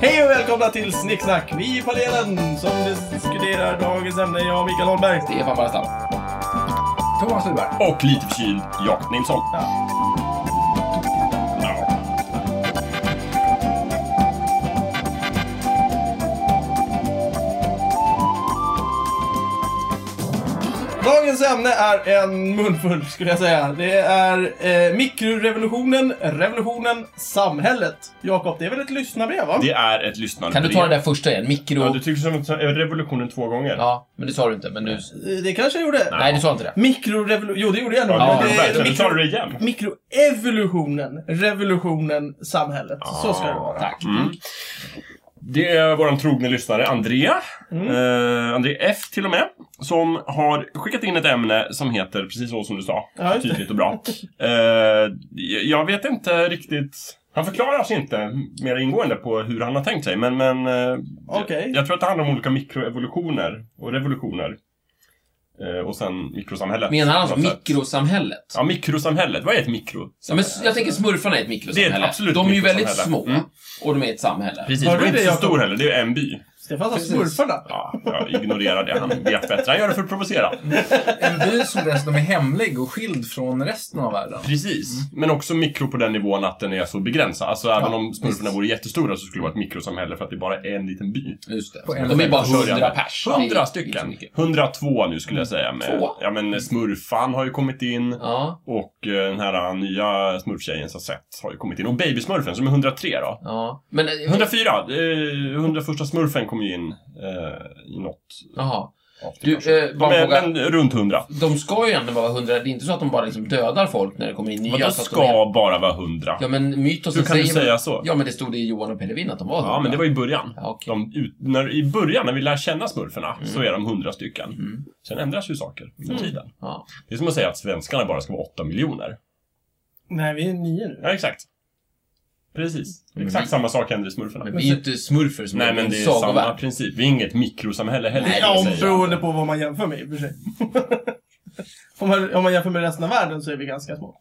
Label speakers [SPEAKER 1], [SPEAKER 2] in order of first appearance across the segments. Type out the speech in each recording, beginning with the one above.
[SPEAKER 1] Hej och välkomna till Snicksnack! Vi i panelen som diskuterar dagens ämne, jag Mikael Holmberg.
[SPEAKER 2] Stefan Barstam. Thomas Lundberg.
[SPEAKER 3] Och lite förkyld Jakob Nilsson.
[SPEAKER 1] Ja.
[SPEAKER 3] Ja.
[SPEAKER 1] Dagens ämne är en munfull skulle jag säga. Det är eh, mikrorevolutionen, revolutionen, samhället. Jakob, det är väl ett lyssnarbrev va?
[SPEAKER 3] Det är ett lyssnarbrev.
[SPEAKER 2] Kan du ta det där första igen? Mikro...
[SPEAKER 3] Ja,
[SPEAKER 2] Ja,
[SPEAKER 3] du tycker som att- revolutionen två gånger.
[SPEAKER 2] men det sa du inte. Men nu...
[SPEAKER 1] Eh, Det kanske jag gjorde.
[SPEAKER 2] Nej, du sa inte det.
[SPEAKER 1] Mikrorevolution, jo det gjorde jag nog.
[SPEAKER 3] Ja,
[SPEAKER 1] Men
[SPEAKER 3] det,
[SPEAKER 1] det-
[SPEAKER 3] verkligen. Nu
[SPEAKER 1] mikro-
[SPEAKER 3] tar du det igen.
[SPEAKER 1] Mikroevolutionen, revolutionen, samhället. Så ska det vara.
[SPEAKER 2] Tack.
[SPEAKER 3] Mm. Det är vår trogne lyssnare Andrea,
[SPEAKER 1] Mm.
[SPEAKER 3] eh, Andrea F till och med, som har skickat in ett ämne som heter, precis så som du sa,
[SPEAKER 1] Ja, just det.
[SPEAKER 3] tydligt och bra. Eh, jag vet inte riktigt, han förklarar sig inte mer ingående på hur han har tänkt sig, men, men eh,
[SPEAKER 1] Okej.
[SPEAKER 3] jag, jag tror att det handlar om olika mikroevolutioner och revolutioner. Eh, och sen mikrosamhället.
[SPEAKER 2] Menar han
[SPEAKER 3] på
[SPEAKER 2] alltså
[SPEAKER 3] något sätt.
[SPEAKER 2] mikrosamhället?
[SPEAKER 3] Ja, mikrosamhället. Vad är ett mikro?
[SPEAKER 2] Ja, men s- jag tänker smurfarna är ett mikrosamhälle.
[SPEAKER 3] Det är ett absolut
[SPEAKER 2] de är ju väldigt
[SPEAKER 3] mikrosamhälle. Mm.
[SPEAKER 2] små. Och de är ett samhälle.
[SPEAKER 3] Precis,
[SPEAKER 1] Hörde
[SPEAKER 3] det är
[SPEAKER 1] du
[SPEAKER 3] inte
[SPEAKER 1] det,
[SPEAKER 3] så
[SPEAKER 1] Jakob?
[SPEAKER 3] stor heller. Det är en by.
[SPEAKER 1] Stefan sa
[SPEAKER 4] Precis.
[SPEAKER 1] smurfarna.
[SPEAKER 3] Ja, jag ignorerar det. Han vet bättre. Han gör det för att provocera.
[SPEAKER 4] En by som dessutom är hemlig och skild från resten av världen.
[SPEAKER 3] Precis. Men också mikro på den nivån att den är så begränsad. Alltså även om smurfarna vore jättestora så skulle det vara ett mikrosamhälle för att det bara är en liten by.
[SPEAKER 2] Just det.
[SPEAKER 4] På en
[SPEAKER 2] De är bara
[SPEAKER 3] försörjande.
[SPEAKER 2] hundra pers. Det är
[SPEAKER 3] Hundra
[SPEAKER 2] inte så
[SPEAKER 3] stycken.
[SPEAKER 2] mycket.
[SPEAKER 3] 102 nu skulle jag säga. Med,
[SPEAKER 2] Två.
[SPEAKER 3] ja men smurfan har ju kommit in.
[SPEAKER 2] Ja,
[SPEAKER 3] Och eh, den här nya smurftjejen Sassett har ju kommit in. Och babysmurfen som är 103 då.
[SPEAKER 2] ja. Men... eh,
[SPEAKER 3] 104! Eh, 101 smurfen kom ju in eh, i något
[SPEAKER 2] Jaha.
[SPEAKER 3] avsnitt
[SPEAKER 2] Du,
[SPEAKER 3] kanske.
[SPEAKER 2] eh, bara en
[SPEAKER 3] men,
[SPEAKER 2] fråga.
[SPEAKER 3] men runt 100.
[SPEAKER 2] De ska ju egentligen vara hundra. Det är inte så att de bara liksom dödar folk när det kommer in nya.
[SPEAKER 3] Vadå
[SPEAKER 2] så att de är-
[SPEAKER 3] ska bara vara 100?
[SPEAKER 2] Ja, men mytosen
[SPEAKER 3] Hur kan du
[SPEAKER 2] säger...
[SPEAKER 3] säga så?
[SPEAKER 2] Ja, men det stod i Johan och Pellevin att de var
[SPEAKER 3] Ja, men det var ju i början.
[SPEAKER 2] Ja, okej.
[SPEAKER 3] De ut, när, I början, när vi lär känna smurfarna, så är de 100 stycken.
[SPEAKER 2] Mm.
[SPEAKER 3] Sen ändras ju saker med tiden.
[SPEAKER 2] Ja.
[SPEAKER 3] Det är som att säga att svenskarna bara ska vara 8 miljoner.
[SPEAKER 1] Nej, vi är nio nu.
[SPEAKER 3] Ja, exakt. Precis. Exakt samma sak händer i smurfarna.
[SPEAKER 2] Men vi är ju inte smurfer som
[SPEAKER 3] Nej, men det är samma
[SPEAKER 2] sagovärld.
[SPEAKER 3] princip. Vi är inget mikrosamhälle heller.
[SPEAKER 2] Nej,
[SPEAKER 3] kan jag
[SPEAKER 1] Ja,
[SPEAKER 3] säga.
[SPEAKER 1] beroende på vad man jämför med i och för sig. om, man, om man jämför med resten av världen så är vi ganska små.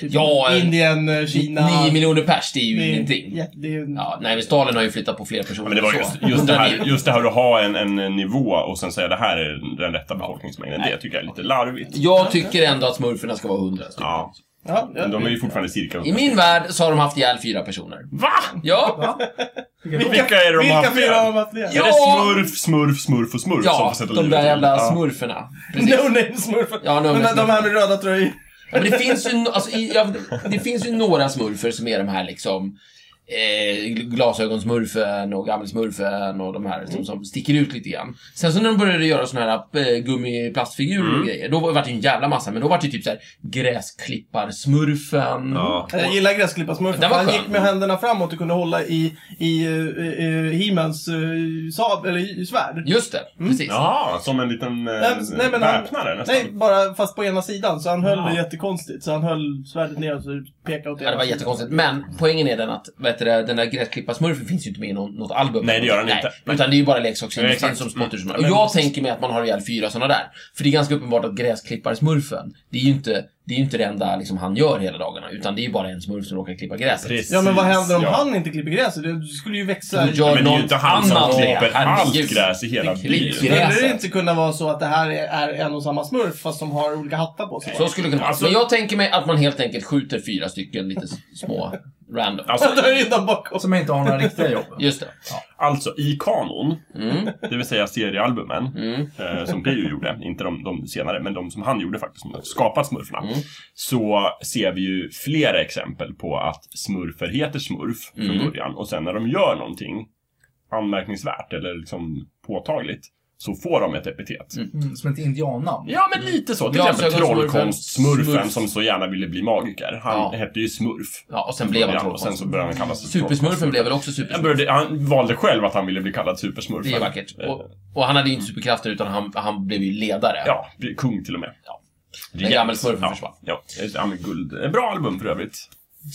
[SPEAKER 1] Typ
[SPEAKER 2] Ja, en-
[SPEAKER 1] Indien, eh, Kina.
[SPEAKER 2] 9 miljoner pers, det är ju
[SPEAKER 1] det är-
[SPEAKER 2] ingenting.
[SPEAKER 1] Ja, det är ju...
[SPEAKER 2] Ja, nej, men Stalin har ju flyttat på fler personer.
[SPEAKER 3] Ja, men det var
[SPEAKER 2] än
[SPEAKER 3] just,
[SPEAKER 2] så.
[SPEAKER 3] just, det
[SPEAKER 2] Den
[SPEAKER 3] här,
[SPEAKER 2] är ju-
[SPEAKER 3] just det här att ha en, en nivå och sen säga det här är den rätta befolkningsmängden. Det tycker jag är lite larvigt.
[SPEAKER 2] Jag tycker ändå att smurferna ska vara 100 stycken.
[SPEAKER 3] Ja,
[SPEAKER 1] Ja, ja.
[SPEAKER 3] men de är ju fortfarande cirka
[SPEAKER 2] I min värld så har de haft ihjäl fyra personer.
[SPEAKER 3] Va?
[SPEAKER 2] Ja,
[SPEAKER 3] Vilka är de
[SPEAKER 1] Vilka
[SPEAKER 3] här
[SPEAKER 1] fyra
[SPEAKER 3] fel?
[SPEAKER 1] har varit det?
[SPEAKER 3] Är
[SPEAKER 2] Ja.
[SPEAKER 3] det smurf, smurf, smurf och smurf som
[SPEAKER 2] ja
[SPEAKER 3] får
[SPEAKER 2] de
[SPEAKER 3] sätta livet
[SPEAKER 2] där
[SPEAKER 3] till?
[SPEAKER 2] jävla
[SPEAKER 3] Ja.
[SPEAKER 2] smurferna. Precis.
[SPEAKER 1] No name smurfar.
[SPEAKER 2] Ja, no name
[SPEAKER 1] men de- de här med röda tröjor.
[SPEAKER 2] Ja, men det finns ju, no- alltså, i, ja, det finns ju några smurfer som är de här liksom Eh, glasögonsmurfen och gammelsmurfen och de här som, som sticker ut lite grann. Sen så när de började göra såna här eh, gummiplastfigurer och grejer, då var var det ju en jävla massa, men då var det ju typ såhär gräsklipparsmurfen.
[SPEAKER 3] Ja.
[SPEAKER 1] Jag gillar gräsklipparsmurfen.
[SPEAKER 2] Den var
[SPEAKER 1] Han
[SPEAKER 2] skön.
[SPEAKER 1] gick med händerna framåt och kunde hålla i, i uh, uh, He-Mans eh, sab, eller i-
[SPEAKER 3] Mm.
[SPEAKER 1] svärd.
[SPEAKER 2] Just det, precis.
[SPEAKER 3] Jaha, som en liten eh,
[SPEAKER 1] Nej, nej, men han-
[SPEAKER 3] väpnare nästan.
[SPEAKER 1] Nej, bara fast på ena sidan. Så han höll
[SPEAKER 3] Ja.
[SPEAKER 1] det jättekonstigt. Så han höll svärdet ner och så pekade åt
[SPEAKER 2] Ja, det var jättekonstigt. Men poängen är den att vet du, det, den där gräsklipparsmurfen finns ju inte med i någon, något album.
[SPEAKER 3] Nej, det gör den inte. Nej.
[SPEAKER 2] Utan det är ju bara
[SPEAKER 3] Ja,
[SPEAKER 2] leksaksindustrin
[SPEAKER 3] exakt.
[SPEAKER 2] som spottar som
[SPEAKER 3] Mm.
[SPEAKER 2] Och jag tänker mig att man har ihjäl fyra sådana där. För det är ganska uppenbart att gräsklipparsmurfen, det är ju inte det, är ju inte det enda liksom, han gör hela dagarna. Utan det är ju bara en smurf som råkar klippa gräset.
[SPEAKER 3] Precis,
[SPEAKER 1] Ja men vad händer om
[SPEAKER 3] ja.
[SPEAKER 1] han inte klipper gräset? Det skulle ju växa...
[SPEAKER 2] Då gör
[SPEAKER 3] Men det är ju
[SPEAKER 2] någon
[SPEAKER 3] inte han som
[SPEAKER 2] annan
[SPEAKER 3] klipper
[SPEAKER 2] det. Herregud.
[SPEAKER 3] allt gräs i hela
[SPEAKER 2] Klipp
[SPEAKER 3] byn.
[SPEAKER 2] gräset.
[SPEAKER 1] Skulle det inte kunna vara så att det här är, är en och samma smurf fast som har olika hattar på sig?
[SPEAKER 2] Så skulle det kunna vara.
[SPEAKER 3] Alltså-
[SPEAKER 2] Men jag tänker mig att man helt enkelt skjuter fyra stycken lite s- små random.
[SPEAKER 3] Alltså,
[SPEAKER 1] Då är det de bakom.
[SPEAKER 4] Som inte har några riktiga jobb.
[SPEAKER 2] Just det.
[SPEAKER 3] alltså, i kanon,
[SPEAKER 2] Mm,
[SPEAKER 3] det vill säga seriealbumen,
[SPEAKER 2] mm.
[SPEAKER 3] eh, som Peyo gjorde, inte de, de senare, men de som han gjorde faktiskt, som har skapat smurfarna,
[SPEAKER 2] Mm.
[SPEAKER 3] så ser vi ju flera exempel på att smurfer heter smurf
[SPEAKER 2] Mm.
[SPEAKER 3] från början och sen när de gör någonting anmärkningsvärt eller liksom påtagligt så får de ett epitet.
[SPEAKER 4] Mm, som ett indiannamn.
[SPEAKER 3] Ja, men lite så. Till
[SPEAKER 2] Ja,
[SPEAKER 3] exempel
[SPEAKER 2] så jag går
[SPEAKER 3] trollkonstsmurfen
[SPEAKER 2] smurf.
[SPEAKER 3] som så gärna ville bli magiker. Han
[SPEAKER 2] Ja.
[SPEAKER 3] hette ju smurf.
[SPEAKER 2] Ja, och sen
[SPEAKER 3] från
[SPEAKER 2] blev han
[SPEAKER 3] början, Och sen
[SPEAKER 2] trollkonst.
[SPEAKER 3] så började han kallas för
[SPEAKER 2] Supersmurfen
[SPEAKER 3] trollkonst.
[SPEAKER 2] blev väl också
[SPEAKER 3] Han,
[SPEAKER 2] supersmurf?
[SPEAKER 3] började, han valde själv att han ville bli kallad supersmurfen.
[SPEAKER 2] Det är vackert.
[SPEAKER 3] Eh,
[SPEAKER 2] Och, och han hade ju inte superkrafter utan han, han blev ju ledare.
[SPEAKER 3] Ja, kung till och med.
[SPEAKER 2] Ja.
[SPEAKER 3] Regent.
[SPEAKER 2] gammelsmurfen försvann.
[SPEAKER 3] Ja, ja. Just det, han med guld. Ett bra album för övrigt.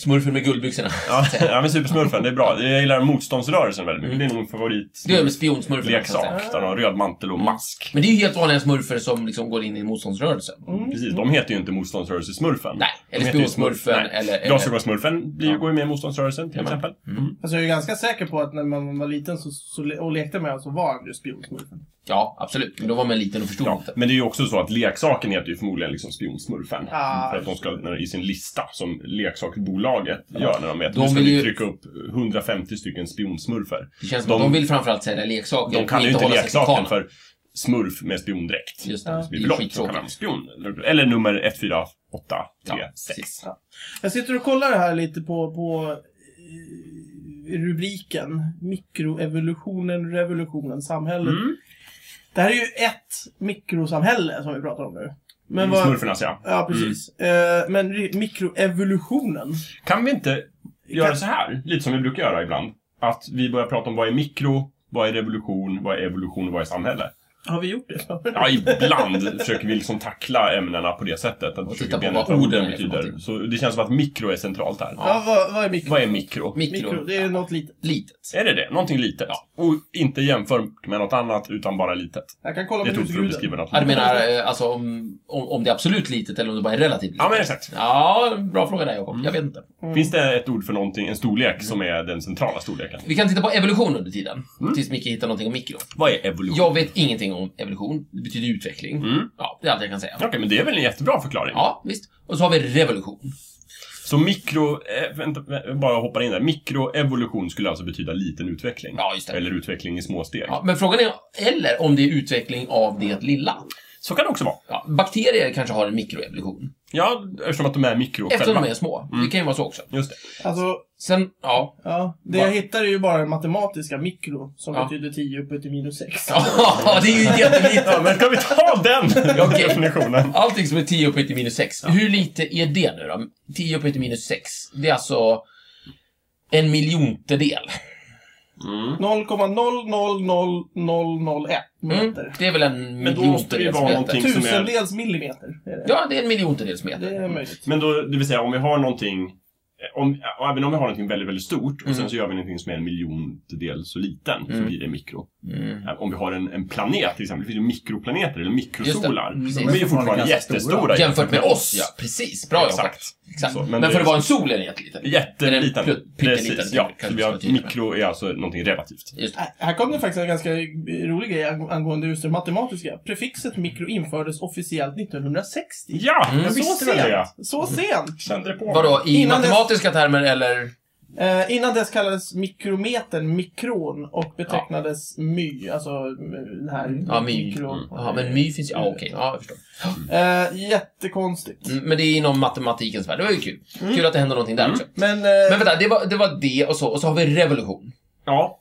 [SPEAKER 2] Smurfen med guldbyxorna.
[SPEAKER 3] Ja, ja men Supersmurfen, det är bra. Jag gillar motståndsrörelsen väldigt mycket. Det är nog min favorit
[SPEAKER 2] Det är med spionsmurfen. också.
[SPEAKER 3] leksak. Där de har röd mantel och mask.
[SPEAKER 2] Men det är ju helt vanliga smurfer som liksom går in i motståndsrörelsen.
[SPEAKER 3] Precis, de heter ju inte motståndsrörelsesmurfen.
[SPEAKER 2] Nej, eller
[SPEAKER 3] De heter ju
[SPEAKER 2] spionsmurfen,
[SPEAKER 3] smurf- nej.
[SPEAKER 2] eller- eller-
[SPEAKER 3] Glasögonsmurfen blir ju
[SPEAKER 2] Ja. Mm.
[SPEAKER 3] går ju med i motståndsrörelsen till
[SPEAKER 2] Jajamän.
[SPEAKER 3] exempel.
[SPEAKER 1] Alltså, jag är ganska säker på att när man var liten så, så, le- och lekte med honom så var han ju spionsmurfen.
[SPEAKER 2] Ja, absolut. Men då var man liten och förstod
[SPEAKER 3] Ja,
[SPEAKER 2] inte.
[SPEAKER 3] men det är ju också så att leksaken heter ju förmodligen liksom spionsmurfen.
[SPEAKER 1] Ah.
[SPEAKER 3] för att de ska, när, i sin lista som leksaksbolaget gör när de vet.
[SPEAKER 2] De
[SPEAKER 3] nu ska
[SPEAKER 2] vill
[SPEAKER 3] vi
[SPEAKER 2] ju-
[SPEAKER 3] trycka upp 150 stycken spionsmurfer.
[SPEAKER 2] Det känns som
[SPEAKER 3] De-
[SPEAKER 2] att de vill framförallt sälja leksaker.
[SPEAKER 3] De kan
[SPEAKER 2] och
[SPEAKER 3] ju inte
[SPEAKER 2] hålla sig till
[SPEAKER 3] leksaken
[SPEAKER 2] kanon.
[SPEAKER 3] för smurf med spiondräkt.
[SPEAKER 2] Just det,
[SPEAKER 1] Ja.
[SPEAKER 2] det
[SPEAKER 3] Det
[SPEAKER 2] är
[SPEAKER 3] blir
[SPEAKER 2] ju
[SPEAKER 3] blått, så kallar de
[SPEAKER 2] skittråkigt.
[SPEAKER 3] spion. Eller nummer 14836.
[SPEAKER 2] Ja, precis.
[SPEAKER 1] Jag sitter och kollar här lite på, på eh, rubriken. Mikroevolutionen, revolutionen, samhället.
[SPEAKER 3] Mm.
[SPEAKER 1] Det här är ju ett mikrosamhälle som vi pratar om nu.
[SPEAKER 3] Mm,
[SPEAKER 1] Men vad...
[SPEAKER 3] Smurfernas ja.
[SPEAKER 1] Ja, precis. Eh, men ri- mikroevolutionen.
[SPEAKER 3] Kan vi inte göra så här? Lite som vi brukar göra ibland. Att vi börjar prata om vad är mikro, vad är revolution, vad är evolution och vad är samhälle?
[SPEAKER 1] Har vi gjort det?
[SPEAKER 3] Ja, ibland försöker vi liksom tackla ämnena på det sättet. Att försöka
[SPEAKER 2] titta på
[SPEAKER 3] bena
[SPEAKER 2] vad
[SPEAKER 3] ut vad
[SPEAKER 2] orden
[SPEAKER 3] orden
[SPEAKER 2] är för
[SPEAKER 3] betyder.
[SPEAKER 2] någonting.
[SPEAKER 3] Så det känns som att mikro är centralt här.
[SPEAKER 1] Ja, vad, vad är mikro?
[SPEAKER 3] Vad är mikro?
[SPEAKER 2] Mikro.
[SPEAKER 1] Mikro, det är något litet.
[SPEAKER 2] Litet.
[SPEAKER 3] Är det det? Någonting litet? Och inte jämfört med något annat, utan bara litet.
[SPEAKER 1] Jag kan kolla
[SPEAKER 3] Det är
[SPEAKER 1] med
[SPEAKER 3] ett ord för att
[SPEAKER 1] husguden.
[SPEAKER 3] beskriva något.
[SPEAKER 2] Ja, du menar eh, alltså om, om, om det är absolut litet eller om det bara är relativt litet?
[SPEAKER 3] Ja, men exakt. Mm.
[SPEAKER 2] Ja, bra fråga där Jakob. Jag vet inte.
[SPEAKER 3] Finns det ett ord för någonting, en storlek, som är den centrala storleken?
[SPEAKER 2] Vi kan titta på evolution under tiden.
[SPEAKER 3] Mm.
[SPEAKER 2] Tills Micke hittar någonting om mikro.
[SPEAKER 3] Vad är evolution?
[SPEAKER 2] Jag vet ingenting om evolution. Det betyder utveckling.
[SPEAKER 3] Mm.
[SPEAKER 2] Ja, det är allt jag kan säga.
[SPEAKER 3] Okej, men det är väl en jättebra förklaring?
[SPEAKER 2] Ja, visst. Och så har vi revolution.
[SPEAKER 3] Så mikro... Eh, vänta, jag bara hoppar in där. Mikroevolution skulle alltså betyda liten utveckling.
[SPEAKER 2] Ja, just det.
[SPEAKER 3] Eller utveckling i små steg.
[SPEAKER 2] Ja, men frågan är, eller om det är utveckling av det lilla.
[SPEAKER 3] Så kan det också vara.
[SPEAKER 2] Ja, bakterier kanske har en mikroevolution.
[SPEAKER 3] Ja, eftersom att de är mikro
[SPEAKER 2] Eftersom
[SPEAKER 3] själva. Mm.
[SPEAKER 2] de är små. Det kan ju vara så också.
[SPEAKER 3] Just det.
[SPEAKER 1] Alltså,
[SPEAKER 2] Sen, ja.
[SPEAKER 1] ja. Det
[SPEAKER 2] Va?
[SPEAKER 1] jag hittar är ju bara den matematiska mikro, som
[SPEAKER 2] Ja.
[SPEAKER 1] betyder 10 upphöjt till minus 6.
[SPEAKER 2] Ja, det är ju jättelitet.
[SPEAKER 3] Ja, men kan vi ta den
[SPEAKER 2] Okej.
[SPEAKER 3] definitionen?
[SPEAKER 2] Allting som är 10 upphöjt till minus 6. Hur lite är det nu då? 10 upphöjt till minus 6. Det är alltså en miljontedel.
[SPEAKER 1] 0,000001
[SPEAKER 2] Mm.
[SPEAKER 1] meter.
[SPEAKER 2] Det är väl en
[SPEAKER 3] Men då måste det ju
[SPEAKER 2] miljontedels
[SPEAKER 3] vara
[SPEAKER 2] meter.
[SPEAKER 3] någonting som är...
[SPEAKER 1] Tusendels millimeter är det.
[SPEAKER 2] Ja, det är en miljontedels meter.
[SPEAKER 1] Det är möjligt.
[SPEAKER 3] Men då, det vill säga om vi har någonting... eh, Om, och även om vi har någonting väldigt, väldigt stort och
[SPEAKER 2] Mm.
[SPEAKER 3] sen så gör vi någonting som är en miljontedel så liten så blir det mikro.
[SPEAKER 2] Mm.
[SPEAKER 3] Eh, Om vi har en, en planet till exempel, det finns ju mikroplaneter eller mikrosolar.
[SPEAKER 2] Just det.
[SPEAKER 3] De
[SPEAKER 2] Mm,
[SPEAKER 3] är
[SPEAKER 2] de
[SPEAKER 3] ju fortfarande
[SPEAKER 4] är fortfarande ganska stora.
[SPEAKER 3] jättestora
[SPEAKER 2] Jämfört med oss, ja. Precis. Bra jobbat.
[SPEAKER 3] Exakt.
[SPEAKER 2] Exakt.
[SPEAKER 3] Så, men
[SPEAKER 2] men,
[SPEAKER 3] det är
[SPEAKER 2] för att
[SPEAKER 3] ju-
[SPEAKER 2] vara en sol är den jätteliten.
[SPEAKER 3] Jätteliten.
[SPEAKER 2] Eller en pytt- pytteliten, typ,
[SPEAKER 3] Precis, ja.
[SPEAKER 2] kanske
[SPEAKER 3] Så vi
[SPEAKER 2] ska
[SPEAKER 3] har,
[SPEAKER 2] vara tydlig med.
[SPEAKER 3] mikro är alltså någonting relativt.
[SPEAKER 2] Just det.
[SPEAKER 1] Äh, Här kom det faktiskt en ganska rolig grej ang- angående just det matematiska. Prefixet mikro infördes officiellt 1960.
[SPEAKER 3] Ja,
[SPEAKER 2] Mm.
[SPEAKER 3] jag
[SPEAKER 1] Så
[SPEAKER 3] visste väl det.
[SPEAKER 1] sent! Så sent!
[SPEAKER 3] Kände det på mig.
[SPEAKER 2] Vadå, i
[SPEAKER 1] Innan dess-
[SPEAKER 2] matematiska termer eller?
[SPEAKER 1] Eh, innan dess kallades mikrometern mikron och betecknades my, alltså mm, den här
[SPEAKER 2] Ja, my.
[SPEAKER 1] mikro...
[SPEAKER 2] Ja, men my finns ju. Ja, okej. Ja, jag förstår.
[SPEAKER 1] Eh, jättekonstigt.
[SPEAKER 2] Mm, Men det är inom matematikens värld. Det var ju kul. Kul att det hände någonting där
[SPEAKER 3] Mm.
[SPEAKER 2] också.
[SPEAKER 1] Men, eh,
[SPEAKER 2] Men vänta, det var, det var det och så. Och så har vi revolution.
[SPEAKER 3] Ja,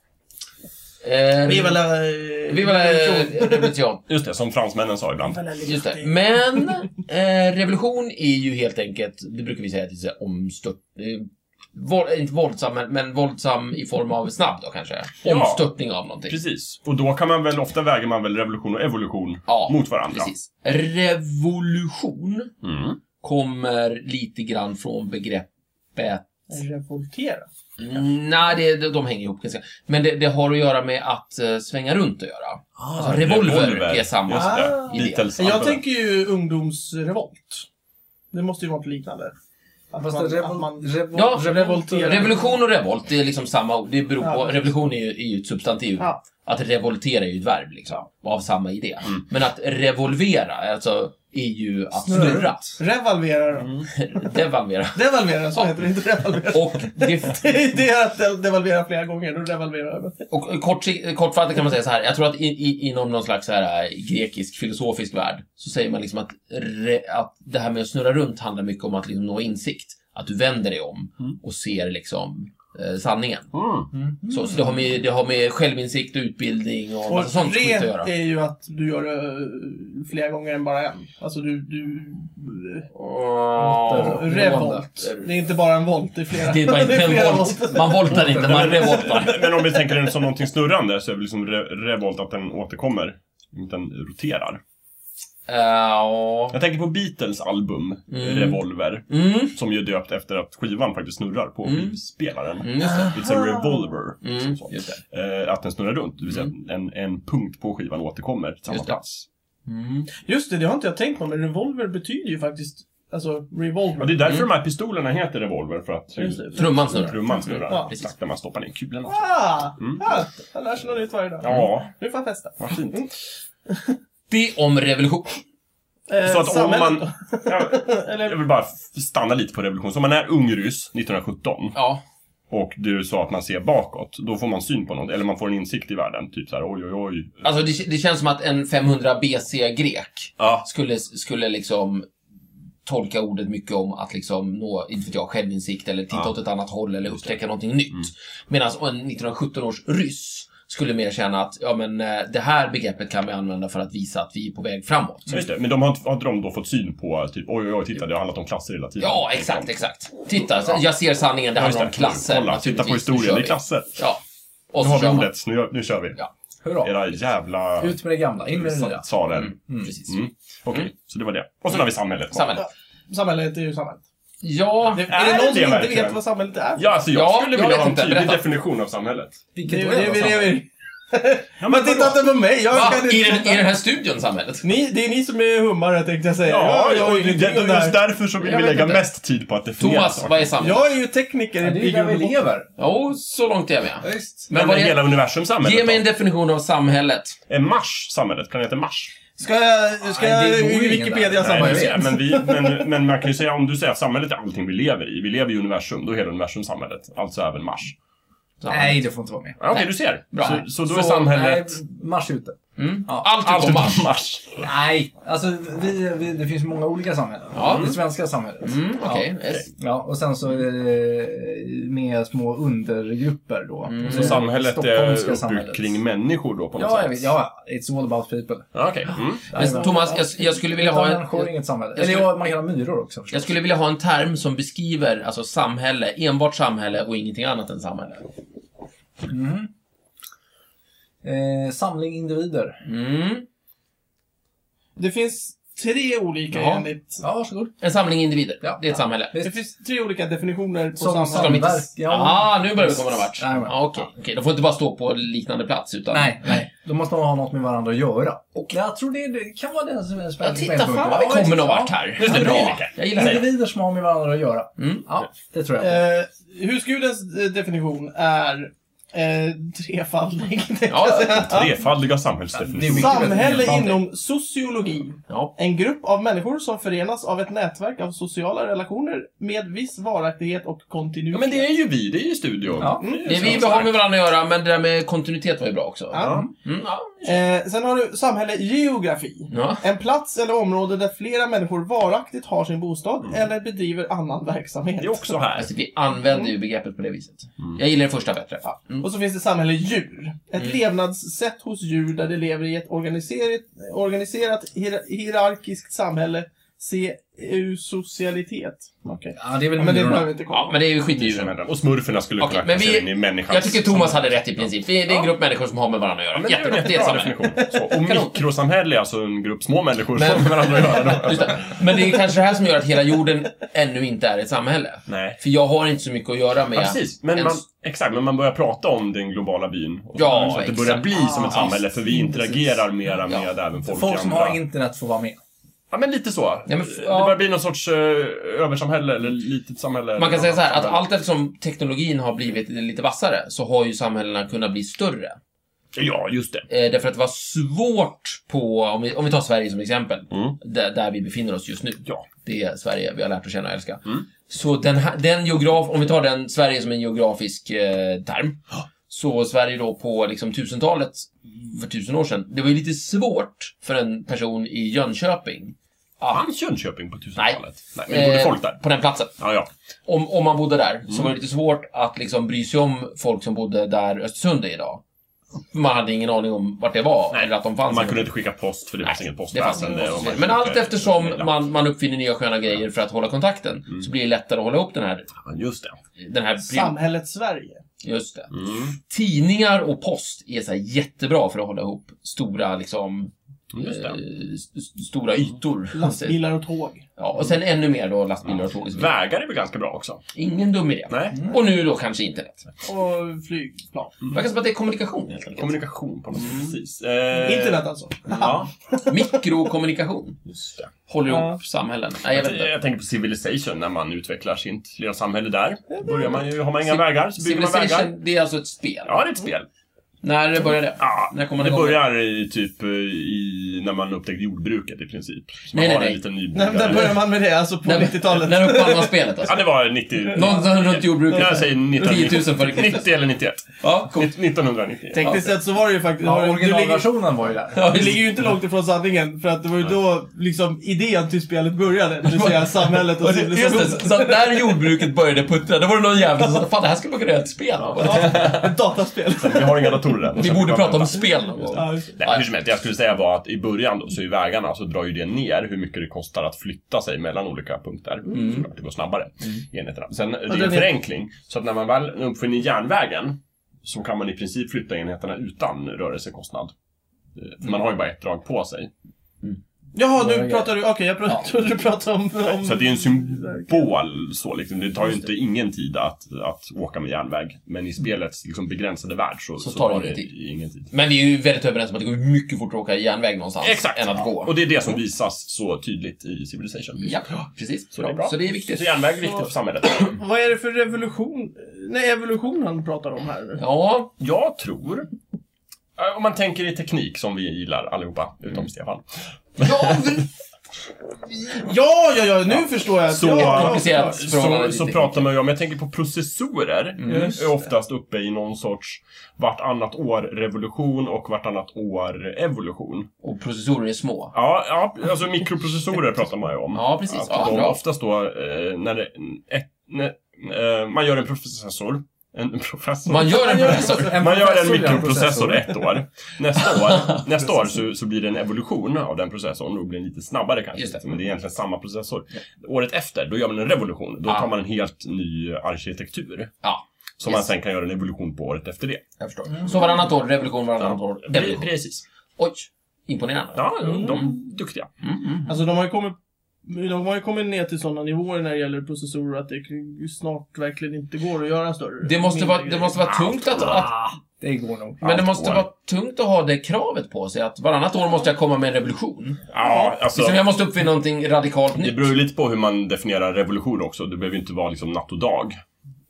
[SPEAKER 2] Eh,
[SPEAKER 1] vi är väl...
[SPEAKER 2] vi var eh, revolution.
[SPEAKER 3] just det. Som fransmännen sa ibland.
[SPEAKER 2] Just det. Men eh, revolution är ju helt enkelt, det brukar vi säga, att det är omstört... Eh, våld, inte våldsam, men, men våldsam i form av snabb då kanske.
[SPEAKER 3] Ja.
[SPEAKER 2] Omstörtning av någonting.
[SPEAKER 3] Precis. Och då kan man väl, ofta väger man väl revolution och evolution
[SPEAKER 2] Ja,
[SPEAKER 3] mot varandra.
[SPEAKER 2] Precis. Revolution
[SPEAKER 3] Mm.
[SPEAKER 2] kommer lite grann från begreppet
[SPEAKER 1] Revoltera.
[SPEAKER 2] Mm, Nej, det, de- de hänger ihop ganska. Men det, det har att göra med att eh, svänga runt och göra. alltså revolver, är samma.
[SPEAKER 3] Just det.
[SPEAKER 1] Ah.
[SPEAKER 3] Beatles
[SPEAKER 1] Jag
[SPEAKER 3] album.
[SPEAKER 1] tänker ju ungdomsrevolt. Det måste ju vara något liknande. Att
[SPEAKER 4] Fast
[SPEAKER 1] man,
[SPEAKER 4] revol-
[SPEAKER 1] att man,
[SPEAKER 4] revol-
[SPEAKER 2] Ja,
[SPEAKER 1] revoltera.
[SPEAKER 2] Revolution och revolt, det är liksom samma ord. Det beror
[SPEAKER 1] Ja,
[SPEAKER 2] på,
[SPEAKER 1] precis.
[SPEAKER 2] revolution är ju, är ju ett substantiv.
[SPEAKER 1] Ja.
[SPEAKER 2] Att revoltera är ju ett verb liksom, av samma idé. Men att revolvera, alltså, är ju att snurra.
[SPEAKER 1] revalvera då.
[SPEAKER 2] Mm. Devalvera.
[SPEAKER 1] Devalvera, så heter det inte revalvera.
[SPEAKER 2] Och, det,
[SPEAKER 1] det är att del- devalvera flera gånger, då revalverar man.
[SPEAKER 2] och kort, kortfattat kan man säga så här, jag tror att i, i, inom någon slags så här, eh, grekisk filosofisk värld så säger man liksom att, re, att det här med att snurra runt handlar mycket om att liksom nå insikt. Att du vänder dig om och ser liksom eh, sanningen.
[SPEAKER 3] Mm.
[SPEAKER 2] Så, så det, har med, det har med självinsikt och utbildning och, massa sånt
[SPEAKER 1] Och
[SPEAKER 2] skit att
[SPEAKER 1] re
[SPEAKER 2] göra.
[SPEAKER 1] är ju att du gör det eh, flera gånger än bara en. Alltså du... du eh,
[SPEAKER 2] Åh,
[SPEAKER 1] revolt. Det är inte bara en volt, det är flera.
[SPEAKER 2] Det är bara inte en
[SPEAKER 1] flera
[SPEAKER 2] volt. Man voltar inte, man revoltar.
[SPEAKER 3] Men om vi tänker den som någonting snurrande så är väl liksom re revolt att den återkommer. Inte den roterar.
[SPEAKER 2] Eh, ja.
[SPEAKER 3] Jag tänker på Beatles album
[SPEAKER 2] Mm.
[SPEAKER 3] Revolver,
[SPEAKER 2] Mm.
[SPEAKER 3] som ju är döpt efter att skivan faktiskt snurrar på
[SPEAKER 2] Mm.
[SPEAKER 3] skivspelaren.
[SPEAKER 2] Mm, just det.
[SPEAKER 3] It's a revolver.
[SPEAKER 2] Mm,
[SPEAKER 3] Så.
[SPEAKER 2] just det. Mm.
[SPEAKER 3] Eh, att den snurrar runt, det vill säga att en, en punkt på skivan återkommer till samma
[SPEAKER 2] Just det.
[SPEAKER 3] plats.
[SPEAKER 2] Mm.
[SPEAKER 1] Just det, det har inte jag tänkt på, men revolver betyder ju faktiskt alltså
[SPEAKER 3] Ja,
[SPEAKER 1] revolver.
[SPEAKER 3] det är
[SPEAKER 2] Mm.
[SPEAKER 3] därför de här pistolerna heter revolver, för att
[SPEAKER 1] Just det.
[SPEAKER 2] Trumman snurrar.
[SPEAKER 3] trumman snurrar.
[SPEAKER 1] Ja,
[SPEAKER 2] precis.
[SPEAKER 3] Exakt när man stoppar ner kulan.
[SPEAKER 1] Ah!
[SPEAKER 3] Mm.
[SPEAKER 1] Ja, jag lär sig något nytt varje dag.
[SPEAKER 3] Ja,
[SPEAKER 1] Nu får jag festa.
[SPEAKER 3] vad fint.
[SPEAKER 2] Det om revolution.
[SPEAKER 1] Eh,
[SPEAKER 3] Så att om
[SPEAKER 1] samhället
[SPEAKER 3] man... Jag, jag
[SPEAKER 1] Eller,
[SPEAKER 3] vill bara f- stanna lite på revolution. Så om man är ung ryss 1917
[SPEAKER 2] Ja.
[SPEAKER 3] och du sa att man ser bakåt, då får man syn på något. Eller man får en insikt i världen. Typ så här, oj, oj, oj.
[SPEAKER 2] Alltså, det, det känns som att en 500 BC-grek
[SPEAKER 3] Ja.
[SPEAKER 2] skulle, skulle liksom tolka ordet mycket om att liksom nå, inte vet jag, självinsikt eller titta
[SPEAKER 3] Ja.
[SPEAKER 2] åt ett annat håll eller
[SPEAKER 3] Just det.
[SPEAKER 2] upptäcka någonting nytt.
[SPEAKER 3] Mm.
[SPEAKER 2] Medan en 1917 års ryss skulle mer känna att ja, men, eh, det här begreppet kan vi använda för att visa att vi är på väg framåt.
[SPEAKER 3] Just det. Men de har, inte- har inte de då fått syn på typ, oj, oj, oj, titta, det har handlat om klasser hela tiden.
[SPEAKER 2] Ja, exakt, exakt. Titta, så- jag ser sanningen, det
[SPEAKER 3] Ja, just
[SPEAKER 2] handlar om
[SPEAKER 3] det.
[SPEAKER 2] klasser. Alltså,
[SPEAKER 3] Kolla, titta på
[SPEAKER 2] naturligtvis. Nu kör
[SPEAKER 3] historien, det är
[SPEAKER 2] vi.
[SPEAKER 3] klasser.
[SPEAKER 2] Ja. Och
[SPEAKER 3] Nu
[SPEAKER 2] så
[SPEAKER 3] har vi
[SPEAKER 2] kör man.
[SPEAKER 3] ordet, nu, gör- nu kör vi.
[SPEAKER 2] Ja.
[SPEAKER 4] Hurra.
[SPEAKER 3] Era jävla...
[SPEAKER 4] Ut med det gamla, in med det nya.
[SPEAKER 3] Tsaren.
[SPEAKER 2] Precis.
[SPEAKER 3] Mm. Okej, så det var det. Och sen har vi samhället.
[SPEAKER 2] Samhället.
[SPEAKER 1] samhället är ju samhället.
[SPEAKER 2] Ja,
[SPEAKER 1] Det, är det
[SPEAKER 3] Är
[SPEAKER 1] någon
[SPEAKER 3] det
[SPEAKER 1] som inte
[SPEAKER 3] verkligen?
[SPEAKER 1] vet vad samhället är?
[SPEAKER 3] Ja, alltså jag
[SPEAKER 2] Ja,
[SPEAKER 3] skulle
[SPEAKER 2] jag
[SPEAKER 3] vilja
[SPEAKER 2] vet
[SPEAKER 3] ha en
[SPEAKER 2] inte.
[SPEAKER 3] tydlig
[SPEAKER 2] Berätta.
[SPEAKER 3] definition av samhället.
[SPEAKER 1] det,
[SPEAKER 4] Vilket
[SPEAKER 1] är-
[SPEAKER 4] då är
[SPEAKER 1] det,
[SPEAKER 4] det,
[SPEAKER 1] är- det,
[SPEAKER 4] samma?
[SPEAKER 1] är-
[SPEAKER 3] Ja,
[SPEAKER 1] men titta inte på mig! Jag
[SPEAKER 2] Va?
[SPEAKER 1] kan inte
[SPEAKER 2] I, den,
[SPEAKER 1] veta.
[SPEAKER 2] I den här studion, samhället?
[SPEAKER 1] Ni, det är ni som är hummare tänkte jag säga.
[SPEAKER 3] Ja,
[SPEAKER 1] jag, jag, har
[SPEAKER 3] och
[SPEAKER 1] ju
[SPEAKER 3] det, det
[SPEAKER 1] ingenting om
[SPEAKER 3] är
[SPEAKER 1] det
[SPEAKER 3] just
[SPEAKER 1] här.
[SPEAKER 3] därför som vi
[SPEAKER 2] Jag
[SPEAKER 3] vill
[SPEAKER 2] vet
[SPEAKER 3] lägga
[SPEAKER 2] inte.
[SPEAKER 3] mest tid på att definiera
[SPEAKER 2] Thomas,
[SPEAKER 3] saker.
[SPEAKER 2] vad är samhället?
[SPEAKER 1] jag är ju tekniker
[SPEAKER 4] Ja, det är ju
[SPEAKER 1] i
[SPEAKER 4] där vi
[SPEAKER 1] grund och
[SPEAKER 4] lever.
[SPEAKER 2] Jo, så långt är jag med.
[SPEAKER 4] Ja, visst.
[SPEAKER 2] Men
[SPEAKER 3] Men
[SPEAKER 2] vad
[SPEAKER 3] hela
[SPEAKER 2] är,
[SPEAKER 3] universum samhället
[SPEAKER 2] ge mig en
[SPEAKER 3] då?
[SPEAKER 2] definition av samhället.
[SPEAKER 3] Är Mars samhället? Planeten Mars?
[SPEAKER 1] Ska jag, ska
[SPEAKER 4] Nej, det
[SPEAKER 1] jag
[SPEAKER 4] går ju ingen
[SPEAKER 1] Wikipedia
[SPEAKER 4] där.
[SPEAKER 3] Nej,
[SPEAKER 1] samhället?
[SPEAKER 4] jag vet.
[SPEAKER 3] men, vi, men, men man kan ju säga, om du säger att samhället är allting vi lever i. Vi lever i universum, då är hela universum samhället. Alltså även Mars.
[SPEAKER 2] Samhället.
[SPEAKER 4] Nej, det får inte vara med.
[SPEAKER 3] Ja, Okej,
[SPEAKER 2] Nej.
[SPEAKER 3] du ser.
[SPEAKER 2] Bra.
[SPEAKER 3] Så, så då är
[SPEAKER 4] Så,
[SPEAKER 3] samhället...
[SPEAKER 4] Nej, mars ute.
[SPEAKER 2] Mm.
[SPEAKER 4] Ja.
[SPEAKER 2] Allt
[SPEAKER 3] Allt
[SPEAKER 2] utom Mars.
[SPEAKER 3] utom Mars.
[SPEAKER 4] Nej, alltså vi, vi, det finns många olika samhällen.
[SPEAKER 2] Ja.
[SPEAKER 4] Det svenska samhället.
[SPEAKER 2] Mm, okej. yes.
[SPEAKER 4] Ja, och sen
[SPEAKER 2] Mm.
[SPEAKER 4] så eh, med små undergrupper då.
[SPEAKER 2] Mm.
[SPEAKER 3] Så
[SPEAKER 4] Eh,
[SPEAKER 3] samhället är
[SPEAKER 4] stockholmska
[SPEAKER 3] uppbyggt kring människor då på något
[SPEAKER 4] Ja, jag
[SPEAKER 3] sätt?
[SPEAKER 4] vet. Ja, it's all about people.
[SPEAKER 3] Ja, Okej. Mm.
[SPEAKER 2] Men Thomas, jag, jag skulle vilja
[SPEAKER 4] Utan
[SPEAKER 2] ha
[SPEAKER 4] människor,
[SPEAKER 2] en...
[SPEAKER 4] inget samhälle.
[SPEAKER 2] jag skulle-
[SPEAKER 4] Eller ja, man kan ha myror också förstås.
[SPEAKER 2] Jag skulle vilja ha en term som beskriver alltså samhälle, enbart samhälle och ingenting annat än samhälle.
[SPEAKER 4] Mm. Eh, samling individer.
[SPEAKER 2] Mm.
[SPEAKER 1] Det finns tre olika
[SPEAKER 2] Jaha.
[SPEAKER 1] enligt...
[SPEAKER 4] Ja, varsågod.
[SPEAKER 2] En samling individer.
[SPEAKER 4] Ja.
[SPEAKER 2] Det är ett samhälle.
[SPEAKER 1] Det finns tre olika definitioner på
[SPEAKER 4] Som
[SPEAKER 2] Ska de
[SPEAKER 1] samhället.
[SPEAKER 2] inte...
[SPEAKER 4] Samverkan. Ja.
[SPEAKER 2] Ah, nu börjar vi komma någon vart.
[SPEAKER 4] Nej, men-
[SPEAKER 2] Ah, Okej, okej. de får inte bara stå på liknande plats utan...
[SPEAKER 4] Nej, nej. Då måste man ha något med varandra att göra. Och jag tror det, det kan vara den som är
[SPEAKER 2] Ja,
[SPEAKER 4] spännande.
[SPEAKER 2] titta fan vad vi kommer någon vart här.
[SPEAKER 3] Just det,
[SPEAKER 2] bra.
[SPEAKER 3] Angelica.
[SPEAKER 2] Jag gillar det.
[SPEAKER 4] Individer som har med varandra att göra.
[SPEAKER 2] Mm.
[SPEAKER 4] Ja, det tror jag.
[SPEAKER 1] Eh, husgudens eh, definition är eh, trefaldig. tänkte jag
[SPEAKER 2] Ja,
[SPEAKER 1] säga.
[SPEAKER 3] Trefaldiga
[SPEAKER 4] Det är
[SPEAKER 3] samhällsdefinitioner.
[SPEAKER 4] mycket bättre
[SPEAKER 1] Samhälle
[SPEAKER 4] än
[SPEAKER 1] inom sociologi.
[SPEAKER 2] Ja.
[SPEAKER 1] En grupp av människor som förenas av ett nätverk av sociala relationer med viss varaktighet och
[SPEAKER 3] Ja,
[SPEAKER 1] kontinuitet.
[SPEAKER 3] men det är ju vi, det är ju studion.
[SPEAKER 4] Ja.
[SPEAKER 1] Mm.
[SPEAKER 2] Det är vi vi har med varandra att göra, men det där med kontinuitet var ju bra också.
[SPEAKER 1] Ja.
[SPEAKER 2] Mm, ja.
[SPEAKER 1] Eh, sen har du samhälle geografi.
[SPEAKER 2] ja.
[SPEAKER 1] En plats eller område där flera människor varaktigt har sin bostad eller bedriver annan verksamhet.
[SPEAKER 3] Det är också här.
[SPEAKER 2] Alltså, vi använder
[SPEAKER 3] Mm.
[SPEAKER 2] ju begreppet på det viset. Jag gillar det första bättre.
[SPEAKER 1] Ja.
[SPEAKER 2] Mm.
[SPEAKER 1] Och så finns det samhälle djur. Ett levnadssätt hos djur där de lever i ett organiserat, organiserat hier- hierarkiskt samhälle. Se eusocialitet. Okej.
[SPEAKER 4] Ja, det är väl
[SPEAKER 1] Ja, men det behöver
[SPEAKER 4] myrorna.
[SPEAKER 1] vi inte kolla
[SPEAKER 2] Ja,
[SPEAKER 1] på.
[SPEAKER 2] men det är ju skitdjuren.
[SPEAKER 3] Och smurferna skulle
[SPEAKER 2] Okej,
[SPEAKER 3] kunna
[SPEAKER 2] men
[SPEAKER 3] placera
[SPEAKER 2] vi-
[SPEAKER 3] in i människans...
[SPEAKER 2] Jag tycker Thomas hade rätt i princip. Det är, det är en
[SPEAKER 3] Ja.
[SPEAKER 2] grupp människor som har med varandra att
[SPEAKER 3] Ja,
[SPEAKER 2] göra.
[SPEAKER 3] men det är ju
[SPEAKER 2] Jättebra,
[SPEAKER 3] en
[SPEAKER 2] det är ett
[SPEAKER 3] jättebra
[SPEAKER 2] samhälle.
[SPEAKER 3] definition. Så, och mikrosamhälle är alltså en grupp små människor
[SPEAKER 2] Men-
[SPEAKER 3] som har med varandra att göra. Då.
[SPEAKER 2] Just det. Men det är kanske det här som gör att hela jorden ännu inte är ett samhälle.
[SPEAKER 3] Nej.
[SPEAKER 2] För jag har inte så mycket att göra med...
[SPEAKER 3] Ja, precis. Men
[SPEAKER 2] en-
[SPEAKER 3] man, exakt, men man börjar prata om den globala byn. Och
[SPEAKER 2] Ja,
[SPEAKER 3] så att det
[SPEAKER 2] exakt.
[SPEAKER 3] börjar bli som ett
[SPEAKER 4] Ah,
[SPEAKER 3] samhälle, för vi interagerar mera
[SPEAKER 2] Ja.
[SPEAKER 3] med även folk,
[SPEAKER 4] Folk
[SPEAKER 3] i
[SPEAKER 4] som
[SPEAKER 3] andra-
[SPEAKER 4] har internet får vara med.
[SPEAKER 3] Ja, men lite så.
[SPEAKER 2] Ja, men-
[SPEAKER 3] Det
[SPEAKER 2] ja.
[SPEAKER 3] börjar bli någon sorts eh, översamhälle, eller litet samhälle.
[SPEAKER 2] Man kan säga så här att
[SPEAKER 3] Samhälle.
[SPEAKER 2] allt eftersom teknologin har blivit lite vassare så har ju samhällena kunnat bli större.
[SPEAKER 3] Ja, just det.
[SPEAKER 2] Eh, därför att det var svårt på, om vi, om vi tar Sverige som exempel,
[SPEAKER 3] Mm.
[SPEAKER 2] där, där vi befinner oss just nu.
[SPEAKER 3] Ja.
[SPEAKER 2] Det är Sverige vi har lärt att känna och älska.
[SPEAKER 3] Mm.
[SPEAKER 2] Så den, här- den geograf, om vi tar den Sverige som en geografisk eh, term. Så Sverige då på liksom 1000-talet, för tusen år sedan, det var ju lite svårt för en person i Jönköping. att-
[SPEAKER 3] Fanns Jönköping på 1000-talet? Nej. men
[SPEAKER 2] eh,
[SPEAKER 3] det bodde folk där. Mm.
[SPEAKER 2] På den platsen.
[SPEAKER 3] Ja, ja.
[SPEAKER 2] Om, om man bodde där så var det lite svårt att liksom bry sig om folk som bodde där Östersund är idag. Man hade ingen aning om vart det var
[SPEAKER 3] Nej,
[SPEAKER 2] eller att de fanns.
[SPEAKER 3] Man kunde inte skicka post för det fanns inget
[SPEAKER 2] det fanns
[SPEAKER 3] postväsende.
[SPEAKER 2] ingen
[SPEAKER 3] och man
[SPEAKER 2] Men
[SPEAKER 3] kunde
[SPEAKER 2] allt
[SPEAKER 3] inte-
[SPEAKER 2] eftersom
[SPEAKER 3] Ja,
[SPEAKER 2] man, man uppfinner nya sköna grejer för att hålla kontakten
[SPEAKER 3] Mm.
[SPEAKER 2] så blir det lättare att hålla upp den här...
[SPEAKER 3] men Just det.
[SPEAKER 2] Den här
[SPEAKER 1] Samhället Sverige.
[SPEAKER 2] just det.
[SPEAKER 3] Mm.
[SPEAKER 2] Tidningar och post är så här jättebra för att hålla ihop stora liksom,
[SPEAKER 3] Just det.
[SPEAKER 2] eh, s- s- stora ytor.
[SPEAKER 1] Mm. Lastbilar och tåg.
[SPEAKER 2] Ja, och sen ännu mer då lastbilar och tåg.
[SPEAKER 3] Vägar är väl ganska bra också?
[SPEAKER 2] Ingen dum idé.
[SPEAKER 3] Nej? Mm.
[SPEAKER 2] Och nu då kanske internet.
[SPEAKER 1] Och flygplan.
[SPEAKER 2] Verkar som att det är kommunikation helt enkelt.
[SPEAKER 3] Kommunikation på något
[SPEAKER 2] Mm.
[SPEAKER 3] sätt, precis. Eh,
[SPEAKER 1] Internet alltså.
[SPEAKER 3] Ja,
[SPEAKER 2] Mikrokommunikation.
[SPEAKER 3] just det.
[SPEAKER 2] Håller ihop
[SPEAKER 1] Ja.
[SPEAKER 2] samhällen. Nej, jag vet
[SPEAKER 3] Jag,
[SPEAKER 2] inte.
[SPEAKER 3] tänker på Civilization, när man utvecklar sitt lilla samhälle där. Börjar man ju, har man inga
[SPEAKER 2] Civ-
[SPEAKER 3] vägar så bygger man vägar.
[SPEAKER 2] Civilization, det är alltså ett spel.
[SPEAKER 3] Ja, det är ett spel.
[SPEAKER 2] När började det?
[SPEAKER 3] Ja,
[SPEAKER 2] När kom man
[SPEAKER 3] det
[SPEAKER 2] igång?
[SPEAKER 3] börjar i typ eh, i, när man upptäckte jordbruket i princip. Så man
[SPEAKER 2] Nej, nej,
[SPEAKER 3] har
[SPEAKER 2] nej.
[SPEAKER 3] en liten
[SPEAKER 1] När, när
[SPEAKER 3] nybildare...
[SPEAKER 1] börjar man med det? Alltså på
[SPEAKER 2] När-
[SPEAKER 1] 90-talet?
[SPEAKER 2] När uppfann man spelet alltså?
[SPEAKER 3] Ja, det var 90...
[SPEAKER 2] Någonstans runt jordbruket.
[SPEAKER 3] Jag säger 1990.
[SPEAKER 2] 10 000 före Kristus.
[SPEAKER 3] 90 eller 91.
[SPEAKER 2] Ja, coolt.
[SPEAKER 3] 1991.
[SPEAKER 1] Tekniskt sett så var det ju faktiskt... har
[SPEAKER 4] Ja,
[SPEAKER 1] du- du ligger-
[SPEAKER 4] originalversionen var ju där.
[SPEAKER 2] Ja,
[SPEAKER 1] Det
[SPEAKER 2] just-
[SPEAKER 1] ligger ju inte långt ifrån sanningen, för att det var ju då liksom idén till spelet började. Det vill säga samhället och
[SPEAKER 2] Och det- Just det,
[SPEAKER 1] civilisationen.
[SPEAKER 2] så- så att när jordbruket började puttra, då var det någon jävel som sa fan det här skulle man kunna göra ett spel av.
[SPEAKER 1] Ja, ett dataspel.
[SPEAKER 3] Vi har inga datorer än.
[SPEAKER 2] Vi borde prata om spel någon gång.
[SPEAKER 1] Ja, just det.
[SPEAKER 3] Nej, hur som helst, det jag skulle säga var att i början då, så i vägarna så drar ju det ner hur mycket det kostar att flytta sig mellan olika punkter.
[SPEAKER 2] Mm.
[SPEAKER 3] Såklart, det går snabbare i enheterna. Sen, det är ju
[SPEAKER 1] den
[SPEAKER 3] en
[SPEAKER 1] är-
[SPEAKER 3] förenkling. Så att när man väl uppfinner järnvägen så kan man i princip flytta enheterna utan rörelsekostnad. Eh, För man har ju bara ett drag på sig.
[SPEAKER 1] Jaha,
[SPEAKER 4] Ja,
[SPEAKER 1] nu
[SPEAKER 4] ja.
[SPEAKER 1] pratar du... Okej, jag
[SPEAKER 2] Ja.
[SPEAKER 1] pratar, trodde du pratade om...
[SPEAKER 2] Mm.
[SPEAKER 1] om
[SPEAKER 3] Så att det är ju en symbol så liksom. Det tar ju inte ingen tid att, att åka med järnväg. Men i spelets liksom, begränsade värld så,
[SPEAKER 2] Mm. Så tar det
[SPEAKER 3] tar
[SPEAKER 2] ingen tid.
[SPEAKER 3] ingen tid.
[SPEAKER 2] Men vi är ju väldigt överens om att det går mycket fortare att åka järnväg någonstans
[SPEAKER 3] Exakt.
[SPEAKER 2] än att gå. Mm.
[SPEAKER 3] Och det är det som visas så tydligt i Civilization.
[SPEAKER 2] Ja, precis.
[SPEAKER 3] Så det är bra.
[SPEAKER 2] Så det är viktigt.
[SPEAKER 3] Så järnväg är viktigt för samhället.
[SPEAKER 1] Vad är det för revolution? Nej, evolution han pratar om här nu.
[SPEAKER 2] Ja,
[SPEAKER 3] Jag tror, eh, om man tänker i teknik som vi gillar allihopa, utom Stefan.
[SPEAKER 2] ja men-
[SPEAKER 1] Ja, ja, ja, nu förstår jag.
[SPEAKER 3] Så-
[SPEAKER 1] ja, ja,
[SPEAKER 2] Komplicerat.
[SPEAKER 1] ja.
[SPEAKER 3] Så,
[SPEAKER 2] Förhållande
[SPEAKER 3] så
[SPEAKER 2] till
[SPEAKER 3] pratar man ju om, jag tänker på processorer, Mm.
[SPEAKER 1] Just
[SPEAKER 3] är oftast uppe i någon sorts vartannat år-revolution och vartannat år-evolution.
[SPEAKER 2] och processorer är små.
[SPEAKER 3] Ja, ja, alltså mikroprocessorer pratar man ju om.
[SPEAKER 2] Ja, precis.
[SPEAKER 3] Att
[SPEAKER 2] Ja,
[SPEAKER 3] de
[SPEAKER 2] bra.
[SPEAKER 3] oftast då, eh, när, det, ett, när eh, man gör en processor, en professor.
[SPEAKER 2] Man gör en processor.
[SPEAKER 3] Man gör en
[SPEAKER 4] professor gör en
[SPEAKER 3] mikroprocessor ett år. Nästa år, nästa år så, så blir det en evolution av den processorn. Då blir den lite snabbare kanske.
[SPEAKER 2] Just det.
[SPEAKER 3] Men det är egentligen samma processor. Året efter, då gör man en revolution. Då
[SPEAKER 2] Ah.
[SPEAKER 3] tar man en helt ny arkitektur.
[SPEAKER 2] Ja,
[SPEAKER 3] Som man
[SPEAKER 2] Yes.
[SPEAKER 3] sen kan göra en evolution på året efter det.
[SPEAKER 2] jag förstår. Så varannat år, revolution, varannat år,
[SPEAKER 3] Pre-
[SPEAKER 2] revolution.
[SPEAKER 3] Precis.
[SPEAKER 2] Oj, imponerande.
[SPEAKER 3] Ja, de är duktiga.
[SPEAKER 2] Mm, mm.
[SPEAKER 1] Alltså de har ju kommit de har ju kommit ner till sådana nivåer när det gäller processorer att det k- snart verkligen inte går att göra större.
[SPEAKER 2] Det måste
[SPEAKER 1] mindre
[SPEAKER 2] vara, det
[SPEAKER 1] grejer.
[SPEAKER 2] måste vara tungt att, att
[SPEAKER 4] Det går nog.
[SPEAKER 2] men det
[SPEAKER 3] Allt
[SPEAKER 2] måste
[SPEAKER 3] går.
[SPEAKER 2] vara tungt att ha det kravet på sig att varannat år måste jag komma med en revolution.
[SPEAKER 3] Ja, alltså.
[SPEAKER 2] Liksom jag måste uppfinna någonting radikalt
[SPEAKER 3] Det
[SPEAKER 2] nytt.
[SPEAKER 3] beror ju lite på hur man definierar revolution också. Det behöver ju inte vara liksom natt och dag.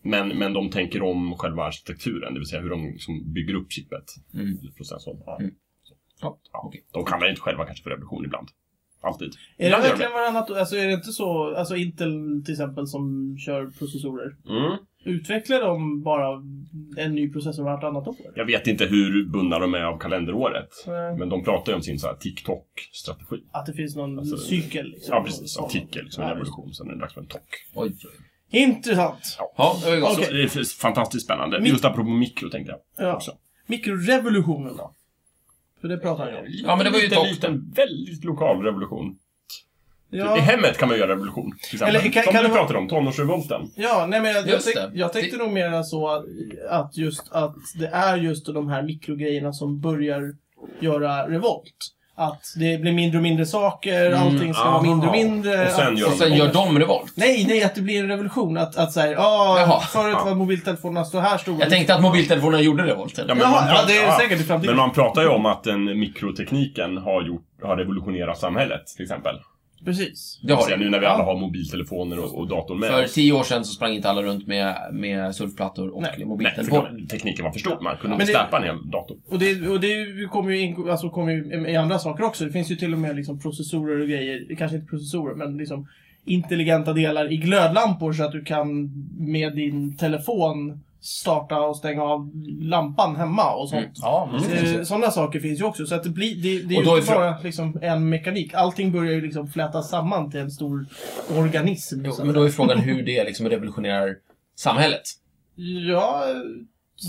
[SPEAKER 3] Men, men de tänker om själva arkitekturen, det vill säga hur de liksom bygger upp chippet.
[SPEAKER 2] Mm.
[SPEAKER 3] Processorn. Ja.
[SPEAKER 2] Ja,
[SPEAKER 3] Ja,
[SPEAKER 2] okej.
[SPEAKER 3] De kallar det inte själva kanske för revolution ibland. Alltid.
[SPEAKER 1] Är det
[SPEAKER 3] Ibland gör de
[SPEAKER 1] verkligen varannat Alltså är det inte så, alltså Intel till exempel som kör processorer.
[SPEAKER 3] det. Mm.
[SPEAKER 1] Utvecklar de bara en ny processor vartannat år?
[SPEAKER 3] Jag vet inte hur bundna de är av kalenderåret.
[SPEAKER 1] Nej.
[SPEAKER 3] Men de pratar ju om sin så här TikTok-strategi.
[SPEAKER 1] Att det finns någon
[SPEAKER 3] Alltså,
[SPEAKER 1] cykel liksom?
[SPEAKER 3] Ja, precis. Artikel, liksom en
[SPEAKER 1] Ja,
[SPEAKER 3] revolution. Sen är det dags för en tock.
[SPEAKER 2] Oj.
[SPEAKER 1] Intressant!
[SPEAKER 2] Ja, det var ju gott.
[SPEAKER 3] Så det är fantastiskt spännande.
[SPEAKER 1] Min-
[SPEAKER 3] Just apropå mikro tänkte jag.
[SPEAKER 1] Ja.
[SPEAKER 3] Också.
[SPEAKER 1] Mikrorevolutionen då? För det pratar han ju om.
[SPEAKER 2] Ja, men det var ju
[SPEAKER 3] en
[SPEAKER 2] topp.
[SPEAKER 3] liten, väldigt lokal revolution. I
[SPEAKER 1] Ja,
[SPEAKER 3] hemmet kan man göra revolution. Till exempel.
[SPEAKER 1] Eller kan-
[SPEAKER 3] Som
[SPEAKER 1] kan
[SPEAKER 3] du
[SPEAKER 1] det vara-
[SPEAKER 3] pratade om, tonårsrevolten.
[SPEAKER 1] ja nej men jag, jag,
[SPEAKER 2] Just
[SPEAKER 1] tänk,
[SPEAKER 2] det.
[SPEAKER 1] jag tänkte
[SPEAKER 2] Det-
[SPEAKER 1] nog mera så att, att just att det är just de här mikrogrejerna som börjar göra revolt. Att det blir mindre och mindre saker, allting ska vara
[SPEAKER 3] aha.
[SPEAKER 1] mindre och mindre.
[SPEAKER 3] Och sen
[SPEAKER 1] att,
[SPEAKER 3] gör
[SPEAKER 2] Mm. Och sen gör de revolt.
[SPEAKER 1] Nej, nej, att det blir en revolution. Att, att såhär,
[SPEAKER 2] Jaha.
[SPEAKER 1] ja, förut
[SPEAKER 3] Ja.
[SPEAKER 1] var mobiltelefonerna så här stora.
[SPEAKER 2] Jag tänkte att mobiltelefonerna gjorde revolten.
[SPEAKER 3] Ja, men
[SPEAKER 1] Jaha,
[SPEAKER 3] man pratar-
[SPEAKER 1] ja, det är
[SPEAKER 3] ja.
[SPEAKER 1] säkert i framtiden.
[SPEAKER 3] Men man pratar ju om att den mikrotekniken har, gjort, har revolutionerat samhället, till exempel.
[SPEAKER 1] Precis.
[SPEAKER 2] Det har
[SPEAKER 3] Sen
[SPEAKER 2] det.
[SPEAKER 3] Nu när vi alla har mobiltelefoner och, och datorn med
[SPEAKER 2] För
[SPEAKER 3] oss.
[SPEAKER 2] tio år sedan så sprang inte alla runt med, med surfplattor och
[SPEAKER 1] Nej,
[SPEAKER 3] Nej, för
[SPEAKER 2] mobiltelefoner.
[SPEAKER 3] då, tekniken var för stor. Man kunde
[SPEAKER 1] Men det-
[SPEAKER 3] släpa en hel dator.
[SPEAKER 1] Och det, och det kommer ju, in, alltså kommer ju i andra saker också. Det finns ju till och med liksom processorer och grejer, kanske inte processorer, men liksom intelligenta delar i glödlampor så att du kan med din telefon starta och stänga av lampan hemma och sånt. Eh,
[SPEAKER 4] Ja, men det finns ju.
[SPEAKER 1] Sådana saker finns ju också. Så att det, blir, det, det är
[SPEAKER 2] Mm. Och då
[SPEAKER 1] ju
[SPEAKER 2] är
[SPEAKER 1] inte bara liksom en mekanik. Allting börjar ju liksom flätas samman till en stor organism. liksom.
[SPEAKER 2] Jo,
[SPEAKER 1] så att
[SPEAKER 2] men då är frågan hur det liksom revolutionerar samhället.
[SPEAKER 1] Ja,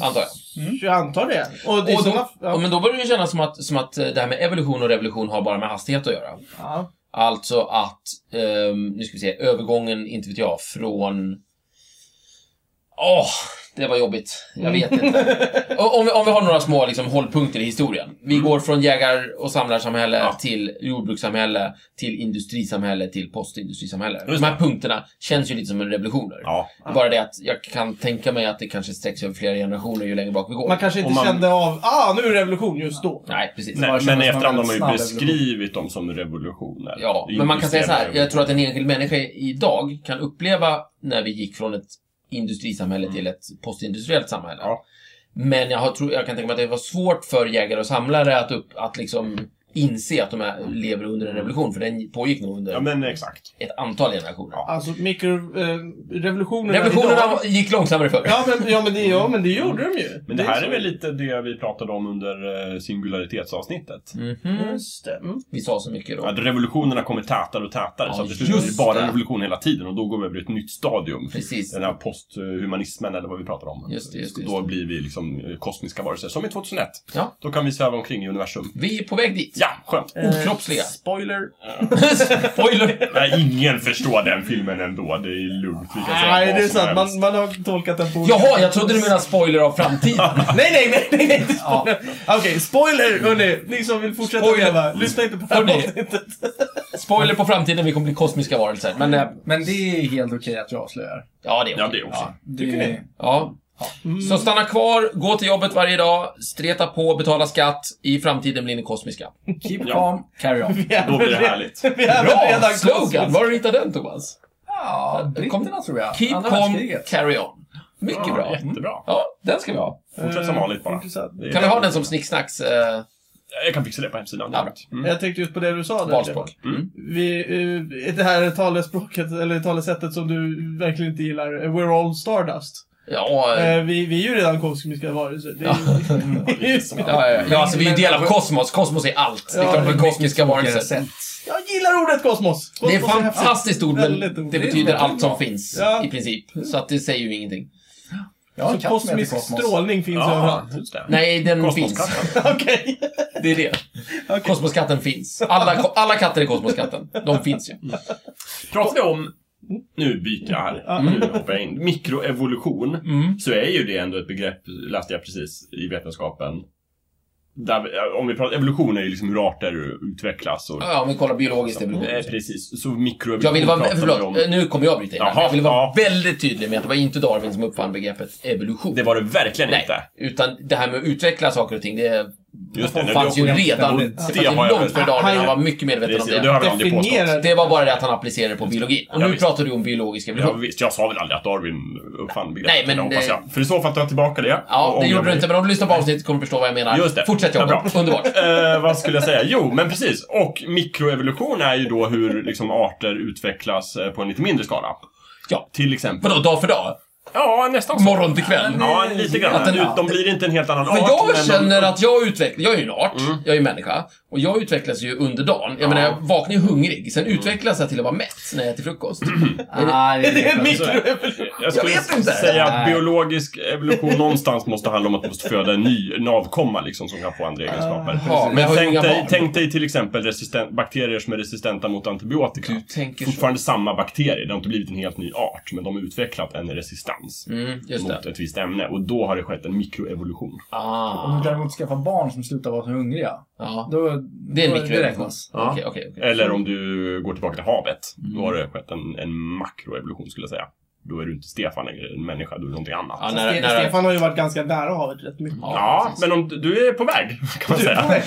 [SPEAKER 2] Antar jag.
[SPEAKER 1] jag antar det. Och det är
[SPEAKER 2] Och
[SPEAKER 1] såna,
[SPEAKER 2] då,
[SPEAKER 1] ja,
[SPEAKER 2] Men då börjar det kännas som att, som att eh, det här med evolution och revolution har bara med hastighet att göra.
[SPEAKER 1] ja.
[SPEAKER 2] Alltså att, ehm, nu ska vi se, övergången, inte vet jag, från Åh, det var jobbigt. Jag vet inte.
[SPEAKER 3] Mm.
[SPEAKER 2] Och om, vi, om vi har några små liksom, hållpunkter i historien. Vi går från jägar och samlarsamhälle
[SPEAKER 3] Ja.
[SPEAKER 2] till jordbrukssamhälle, till industrisamhälle, till postindustrisamhälle.
[SPEAKER 3] Just
[SPEAKER 2] De här punkterna känns ju lite som revolutioner.
[SPEAKER 3] Ja.
[SPEAKER 2] Bara det att jag kan tänka mig att det kanske sträcks över flera generationer ju längre bak vi går.
[SPEAKER 1] Man kanske inte
[SPEAKER 3] Om man-
[SPEAKER 1] kände av, ah, nu är det revolution just då.
[SPEAKER 2] Nej, precis.
[SPEAKER 4] bara
[SPEAKER 3] Nej,
[SPEAKER 4] känner
[SPEAKER 3] men i
[SPEAKER 4] som en
[SPEAKER 3] efterhand har man ju
[SPEAKER 4] snabb revolution.
[SPEAKER 3] beskrivit dem som revolutioner.
[SPEAKER 2] Ja,
[SPEAKER 3] I
[SPEAKER 2] men man kan säga så här.
[SPEAKER 3] industriella
[SPEAKER 2] Jag tror att en enskild människa idag kan uppleva när vi gick från ett industrisamhälle till ett postindustriellt samhälle.
[SPEAKER 3] Mm. Ja.
[SPEAKER 2] Men jag, har, tror- jag kan tänka mig att det var svårt för jägare och samlare att, upp, att liksom inse att de här lever under en revolution, för den pågick nog under
[SPEAKER 3] Ja, men exakt.
[SPEAKER 2] ett antal generationer.
[SPEAKER 3] Ja.
[SPEAKER 1] Alltså mikrorevolutionerna eh, revolutionerna idag-
[SPEAKER 2] Revolutionerna gick långsammare förr.
[SPEAKER 1] Ja men, ja, men, det, ja, men det gjorde de ju.
[SPEAKER 3] Men det
[SPEAKER 1] är
[SPEAKER 3] här
[SPEAKER 1] så.
[SPEAKER 3] är väl lite det vi pratade om under eh, singularitetsavsnittet.
[SPEAKER 2] Mhm.
[SPEAKER 1] Just det. Mm.
[SPEAKER 2] Vi sa så mycket då.
[SPEAKER 3] Att revolutionerna kommer tätare och tätare,
[SPEAKER 2] Ja,
[SPEAKER 3] så att det slutar
[SPEAKER 2] just
[SPEAKER 3] bli bara
[SPEAKER 2] det.
[SPEAKER 3] revolution hela tiden och då går vi över i ett nytt stadium.
[SPEAKER 2] Precis.
[SPEAKER 3] Den här posthumanismen eller vad vi pratar om.
[SPEAKER 2] Just det, just det,
[SPEAKER 3] Så
[SPEAKER 2] just
[SPEAKER 3] Då blir vi liksom eh, kosmiska varelser, som i 2001.
[SPEAKER 2] Ja.
[SPEAKER 3] Då kan vi sväva omkring i universum.
[SPEAKER 2] Vi är på väg dit.
[SPEAKER 3] Ja,
[SPEAKER 1] Eh,
[SPEAKER 3] skönt!
[SPEAKER 1] Mm.
[SPEAKER 2] Okroppsliga.
[SPEAKER 1] spoiler.
[SPEAKER 2] Spoiler!
[SPEAKER 3] Nej, ingen förstår den filmen ändå. Det är lugnt. Vi kan säga
[SPEAKER 1] Nej,
[SPEAKER 3] vad
[SPEAKER 1] det är
[SPEAKER 3] som
[SPEAKER 1] sant. Man,
[SPEAKER 3] helst.
[SPEAKER 1] man har tolkat den på olika
[SPEAKER 2] Jaha, jag trodde du menade spoiler av framtiden.
[SPEAKER 1] Nej, nej, nej, nej, nej, inte spoiler. Okej, spoiler hörni. Ni som vill fortsätta
[SPEAKER 2] Spoiler.
[SPEAKER 1] leva, lyssna inte på förra
[SPEAKER 2] Hörni.
[SPEAKER 1] avsnittet.
[SPEAKER 2] Spoiler på framtiden, vi kommer bli kosmiska varelser. Men eh,
[SPEAKER 4] Mm. Men det är helt okej att jag avslöjar.
[SPEAKER 2] ja, det är
[SPEAKER 3] Mm. Ja,
[SPEAKER 2] okej.
[SPEAKER 3] det också.
[SPEAKER 4] Ja, det,
[SPEAKER 1] Tycker ni?
[SPEAKER 2] Ja. Så stanna kvar, gå till jobbet varje dag, streta på, betala skatt. I framtiden blir ni kosmiska.
[SPEAKER 4] Keep
[SPEAKER 3] Ja.
[SPEAKER 4] calm, carry on.
[SPEAKER 1] Vi är
[SPEAKER 3] Då blir det
[SPEAKER 1] väl-
[SPEAKER 3] härligt.
[SPEAKER 1] Vi är väl
[SPEAKER 2] Bra
[SPEAKER 1] redan
[SPEAKER 2] slogan!
[SPEAKER 1] kosmos.
[SPEAKER 2] Var har du hittat den Thomas?
[SPEAKER 4] Ja, britterna tror jag.
[SPEAKER 2] Keep
[SPEAKER 4] Andra
[SPEAKER 2] calm,
[SPEAKER 4] världskriget.
[SPEAKER 2] carry on. Mycket
[SPEAKER 3] Ja,
[SPEAKER 4] Mm.
[SPEAKER 2] bra.
[SPEAKER 3] Jättebra.
[SPEAKER 2] Ja, den ska vi ha.
[SPEAKER 3] Fortsätt som
[SPEAKER 1] Eh,
[SPEAKER 3] vanligt bara.
[SPEAKER 1] intressant.
[SPEAKER 3] Det är-
[SPEAKER 2] Kan vi ha den som snicksnacks eh,
[SPEAKER 3] Jag kan fixa det på hemsidan.
[SPEAKER 2] Ja, bra.
[SPEAKER 3] Mm.
[SPEAKER 1] Jag tänkte just på det du sa där.
[SPEAKER 2] valspråk?
[SPEAKER 3] Mm.
[SPEAKER 2] Mm.
[SPEAKER 1] Vi, eh, det här talespråket, eller talesättet som du verkligen inte gillar. eh, We're all stardust.
[SPEAKER 2] Ja, eh,
[SPEAKER 1] Eh, vi, vi är ju redan kosmiska varelser. Det är ju...
[SPEAKER 2] ja, ja, ja, alltså vi är ju del av kosmos. Kosmos är allt. Det är
[SPEAKER 1] Ja,
[SPEAKER 2] klart vi är
[SPEAKER 1] mycket
[SPEAKER 2] kosmiska varelser.
[SPEAKER 4] Sätt.
[SPEAKER 1] Jag gillar ordet kosmos! kosmos
[SPEAKER 2] Det är ett
[SPEAKER 1] häftigt.
[SPEAKER 2] fantastiskt ord, men
[SPEAKER 1] Väldigt ord.
[SPEAKER 2] det
[SPEAKER 4] Det är
[SPEAKER 2] betyder
[SPEAKER 4] väldigt
[SPEAKER 2] allt som
[SPEAKER 4] bra.
[SPEAKER 2] finns
[SPEAKER 1] Ja.
[SPEAKER 2] i princip. Så att det säger ju ingenting.
[SPEAKER 4] Jag har en
[SPEAKER 1] Så
[SPEAKER 4] katt som heter
[SPEAKER 1] kosmisk
[SPEAKER 4] Kosmos.
[SPEAKER 1] strålning finns
[SPEAKER 3] Ja,
[SPEAKER 1] överallt.
[SPEAKER 3] just det.
[SPEAKER 2] Nej, den finns.
[SPEAKER 3] Kosmoskatten.
[SPEAKER 1] Okej.
[SPEAKER 2] Det är det. Kosmoskatten finns. Alla, ko- alla katter är kosmoskatten. De finns ju.
[SPEAKER 3] Pratar vi om, nu byter jag här, nu hoppar jag in, mikroevolution,
[SPEAKER 2] Mm.
[SPEAKER 3] så är ju det ändå ett begrepp, läste jag precis, i vetenskapen. Där, vi- om vi pratar, evolution är ju liksom hur arter utvecklas och...
[SPEAKER 2] Ja, om vi kollar biologiskt evolution.
[SPEAKER 3] Eh, precis, så mikroevolution
[SPEAKER 2] Jag vill vara,
[SPEAKER 3] pratar vi
[SPEAKER 2] förlåt, eh,
[SPEAKER 3] om.
[SPEAKER 2] nu kommer jag bryta in. här.
[SPEAKER 3] Jaha,
[SPEAKER 2] Jag vill vara
[SPEAKER 3] ja.
[SPEAKER 2] väldigt tydlig med att det var inte Darwin som uppfann begreppet evolution.
[SPEAKER 3] Det var det verkligen
[SPEAKER 2] Nej,
[SPEAKER 3] inte.
[SPEAKER 2] utan det här med att utveckla saker och ting, det
[SPEAKER 3] Just det,
[SPEAKER 2] fanns ju
[SPEAKER 3] det,
[SPEAKER 2] redan. Det fanns ju
[SPEAKER 3] har jag
[SPEAKER 2] långt
[SPEAKER 3] väl-
[SPEAKER 2] före Darwin. Han
[SPEAKER 1] Han-
[SPEAKER 2] var mycket medveten om
[SPEAKER 3] precis, och det
[SPEAKER 2] det.
[SPEAKER 3] har vi aldrig påstått.
[SPEAKER 1] Definierar-
[SPEAKER 2] Det var bara det att han applicerade på biologin. Och
[SPEAKER 3] Ja,
[SPEAKER 2] nu
[SPEAKER 3] visst.
[SPEAKER 2] pratar du om biologisk
[SPEAKER 3] Ja,
[SPEAKER 2] evolution.
[SPEAKER 3] visst, jag sa väl aldrig att Darwin uppfann
[SPEAKER 2] Mm. Nej,
[SPEAKER 3] begreppet,
[SPEAKER 2] men
[SPEAKER 3] men, hoppas
[SPEAKER 2] det-
[SPEAKER 3] jag. För i så fall tar jag tillbaka det.
[SPEAKER 2] Ja,
[SPEAKER 3] och
[SPEAKER 2] det
[SPEAKER 3] ångrar
[SPEAKER 2] gjorde du
[SPEAKER 3] mig.
[SPEAKER 2] inte, men om du lyssnar på avsnittet kommer du förstå vad jag menar.
[SPEAKER 3] Just det.
[SPEAKER 2] Fortsätt
[SPEAKER 3] Ja,
[SPEAKER 2] Jakob.
[SPEAKER 3] bra.
[SPEAKER 2] Underbart.
[SPEAKER 3] eh, vad skulle jag säga? Jo, men precis. Och mikroevolution är ju då hur liksom, arter utvecklas eh, på en lite mindre skala.
[SPEAKER 2] Ja.
[SPEAKER 3] Till exempel.
[SPEAKER 2] Vadå, dag för dag?
[SPEAKER 3] Ja, nästan så.
[SPEAKER 2] Morgon till kväll?
[SPEAKER 3] Ja, lite grann.
[SPEAKER 2] Att den-
[SPEAKER 3] De, de blir inte en helt annan
[SPEAKER 2] För
[SPEAKER 3] art.
[SPEAKER 2] jag
[SPEAKER 3] men
[SPEAKER 2] känner
[SPEAKER 3] de,
[SPEAKER 2] att jag utvecklas, jag är ju en art, jag är ju människa, och jag utvecklas ju under dagen. Jag menar, jag vaknar ju hungrig, sen utvecklas jag till att vara mätt när jag äter frukost.
[SPEAKER 4] Ah,
[SPEAKER 1] Är det en
[SPEAKER 3] så är det.
[SPEAKER 1] mikroevolution?
[SPEAKER 3] Jag skulle
[SPEAKER 2] jag vet inte.
[SPEAKER 3] säga att
[SPEAKER 4] Nej.
[SPEAKER 3] biologisk evolution någonstans måste handla om att du måste föda en ny en avkomma liksom, som kan få andra egenskaper.
[SPEAKER 2] Ja, men jag
[SPEAKER 3] Men
[SPEAKER 2] har ju
[SPEAKER 3] tänk
[SPEAKER 2] inga
[SPEAKER 3] dig,
[SPEAKER 2] barn.
[SPEAKER 3] tänk dig till exempel resisten- bakterier som är resistenta mot antibiotika.
[SPEAKER 2] Du tänker så.
[SPEAKER 3] Fortfarande samma bakterier, det har inte blivit en helt ny art, men de har utvecklat en resistans.
[SPEAKER 2] Mm, just
[SPEAKER 3] mot
[SPEAKER 2] det.
[SPEAKER 3] ett visst ämne och då har det skett en mikroevolution.
[SPEAKER 2] Ah,
[SPEAKER 4] Om du däremot skaffar barn som slutar vara hungriga,
[SPEAKER 2] ja.
[SPEAKER 4] då...
[SPEAKER 2] Det är en Mm.
[SPEAKER 4] då
[SPEAKER 2] mikroevolution.
[SPEAKER 4] räknas.
[SPEAKER 3] Ja.
[SPEAKER 2] Okej, okej. okej.
[SPEAKER 3] Eller om du går tillbaka till havet, då har det skett en, en makroevolution skulle jag säga. Då är du inte Stefan längre, en människa, du är någonting annat.
[SPEAKER 2] Ja,
[SPEAKER 3] Ja,
[SPEAKER 2] nära,
[SPEAKER 1] Ste-
[SPEAKER 2] nära.
[SPEAKER 1] Stefan har ju varit ganska nära havet rätt mycket.
[SPEAKER 2] Ja, precis.
[SPEAKER 3] men om, du- du är på väg, kan man säga.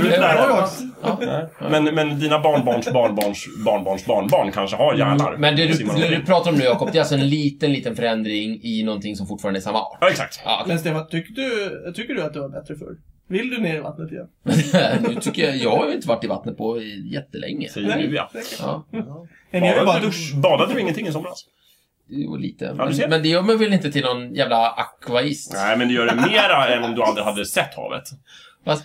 [SPEAKER 2] Du
[SPEAKER 3] är
[SPEAKER 2] är-
[SPEAKER 3] nära.
[SPEAKER 2] Ja.
[SPEAKER 3] Men, men dina barnbarns barnbarns barnbarns barnbarn kanske har hjärnor.
[SPEAKER 2] Men det du,
[SPEAKER 3] Simmar
[SPEAKER 2] det
[SPEAKER 3] omkring.
[SPEAKER 2] du pratar om nu, Jakob, det är alltså en liten, liten förändring i någonting som fortfarande är samma art.
[SPEAKER 3] Ja, exakt.
[SPEAKER 2] Ja, okej.
[SPEAKER 1] Men Stefan, tycker du, tycker du att du var bättre förr? Vill du ner i vattnet igen?
[SPEAKER 2] nu tycker jag, jag har ju inte varit i vattnet på jättelänge.
[SPEAKER 3] Säger du ja.
[SPEAKER 2] Ja.
[SPEAKER 1] En är väl bara
[SPEAKER 3] Badade
[SPEAKER 1] dusch?
[SPEAKER 3] du, badade du ingenting i somras?
[SPEAKER 2] Jo, lite.
[SPEAKER 3] Ja, du ser.
[SPEAKER 2] Men, men det gör mig väl inte till någon jävla akvaist?
[SPEAKER 3] Nej, men du gör det mera än om du aldrig hade sett havet.
[SPEAKER 2] Vad?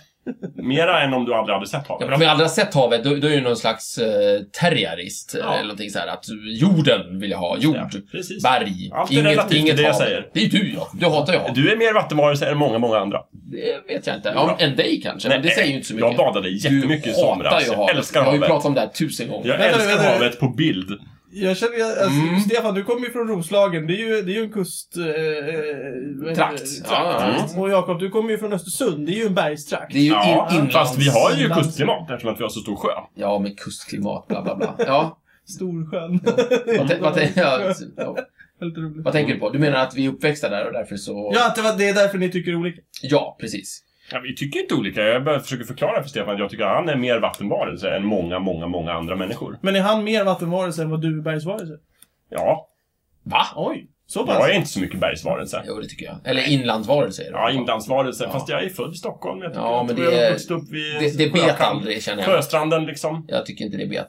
[SPEAKER 3] Mera än om du aldrig hade sett
[SPEAKER 2] Ja,
[SPEAKER 3] havet.
[SPEAKER 2] men om jag aldrig har sett havet, då, då är ju någon slags eh, terrierist.
[SPEAKER 3] Ja.
[SPEAKER 2] Eller någonting så här att jorden vill jag ha. Jord,
[SPEAKER 3] Ja, precis.
[SPEAKER 2] berg,
[SPEAKER 3] Allt är relativt, det är det jag säger.
[SPEAKER 2] Det är ju du, ja. Du hatar ju hav.
[SPEAKER 3] Du är mer vattenvarelse än många, många andra.
[SPEAKER 2] Det vet jag inte. Ja, en dig kanske, men det säger ju inte så mycket.
[SPEAKER 3] Jag badade jättemycket i somras.
[SPEAKER 2] hatar ju
[SPEAKER 3] Jag
[SPEAKER 2] havet.
[SPEAKER 3] älskar
[SPEAKER 2] Jag har ju
[SPEAKER 3] havet.
[SPEAKER 2] pratat om det här tusen gånger.
[SPEAKER 3] Jag
[SPEAKER 1] Vänta nu,
[SPEAKER 3] älskar
[SPEAKER 1] vänta nu.
[SPEAKER 3] havet på bild.
[SPEAKER 1] Jag känner, jag- alltså,
[SPEAKER 2] Mm.
[SPEAKER 1] Stefan, du kommer ju från Roslagen. Det är ju, det är ju en kust... Eh, vad heter
[SPEAKER 2] Trakt.
[SPEAKER 1] det?
[SPEAKER 2] Ja,
[SPEAKER 1] Trakt. Och Jakob, du kommer ju från Östersund. Det är ju en bergstrakt.
[SPEAKER 2] Det är ju
[SPEAKER 3] Ja,
[SPEAKER 2] in, inlands-
[SPEAKER 3] fast vi har ju
[SPEAKER 1] inlands-
[SPEAKER 3] kustklimat eftersom att vi har så stor sjö.
[SPEAKER 2] Ja, med kustklimat, bla bla bla. Ja,
[SPEAKER 1] Storsjön.
[SPEAKER 2] vad, te- vad, te- ja, ja.
[SPEAKER 1] Väldigt roligt.
[SPEAKER 2] vad tänker du på? Du menar att vi är uppväxta där och därför så...
[SPEAKER 1] Ja, att det, var, det är därför ni tycker olika.
[SPEAKER 2] Ja, precis.
[SPEAKER 3] Ja, vi tycker inte olika. Jag bara försöker förklara för Stefan att jag tycker att han är mer vattenvarelse än många, många, många andra människor.
[SPEAKER 1] Men är han mer vattenvarelse än vad du är bergsvarelse?
[SPEAKER 3] Ja,
[SPEAKER 2] Va?
[SPEAKER 1] Oj, så pass?
[SPEAKER 3] jag är inte så mycket bergsvarelse.
[SPEAKER 2] Jo, det tycker jag. Eller inlandsvarelse är det.
[SPEAKER 3] Ja, inlandsvarelse.
[SPEAKER 2] Ja.
[SPEAKER 3] Fast jag är född i Stockholm. Jag tycker
[SPEAKER 2] Ja,
[SPEAKER 3] att
[SPEAKER 2] men
[SPEAKER 3] jag
[SPEAKER 2] det är-
[SPEAKER 3] har vuxit upp vid
[SPEAKER 2] Det, det bet
[SPEAKER 3] sjökan-
[SPEAKER 2] aldrig, känner jag.
[SPEAKER 3] Sjöstranden liksom.
[SPEAKER 2] Jag tycker inte det bet.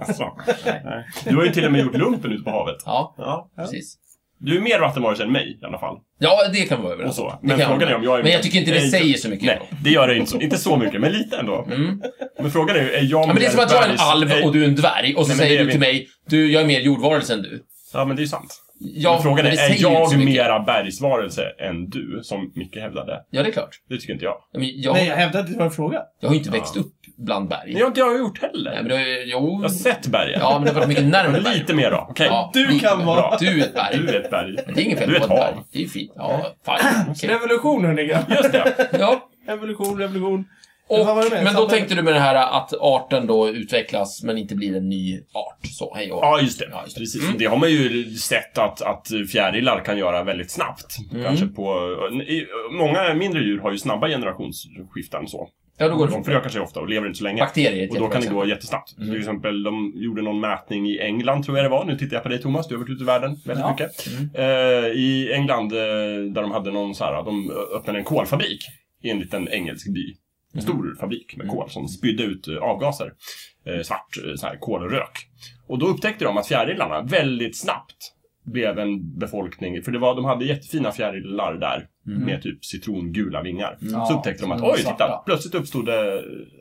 [SPEAKER 3] Alltså,
[SPEAKER 2] Nej.
[SPEAKER 3] nej. Du har ju till och med gjort lumpen ute på havet.
[SPEAKER 2] Ja,
[SPEAKER 3] Ja.
[SPEAKER 2] precis.
[SPEAKER 3] Du är mer vattenvarelse än mig i alla fall.
[SPEAKER 2] Ja, det kan vara
[SPEAKER 3] Och
[SPEAKER 2] överens
[SPEAKER 3] så.
[SPEAKER 2] Det
[SPEAKER 3] Men
[SPEAKER 2] kan
[SPEAKER 3] frågan är om jag är
[SPEAKER 2] Men jag tycker inte det
[SPEAKER 3] Nej,
[SPEAKER 2] säger så mycket.
[SPEAKER 3] Nej, det gör det inte så, inte så mycket, men lite ändå.
[SPEAKER 2] Mm.
[SPEAKER 3] Men frågan är ju, är jag
[SPEAKER 2] Ja, men det är som att jag är en alv och du är en dvärg och så
[SPEAKER 3] Nej, men det
[SPEAKER 2] säger
[SPEAKER 3] är
[SPEAKER 2] du
[SPEAKER 3] vi-
[SPEAKER 2] till mig, du, jag är mer jordvarelse än du.
[SPEAKER 3] Ja, men det är ju sant.
[SPEAKER 2] Ja,
[SPEAKER 3] men frågan
[SPEAKER 2] men
[SPEAKER 3] är,
[SPEAKER 2] det säger
[SPEAKER 3] är
[SPEAKER 2] ju inte så
[SPEAKER 3] jag
[SPEAKER 2] mycket.
[SPEAKER 3] mera bergsvarelse än du, som Micke hävdade?
[SPEAKER 2] Ja, det är klart.
[SPEAKER 3] Det tycker inte jag.
[SPEAKER 2] Ja, Men jag,
[SPEAKER 1] Nej, jag hävdar att det var en fråga.
[SPEAKER 2] jag har ju inte växt upp bland berg.
[SPEAKER 3] Det har inte jag gjort
[SPEAKER 2] Nej,
[SPEAKER 3] heller.
[SPEAKER 2] men det har ju- jo...
[SPEAKER 3] Jag har sett bergen.
[SPEAKER 2] Ja, men det har varit mycket närmare
[SPEAKER 3] Men
[SPEAKER 2] berg.
[SPEAKER 3] lite mer då, okej?
[SPEAKER 2] Ja,
[SPEAKER 1] Du
[SPEAKER 2] lite
[SPEAKER 1] kan
[SPEAKER 2] mer.
[SPEAKER 1] vara-
[SPEAKER 2] Du är ett berg.
[SPEAKER 3] Du är ett berg.
[SPEAKER 2] Det är inget fel
[SPEAKER 3] Du är
[SPEAKER 2] på
[SPEAKER 3] ett
[SPEAKER 2] ett berg.
[SPEAKER 3] hav.
[SPEAKER 2] Det är ju fint. Ja, fine. Okej.
[SPEAKER 1] Revolution, hörni.
[SPEAKER 3] Just det.
[SPEAKER 2] Ja.
[SPEAKER 1] Evolution, revolution.
[SPEAKER 2] Och,
[SPEAKER 1] Vad var det med?
[SPEAKER 2] men då
[SPEAKER 1] Samma-
[SPEAKER 2] tänkte du med det här att arten då utvecklas men inte blir en ny art. Så, hej och
[SPEAKER 3] Ja, just det.
[SPEAKER 2] Ja, just det. Mm.
[SPEAKER 3] Precis. Det har man ju sett att, att fjärilar kan göra väldigt snabbt.
[SPEAKER 2] Mm.
[SPEAKER 3] Kanske på... I, många mindre djur har ju snabba generationsskiften så.
[SPEAKER 2] Ja, då går det
[SPEAKER 3] De
[SPEAKER 2] fort.
[SPEAKER 3] förökar sig ofta och lever inte så länge.
[SPEAKER 2] Bakterier
[SPEAKER 3] Och
[SPEAKER 2] till
[SPEAKER 3] då kan det
[SPEAKER 2] exempel.
[SPEAKER 3] gå jättesnabbt.
[SPEAKER 4] Mm.
[SPEAKER 3] Till exempel, de gjorde någon mätning i England, tror jag det var. Nu tittar jag på dig Thomas, du har varit ute i världen väldigt
[SPEAKER 4] Ja. Mm.
[SPEAKER 3] mycket. Eh, I England, eh, där de hade någon så här, de öppnade en kolfabrik i en liten engelsk by.
[SPEAKER 4] Mm.
[SPEAKER 3] En stor fabrik med kol som spydde ut eh, avgaser. Eh, svart eh, så här, kolrök. Och då upptäckte de att fjärilarna väldigt snabbt blev en befolkning, för det var, de hade jättefina fjärilar där med typ citrongula vingar. Så
[SPEAKER 4] Mm. Ja,
[SPEAKER 3] upptäckte de att
[SPEAKER 4] som
[SPEAKER 3] oj,
[SPEAKER 4] svarta.
[SPEAKER 3] titta, plötsligt uppstod det...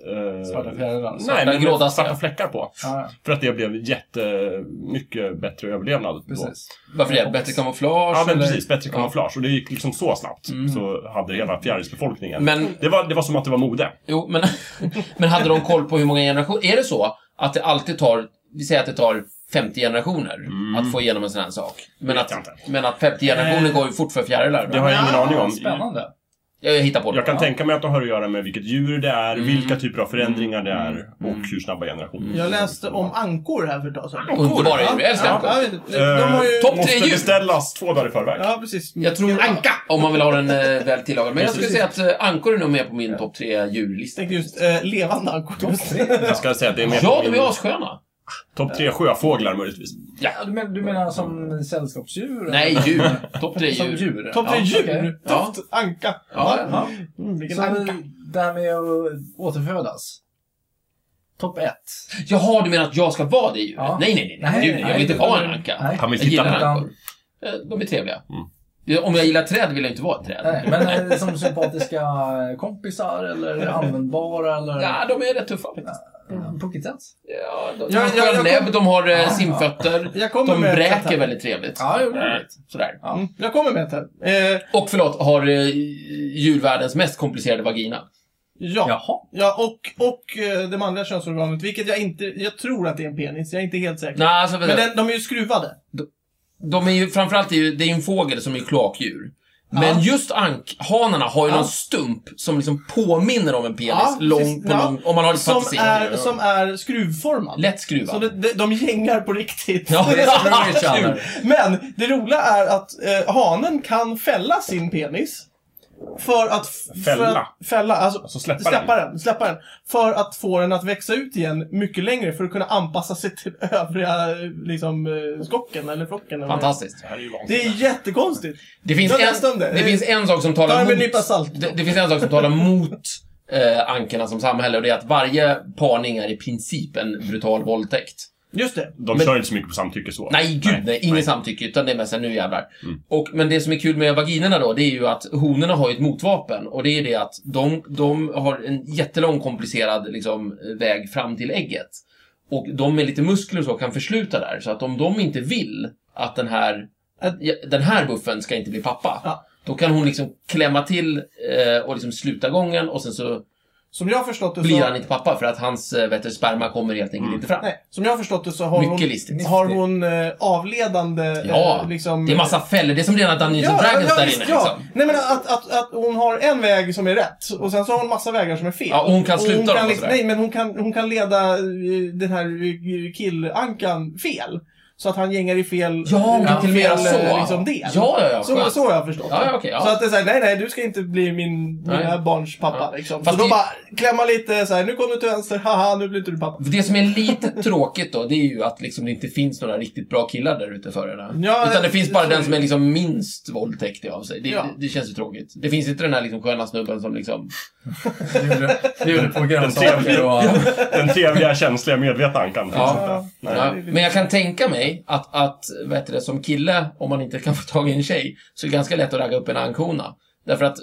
[SPEAKER 3] eh,
[SPEAKER 4] Svarta fjärilar.
[SPEAKER 3] Nej,
[SPEAKER 2] Svarta,
[SPEAKER 3] men
[SPEAKER 2] gråda
[SPEAKER 3] med svarta
[SPEAKER 2] skär.
[SPEAKER 3] fläckar på.
[SPEAKER 4] Ja,
[SPEAKER 3] För att det blev jättemycket bättre överlevnad då.
[SPEAKER 4] precis.
[SPEAKER 2] Varför det? Bättre kamouflage?
[SPEAKER 3] Ja, men
[SPEAKER 2] eller?
[SPEAKER 3] precis. Bättre kamouflage. Och det gick liksom så snabbt så hade hela fjärilsbefolkningen...
[SPEAKER 2] Mm. Men,
[SPEAKER 3] Det var, det var som att det var mode.
[SPEAKER 2] jo, men, men hade de koll på hur många generationer? Är det så att det alltid tar, vi säger att det tar 50 generationer att få igenom en sån här sak? Men
[SPEAKER 3] Mm. Vet
[SPEAKER 2] att,
[SPEAKER 3] jag inte.
[SPEAKER 2] men att 50 generationer går ju fort för fjärilar?
[SPEAKER 3] Det
[SPEAKER 2] va?
[SPEAKER 3] har jag ingen
[SPEAKER 1] Ja,
[SPEAKER 3] aning om.
[SPEAKER 4] Spännande.
[SPEAKER 2] Jag hittar på det.
[SPEAKER 3] Jag kan
[SPEAKER 2] Ja.
[SPEAKER 3] tänka mig att det har att göra med vilket djur det är,
[SPEAKER 2] Mm.
[SPEAKER 3] vilka typer av förändringar det är och hur snabba generationer
[SPEAKER 1] Jag läste om ankor här för ett tag sedan.
[SPEAKER 2] Underbara djur, jag älskar
[SPEAKER 1] Ja,
[SPEAKER 2] ankor.
[SPEAKER 1] jag vet inte. De har ju...
[SPEAKER 2] topp tre
[SPEAKER 3] Eh, Måste
[SPEAKER 2] djur.
[SPEAKER 3] beställas två dagar i förväg.
[SPEAKER 1] Ja, precis.
[SPEAKER 2] Jag tror...
[SPEAKER 1] Anka!
[SPEAKER 2] Om man vill ha den eh, väl tillagad. Men jag skulle
[SPEAKER 1] Precis.
[SPEAKER 2] säga att eh, ankor är nog med på min topp tre djurlista.
[SPEAKER 1] tänkte just eh, levande ankor.
[SPEAKER 3] Jag ska säga att det är med
[SPEAKER 2] Ja,
[SPEAKER 3] på
[SPEAKER 2] de
[SPEAKER 3] min
[SPEAKER 2] är assköna.
[SPEAKER 3] topp tre sjöfåglar möjligtvis.
[SPEAKER 4] Ja, du, men, du menar som sällskapsdjur?
[SPEAKER 2] Nej, djur. Topp tre
[SPEAKER 4] Som
[SPEAKER 2] djur.
[SPEAKER 4] djur?
[SPEAKER 1] Topp tre
[SPEAKER 4] Ja,
[SPEAKER 1] djur!
[SPEAKER 4] okej.
[SPEAKER 2] Ja.
[SPEAKER 1] Topp anka.
[SPEAKER 2] Ja,
[SPEAKER 4] Ja.
[SPEAKER 1] Mm, vilken
[SPEAKER 4] Så
[SPEAKER 1] anka.
[SPEAKER 4] det här med att återfödas. Topp ett.
[SPEAKER 2] Jaha, du menar att jag ska vara det djuret?
[SPEAKER 4] Ja.
[SPEAKER 2] Nej, nej, nej. nej, Gud, jag vill inte
[SPEAKER 4] nej,
[SPEAKER 2] vara en
[SPEAKER 4] nej.
[SPEAKER 2] anka.
[SPEAKER 4] Nej.
[SPEAKER 3] Han vill
[SPEAKER 2] Jag
[SPEAKER 3] titta
[SPEAKER 2] gillar
[SPEAKER 3] på
[SPEAKER 4] den.
[SPEAKER 2] ankor. Eh, De är trevliga. Om jag gillar träd vill jag inte vara ett träd.
[SPEAKER 4] Nej, men eh, som sympatiska kompisar eller användbara eller...
[SPEAKER 2] Ja, de är rätt tuffa faktiskt.
[SPEAKER 4] Mm, Pucketets?
[SPEAKER 2] Ja, de, de
[SPEAKER 1] Ja,
[SPEAKER 2] har
[SPEAKER 1] ja, jag
[SPEAKER 2] skön näbb, de har eh, simfötter,
[SPEAKER 1] Jag kommer
[SPEAKER 2] de
[SPEAKER 1] med ett
[SPEAKER 2] bräker
[SPEAKER 1] här.
[SPEAKER 2] väldigt trevligt.
[SPEAKER 4] Ja, jo, det är
[SPEAKER 2] Trevligt. Sådär.
[SPEAKER 1] Mm, jag kommer med ett här. Eh,
[SPEAKER 2] Och förlåt, har eh, djurvärldens mest komplicerade vagina.
[SPEAKER 1] ja. ja.
[SPEAKER 4] Jaha.
[SPEAKER 1] och, och eh, det manliga könsorganet, vilket jag inte... Jag tror att det är en penis, jag är inte helt säker.
[SPEAKER 2] Nej, alltså,
[SPEAKER 1] Men den, de är ju skruvade.
[SPEAKER 2] De är ju, framförallt är ju, det är ju en fågel som är kloakdjur. Men just ankhanarna har ju
[SPEAKER 1] Ja.
[SPEAKER 2] någon stump som liksom påminner om en penis.
[SPEAKER 1] Ja,
[SPEAKER 2] lång
[SPEAKER 1] precis.
[SPEAKER 2] på
[SPEAKER 1] Ja.
[SPEAKER 2] lång, om man har lite
[SPEAKER 1] Som
[SPEAKER 2] fantasi.
[SPEAKER 1] är, som är skruvformad.
[SPEAKER 2] Lätt
[SPEAKER 1] Så
[SPEAKER 2] skruvad.
[SPEAKER 1] det, de, de gängar på riktigt.
[SPEAKER 2] Ja,
[SPEAKER 1] Det är så
[SPEAKER 2] det tror jag
[SPEAKER 1] kul.
[SPEAKER 2] inte.
[SPEAKER 1] Men det roliga är att eh, hanen kan fälla sin penis. För att... f-
[SPEAKER 3] Fälla?
[SPEAKER 1] För att, fälla, alltså,
[SPEAKER 3] Alltså släppa den.
[SPEAKER 1] släppa den. Släppa den. För att få den att växa ut igen mycket längre för att kunna anpassa sig till övriga eh, liksom, eh, skocken eller flocken. eller vad det är.
[SPEAKER 2] Fantastiskt.
[SPEAKER 3] Det här är ju
[SPEAKER 1] Det är
[SPEAKER 3] vansinnigt.
[SPEAKER 1] jättekonstigt.
[SPEAKER 2] Det finns,
[SPEAKER 1] Jag läste
[SPEAKER 2] en,
[SPEAKER 1] om det.
[SPEAKER 2] det finns en sak som
[SPEAKER 1] Ta
[SPEAKER 2] talar
[SPEAKER 1] det med
[SPEAKER 2] mot...
[SPEAKER 1] en nypa salt.
[SPEAKER 2] Det, det finns en sak som talar mot eh, ankarna som samhälle och det är att varje parning är i princip en brutal våldtäkt.
[SPEAKER 1] Just det.
[SPEAKER 3] De
[SPEAKER 2] Men-
[SPEAKER 3] kör inte så mycket på samtycke så.
[SPEAKER 2] Nej, gud nej. Inget
[SPEAKER 3] nej.
[SPEAKER 2] samtycke, utan det är mest en nu jävlar. Och, men det som är kul med vaginerna då, det är ju att honorna har ju ett motvapen. Och det är det att de, de har en jättelång komplicerad liksom, väg fram till ägget. Och de med lite muskler och så kan försluta där. Så att om de inte vill att den här, att ja, den här buffen ska inte bli pappa.
[SPEAKER 1] Ja.
[SPEAKER 2] Då kan hon liksom klämma till eh, och liksom sluta gången och sen så
[SPEAKER 1] Som jag har förstått det så...
[SPEAKER 2] blir han inte pappa för att hans eh, vet du, sperma kommer helt enkelt
[SPEAKER 3] Mm.
[SPEAKER 2] inte fram.
[SPEAKER 1] Nej, som jag har förstått det så har hon,
[SPEAKER 2] Mycket listigt.
[SPEAKER 1] har hon eh, avledande...
[SPEAKER 2] Ja,
[SPEAKER 1] eh, liksom,
[SPEAKER 2] Det är massa fällor. Det är som rena Dungeons and Dragons där inne
[SPEAKER 1] visst, ja.
[SPEAKER 2] liksom.
[SPEAKER 1] Nej men att, att, att hon har en väg som är rätt och sen så har hon massa vägar som är fel.
[SPEAKER 2] Ja, och hon kan sluta
[SPEAKER 1] hon
[SPEAKER 2] dem
[SPEAKER 1] kan
[SPEAKER 2] och
[SPEAKER 1] liksom,
[SPEAKER 2] sådär.
[SPEAKER 1] Nej men hon kan, hon kan leda eh, den här eh, killankan fel. Så att han gängar i fel...
[SPEAKER 2] Ja, hon kan till och med göra
[SPEAKER 1] fel eh,
[SPEAKER 2] så.
[SPEAKER 1] liksom, del.
[SPEAKER 2] Ja, ja, ja.
[SPEAKER 1] Så,
[SPEAKER 2] skönt.
[SPEAKER 1] så har jag förstått
[SPEAKER 2] Ja,
[SPEAKER 1] det.
[SPEAKER 2] ja, okej, ja.
[SPEAKER 1] Så att det är såhär, nej nej du ska inte bli min,
[SPEAKER 2] Nej.
[SPEAKER 1] mina barns pappa
[SPEAKER 2] Ja.
[SPEAKER 1] liksom.
[SPEAKER 2] Fast
[SPEAKER 1] så då
[SPEAKER 2] det-
[SPEAKER 1] bara klämma lite såhär, nu kom du till vänster, haha nu blir inte du pappa.
[SPEAKER 2] Det som är lite tråkigt då, det är ju att liksom det inte finns några riktigt bra killar där ute för henne.
[SPEAKER 1] Ja,
[SPEAKER 2] Utan det
[SPEAKER 1] eh,
[SPEAKER 2] finns bara
[SPEAKER 1] så-
[SPEAKER 2] den som är liksom minst våldtäktig av sig. Det,
[SPEAKER 1] Ja.
[SPEAKER 2] det, det känns ju tråkigt. Det finns inte den här liksom sköna snubben som liksom...
[SPEAKER 4] Det gjorde på grönsaker
[SPEAKER 3] trevliga.
[SPEAKER 4] och...
[SPEAKER 3] Den trevliga, känsliga, medvetna ankan finns
[SPEAKER 2] Ja.
[SPEAKER 3] inte. Nej.
[SPEAKER 2] Ja, men jag kan tänka mig att, att vet du det, som kille, om man inte kan få tag i en tjej, så är det ganska lätt att ragga upp en ankhona. Därför att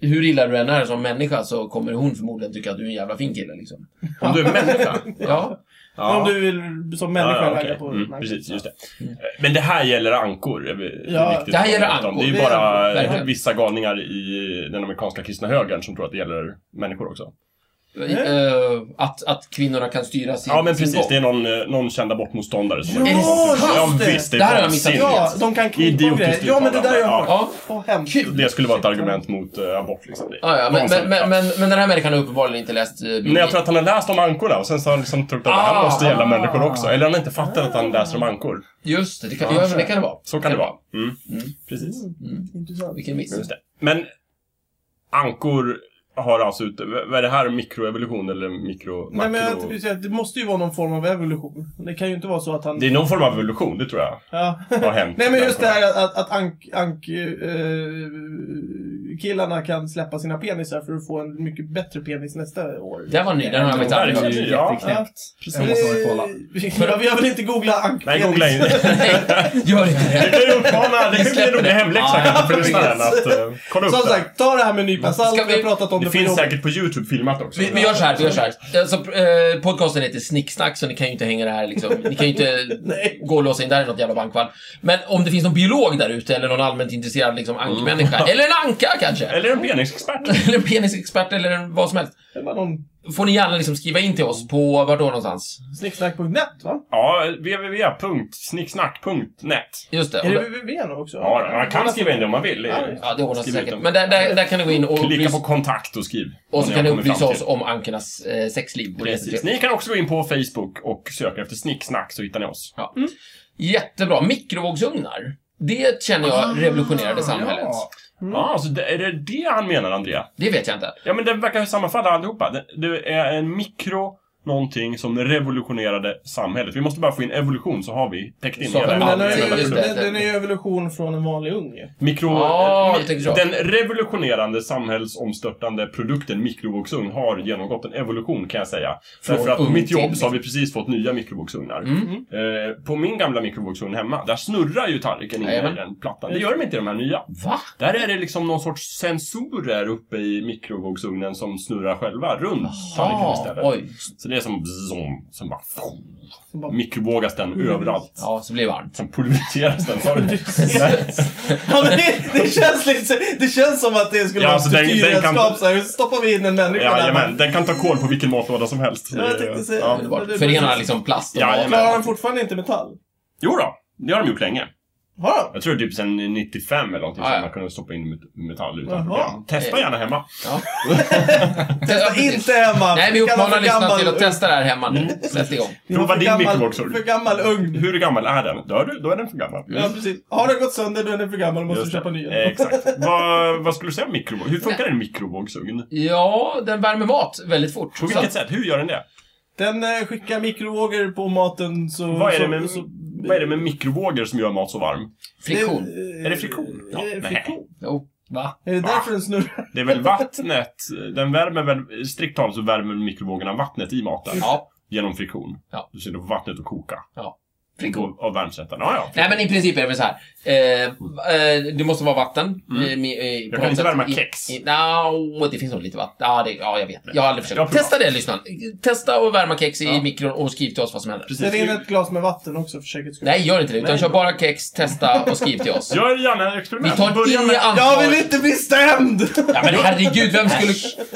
[SPEAKER 2] hur illa du än är som människa så kommer hon förmodligen tycka att du är en jävla fin kille liksom.
[SPEAKER 3] Om du är människa.
[SPEAKER 2] Ja.
[SPEAKER 1] Om du vill som människa
[SPEAKER 3] Ja, ja,
[SPEAKER 1] ragga
[SPEAKER 3] okej.
[SPEAKER 1] på
[SPEAKER 3] mm,
[SPEAKER 1] Nej.
[SPEAKER 3] precis, just det. Men det här gäller ankor. Det är
[SPEAKER 1] Ja,
[SPEAKER 2] Mm.
[SPEAKER 3] viktigt
[SPEAKER 2] det här
[SPEAKER 3] att
[SPEAKER 2] gäller
[SPEAKER 3] prata om.
[SPEAKER 2] ankor.
[SPEAKER 3] Det
[SPEAKER 1] Det
[SPEAKER 3] är
[SPEAKER 1] är
[SPEAKER 3] bara
[SPEAKER 2] verkligen.
[SPEAKER 3] vissa galningar i den amerikanska kristna högern som tror att det gäller människor också.
[SPEAKER 2] Eh, att, att kvinnorna kan styra sin
[SPEAKER 3] Ja, men
[SPEAKER 2] sin
[SPEAKER 3] precis.
[SPEAKER 2] gång.
[SPEAKER 3] Det är någon, eh, någon kända bortmotståndare som
[SPEAKER 1] Ja,
[SPEAKER 3] har gjort sånt.
[SPEAKER 1] just det.
[SPEAKER 3] Ja, visst, det
[SPEAKER 2] Det här har
[SPEAKER 3] är
[SPEAKER 2] jag missat.
[SPEAKER 3] vansinnigt.
[SPEAKER 1] Ja, de kan knipa
[SPEAKER 3] Idiotiskt
[SPEAKER 1] grejer. Ja, men det där har jag
[SPEAKER 3] uttalande.
[SPEAKER 1] hört.
[SPEAKER 2] Ja.
[SPEAKER 1] Åh, hemskt.
[SPEAKER 2] Kul.
[SPEAKER 3] Det skulle vara ett argument mot eh, abort. Liksom. Det-
[SPEAKER 2] Ja, ja, men,
[SPEAKER 3] någonstans.
[SPEAKER 2] men, men, men, men den här människan har uppenbarligen inte läst eh,
[SPEAKER 3] Nej, jag tror
[SPEAKER 2] biologi.
[SPEAKER 3] att han har läst om ankorna och sen så har han liksom trott att det här
[SPEAKER 2] Ah.
[SPEAKER 3] måste gälla människor också. Eller han har inte fattat att han läser om ankor.
[SPEAKER 2] Just det, det kan, ja, men det kan det vara.
[SPEAKER 3] Så kan det vara. Mm.
[SPEAKER 2] Mm.
[SPEAKER 3] Precis.
[SPEAKER 1] Intressant.
[SPEAKER 2] Vilken miss.
[SPEAKER 3] Just det. Men ankor har alltså ut... Vad är det här? Mikroevolution eller mikro...
[SPEAKER 1] Nej, men jag
[SPEAKER 3] makro-
[SPEAKER 1] vill säga att det måste ju vara någon form av evolution. Det kan ju inte vara så att han...
[SPEAKER 3] Det är någon form av evolution, det tror jag
[SPEAKER 1] Ja.
[SPEAKER 3] har hänt.
[SPEAKER 1] Nej, men just det här att- att, att ank, ank, eh, killarna kan släppa sina penisar för att få en mycket bättre penis nästa år.
[SPEAKER 2] Den var ny, den har jag faktiskt aldrig hört.
[SPEAKER 3] Verkligen. Ja,
[SPEAKER 4] Jätteknäppt.
[SPEAKER 1] Eh,
[SPEAKER 4] Den måste man ju kolla.
[SPEAKER 1] ja, vi har väl inte googlat ankpenis?
[SPEAKER 3] Nej, googla in. Det
[SPEAKER 2] Nej, gör inte det.
[SPEAKER 3] kan ju uppmana... Det kan bli en rolig hemläxa
[SPEAKER 2] Ja,
[SPEAKER 3] kanske för
[SPEAKER 2] precis.
[SPEAKER 3] lyssnaren att eh, kolla upp
[SPEAKER 1] Som
[SPEAKER 3] det.
[SPEAKER 1] sagt, ta det här med en nypa salt.
[SPEAKER 2] Ska
[SPEAKER 1] Vi har
[SPEAKER 2] vi-
[SPEAKER 1] pratat om det,
[SPEAKER 3] Det
[SPEAKER 1] på
[SPEAKER 3] finns
[SPEAKER 1] jobbet.
[SPEAKER 3] säkert på YouTube filmat också.
[SPEAKER 2] Vi, vi gör så här, vi gör så här. Alltså, eh, podcasten heter Snicksnack, så ni kan ju inte hänga det här liksom. Ni kan ju inte
[SPEAKER 1] Nej.
[SPEAKER 2] gå och låsa in där i något jävla bankvalv. Men om det finns någon biolog där ute, eller någon allmänt intresserad liksom, ankmänniska, eller en anka kanske,
[SPEAKER 3] Eller en penisexpert.
[SPEAKER 2] eller en penisexpert, eller en, vad som helst,
[SPEAKER 1] Det var någon
[SPEAKER 2] får ni gärna liksom skriva in till oss på, var då någonstans?
[SPEAKER 1] snicksnack.net, va?
[SPEAKER 3] Ja, www.snicksnack.net.
[SPEAKER 2] Just det.
[SPEAKER 1] Är
[SPEAKER 2] Och
[SPEAKER 1] det
[SPEAKER 2] där-
[SPEAKER 1] www nu också?
[SPEAKER 3] Ja, man kan skriva in det om man vill. Det-
[SPEAKER 2] Ja, det ordnar sig
[SPEAKER 3] Skriv ut
[SPEAKER 2] säkert.
[SPEAKER 3] dem.
[SPEAKER 2] Men där, där, där kan ni gå in och,
[SPEAKER 3] Klicka
[SPEAKER 2] upplys-
[SPEAKER 3] på kontakt och skriv.
[SPEAKER 2] och
[SPEAKER 3] vad
[SPEAKER 2] så
[SPEAKER 3] ni
[SPEAKER 2] kan ni
[SPEAKER 3] har kommit fram
[SPEAKER 2] upplysa oss
[SPEAKER 3] till.
[SPEAKER 2] om ankornas eh, sexliv. Det är
[SPEAKER 3] Precis.
[SPEAKER 2] jättetrevligt.
[SPEAKER 3] Ni kan också gå in på Facebook och söka efter Snicksnack så hittar ni oss.
[SPEAKER 2] Ja. Jättebra. Mikrovågsugnar. Det känner
[SPEAKER 1] Ah,
[SPEAKER 2] jag revolutionerade samhället.
[SPEAKER 4] Ja.
[SPEAKER 3] Ja, så det, är det det han menar, Andrea?
[SPEAKER 2] Det vet jag inte.
[SPEAKER 3] Ja, men det verkar sammanfalla allihopa. Det, det är en mikro någonting som revolutionerade samhället. Vi måste bara få in evolution så har vi täckt in
[SPEAKER 2] Så
[SPEAKER 3] hela
[SPEAKER 2] kan man
[SPEAKER 1] Men den,
[SPEAKER 3] allt.
[SPEAKER 1] är,
[SPEAKER 2] Ja,
[SPEAKER 1] ju-
[SPEAKER 2] just det.
[SPEAKER 1] den, den är ju evolution från en vanlig unge.
[SPEAKER 3] Mikro...
[SPEAKER 2] Ja,
[SPEAKER 3] eh,
[SPEAKER 2] du tänker så.
[SPEAKER 3] Den revolutionerande samhällsomstörtande produkten mikrovågsugn har genomgått en evolution kan jag säga.
[SPEAKER 2] Från
[SPEAKER 3] Därför att på
[SPEAKER 2] ugn
[SPEAKER 3] mitt
[SPEAKER 2] till
[SPEAKER 3] jobb så har vi precis fått nya mikrovågsugnar.
[SPEAKER 2] Mm.
[SPEAKER 3] Eh, på min gamla mikrovågsugn hemma, där snurrar ju tallriken in i
[SPEAKER 2] Jajamän.
[SPEAKER 3] den plattan. Det gör de inte i de här nya.
[SPEAKER 2] Va?
[SPEAKER 3] Där är det liksom någon sorts sensorer uppe i mikrovågsugnen som snurrar själva runt tallriken
[SPEAKER 2] Ja,
[SPEAKER 3] istället.
[SPEAKER 2] oj.
[SPEAKER 3] Så det är som zom, som bara...
[SPEAKER 1] Som bara-
[SPEAKER 3] Mikrovågas den överallt.
[SPEAKER 2] Ja, så blir det varmt.
[SPEAKER 3] Sen pulveriseras den, sa du?
[SPEAKER 1] Ja, men det, det, känns lite, så- det känns som att det skulle
[SPEAKER 3] Ja,
[SPEAKER 1] vara
[SPEAKER 3] alltså, den- den
[SPEAKER 1] tortyrredskap.
[SPEAKER 3] kan-
[SPEAKER 1] Så här, hur stoppar vi in en människa
[SPEAKER 3] Jajamän, den kan ta koll på vilken matlåda som helst.
[SPEAKER 1] Ja, jag tänkte säga-
[SPEAKER 3] Ja.
[SPEAKER 2] Underbart.
[SPEAKER 1] det är
[SPEAKER 2] Förena
[SPEAKER 1] precis.
[SPEAKER 2] liksom plast och
[SPEAKER 3] Jajamän.
[SPEAKER 2] mat.
[SPEAKER 1] Klarar de fortfarande inte metall?
[SPEAKER 3] Jo då, det har de gjort länge.
[SPEAKER 1] Har de?
[SPEAKER 3] Jag tror typ sen 95 eller någonting
[SPEAKER 2] Ja,
[SPEAKER 3] som
[SPEAKER 2] ja.
[SPEAKER 3] man kunde stoppa in met- metall utan
[SPEAKER 1] Jaha.
[SPEAKER 3] problem. Testa gärna hemma.
[SPEAKER 2] Ja.
[SPEAKER 1] Testa inte hemma!
[SPEAKER 2] Nej, vi
[SPEAKER 1] Kan vara
[SPEAKER 2] uppmanar
[SPEAKER 1] för
[SPEAKER 2] lyssnarna
[SPEAKER 1] gammal
[SPEAKER 2] till att
[SPEAKER 1] ugn.
[SPEAKER 2] testa det här hemma
[SPEAKER 1] Mm.
[SPEAKER 2] nu. Sätt igång.
[SPEAKER 1] Det var
[SPEAKER 3] Prova
[SPEAKER 1] för
[SPEAKER 3] din
[SPEAKER 1] gammal-
[SPEAKER 3] mikrovågsugn.
[SPEAKER 1] För gammal ugn.
[SPEAKER 3] Mm. Hur gammal är den? Dör du, då är den för gammal.
[SPEAKER 1] Ja, precis. Har den gått sönder, då är den för gammal och måste
[SPEAKER 3] Just det.
[SPEAKER 1] köpa nya.
[SPEAKER 3] Eh, exakt. vad, vad skulle du säga om mikrovåg? Hur funkar en mikrovågsugn?
[SPEAKER 2] Ja, den värmer mat väldigt fort. Så
[SPEAKER 3] På vilket sätt? Hur gör den det?
[SPEAKER 1] Den eh, skickar mikrovågor på maten så...
[SPEAKER 3] Vad är
[SPEAKER 1] så,
[SPEAKER 3] det med,
[SPEAKER 1] så,
[SPEAKER 3] vad är det med mikrovågor som gör mat så varm?
[SPEAKER 2] friktion.
[SPEAKER 3] Är det friktion? Ja,
[SPEAKER 1] är det
[SPEAKER 3] nej.
[SPEAKER 1] eh,
[SPEAKER 3] Ah,
[SPEAKER 1] friktion?
[SPEAKER 2] Jo. Va?
[SPEAKER 1] Är det därför den snurrar?
[SPEAKER 3] Det är väl vattnet? Den värmer väl, strikt talat så värmer mikrovågorna vattnet i maten.
[SPEAKER 2] Ja.
[SPEAKER 3] Genom friktion.
[SPEAKER 2] Ja.
[SPEAKER 3] Du ser då vattnet att koka.
[SPEAKER 2] Ja. Friktion.
[SPEAKER 3] Och, och varmsättarna. Mm. Ja, ja.
[SPEAKER 2] Nej men i princip är det väl så här. Eh, eh, det måste vara vatten.
[SPEAKER 3] Mm.
[SPEAKER 2] Eh, med- eh, på
[SPEAKER 3] kan
[SPEAKER 2] något
[SPEAKER 3] inte
[SPEAKER 2] sätt.
[SPEAKER 3] värma
[SPEAKER 2] I-
[SPEAKER 3] kex.
[SPEAKER 2] i- Nja, det finns nog lite vatten. Ja, det, ja jag vet. Jag har aldrig
[SPEAKER 3] Ja,
[SPEAKER 2] försökt.
[SPEAKER 3] bra.
[SPEAKER 2] Testa det lyssnarna. Testa att värma kex i
[SPEAKER 3] Ja.
[SPEAKER 2] mikron och skriv till oss vad som händer.
[SPEAKER 3] Precis.
[SPEAKER 1] Ställ in ett glas med vatten också för säkerhets skull.
[SPEAKER 2] Nej, gör inte det. Utan
[SPEAKER 3] Nej.
[SPEAKER 2] kör bara kex, testa och skriv till oss.
[SPEAKER 3] Gör gärna ett
[SPEAKER 2] Vi
[SPEAKER 3] experiment.
[SPEAKER 2] tar
[SPEAKER 3] Börja
[SPEAKER 2] inget
[SPEAKER 3] med...
[SPEAKER 2] ansvar.
[SPEAKER 1] Jag vill inte bli stämd!
[SPEAKER 2] Ja, men herregud, vem skulle...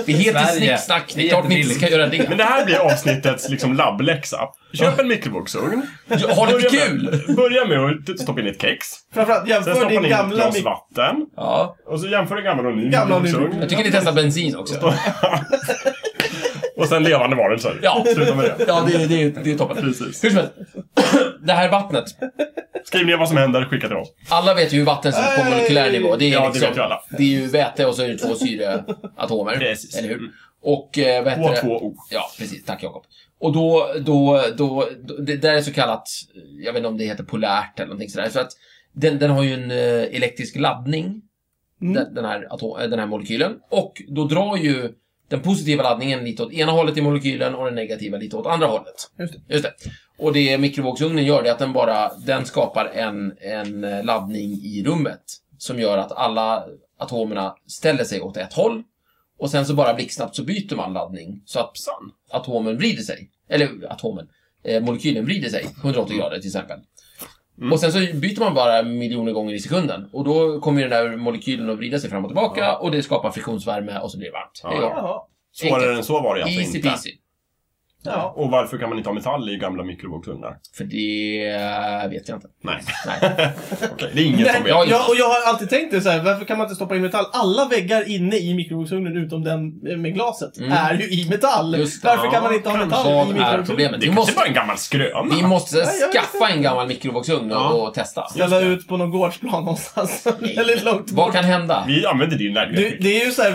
[SPEAKER 2] Det heter
[SPEAKER 4] Sverige.
[SPEAKER 2] snicksnack. Det
[SPEAKER 4] Det
[SPEAKER 2] är
[SPEAKER 4] är
[SPEAKER 2] klart ni inte ska göra
[SPEAKER 3] Men
[SPEAKER 2] det.
[SPEAKER 3] det här blir avsnittets liksom, labbläxa. Köp en mikrovågsugn.
[SPEAKER 2] Ja, Ha lite
[SPEAKER 3] Börja
[SPEAKER 2] kul!
[SPEAKER 3] Med, börja med att stoppa in ett kex.
[SPEAKER 1] Framförallt
[SPEAKER 3] Sen
[SPEAKER 1] jämför
[SPEAKER 3] stoppar
[SPEAKER 1] din
[SPEAKER 3] ni in ett
[SPEAKER 1] gamla
[SPEAKER 3] glas
[SPEAKER 1] mik-
[SPEAKER 3] vatten.
[SPEAKER 2] Ja.
[SPEAKER 3] Och så jämför den gamla och ny
[SPEAKER 1] Gamla och ny.
[SPEAKER 3] mikrovågsugn.
[SPEAKER 2] Jag tycker ni testar bensin också.
[SPEAKER 3] Och sen levande varelser.
[SPEAKER 2] Ja.
[SPEAKER 3] Sluta med det.
[SPEAKER 2] Ja, det, det, det är toppen.
[SPEAKER 3] Precis.
[SPEAKER 2] Hur som helst. Det här vattnet.
[SPEAKER 3] Skriv ner vad som händer, skicka till oss.
[SPEAKER 2] Alla vet ju hur vatten ser ut på
[SPEAKER 1] Nej.
[SPEAKER 2] molekylär nivå. Det är,
[SPEAKER 3] Ja, det
[SPEAKER 2] liksom,
[SPEAKER 3] vet ju alla.
[SPEAKER 2] det är ju väte och så är det två syreatomer.
[SPEAKER 3] Precis.
[SPEAKER 2] Eller hur? Och eh, vad heter det?
[SPEAKER 3] H2O.
[SPEAKER 2] Ja, precis. Tack Jakob. Och då, då, då, då, det där är så kallat, jag vet inte om det heter polärt eller någonting sådär. Så att den, den har ju en eh, elektrisk laddning,
[SPEAKER 1] Mm.
[SPEAKER 2] den, den, här atom, eh, den här molekylen. Och då drar ju den positiva laddningen lite åt ena hållet i molekylen och den negativa lite åt andra hållet.
[SPEAKER 1] Just det.
[SPEAKER 2] Just det. Och det mikrovågsugnen gör det är att den bara, den skapar en, en eh, laddning i rummet. Som gör att alla atomerna ställer sig åt ett håll. Och sen så bara blixtsnabbt så byter man laddning. Så att
[SPEAKER 3] Psan.
[SPEAKER 2] atomen vrider sig. Eller atomen. Eh, molekylen vrider sig 180 grader till exempel.
[SPEAKER 3] Mm.
[SPEAKER 2] Och sen så byter man bara miljoner gånger i sekunden. Och då kommer ju den där molekylen att vrida sig fram och tillbaka.
[SPEAKER 3] Ja.
[SPEAKER 2] Och det skapar friktionsvärme och så blir det varmt.
[SPEAKER 3] Ja,
[SPEAKER 2] Det är
[SPEAKER 3] ja.
[SPEAKER 1] Jaha.
[SPEAKER 3] Svårare än så var det alltså
[SPEAKER 2] Easy
[SPEAKER 3] inte.
[SPEAKER 2] peasy.
[SPEAKER 1] Ja.
[SPEAKER 3] Och varför kan man inte ha metall i gamla mikrovågsugnar?
[SPEAKER 2] För det eh, vet jag inte.
[SPEAKER 3] Nej.
[SPEAKER 2] Nej.
[SPEAKER 3] Okej, det är Mm. ingen som
[SPEAKER 1] Nej,
[SPEAKER 3] vet.
[SPEAKER 2] Ja,
[SPEAKER 1] jag, och jag har alltid tänkt det så här, varför kan man inte stoppa in metall? Alla väggar inne i mikrovågsugnen utom den eh, med glaset
[SPEAKER 2] Mm.
[SPEAKER 1] är ju i metall.
[SPEAKER 2] Just det.
[SPEAKER 1] varför kan man inte ha
[SPEAKER 3] Ja,
[SPEAKER 1] metall i
[SPEAKER 2] Vad är
[SPEAKER 1] mikrovågsugnen?
[SPEAKER 2] problemet? Vi
[SPEAKER 3] Det kanske
[SPEAKER 2] måste,
[SPEAKER 3] var en gammal skröna.
[SPEAKER 2] vi måste
[SPEAKER 1] Nej, jag vet
[SPEAKER 2] skaffa en gammal mikrovågsugn och,
[SPEAKER 3] Ja.
[SPEAKER 2] och testa.
[SPEAKER 1] Ställa ut på någon gårdsplan någonstans. Eller långt
[SPEAKER 2] Vad
[SPEAKER 1] bort.
[SPEAKER 2] kan hända?
[SPEAKER 3] Vi använder din
[SPEAKER 1] Det,
[SPEAKER 3] lägenhet.
[SPEAKER 1] det är ju så här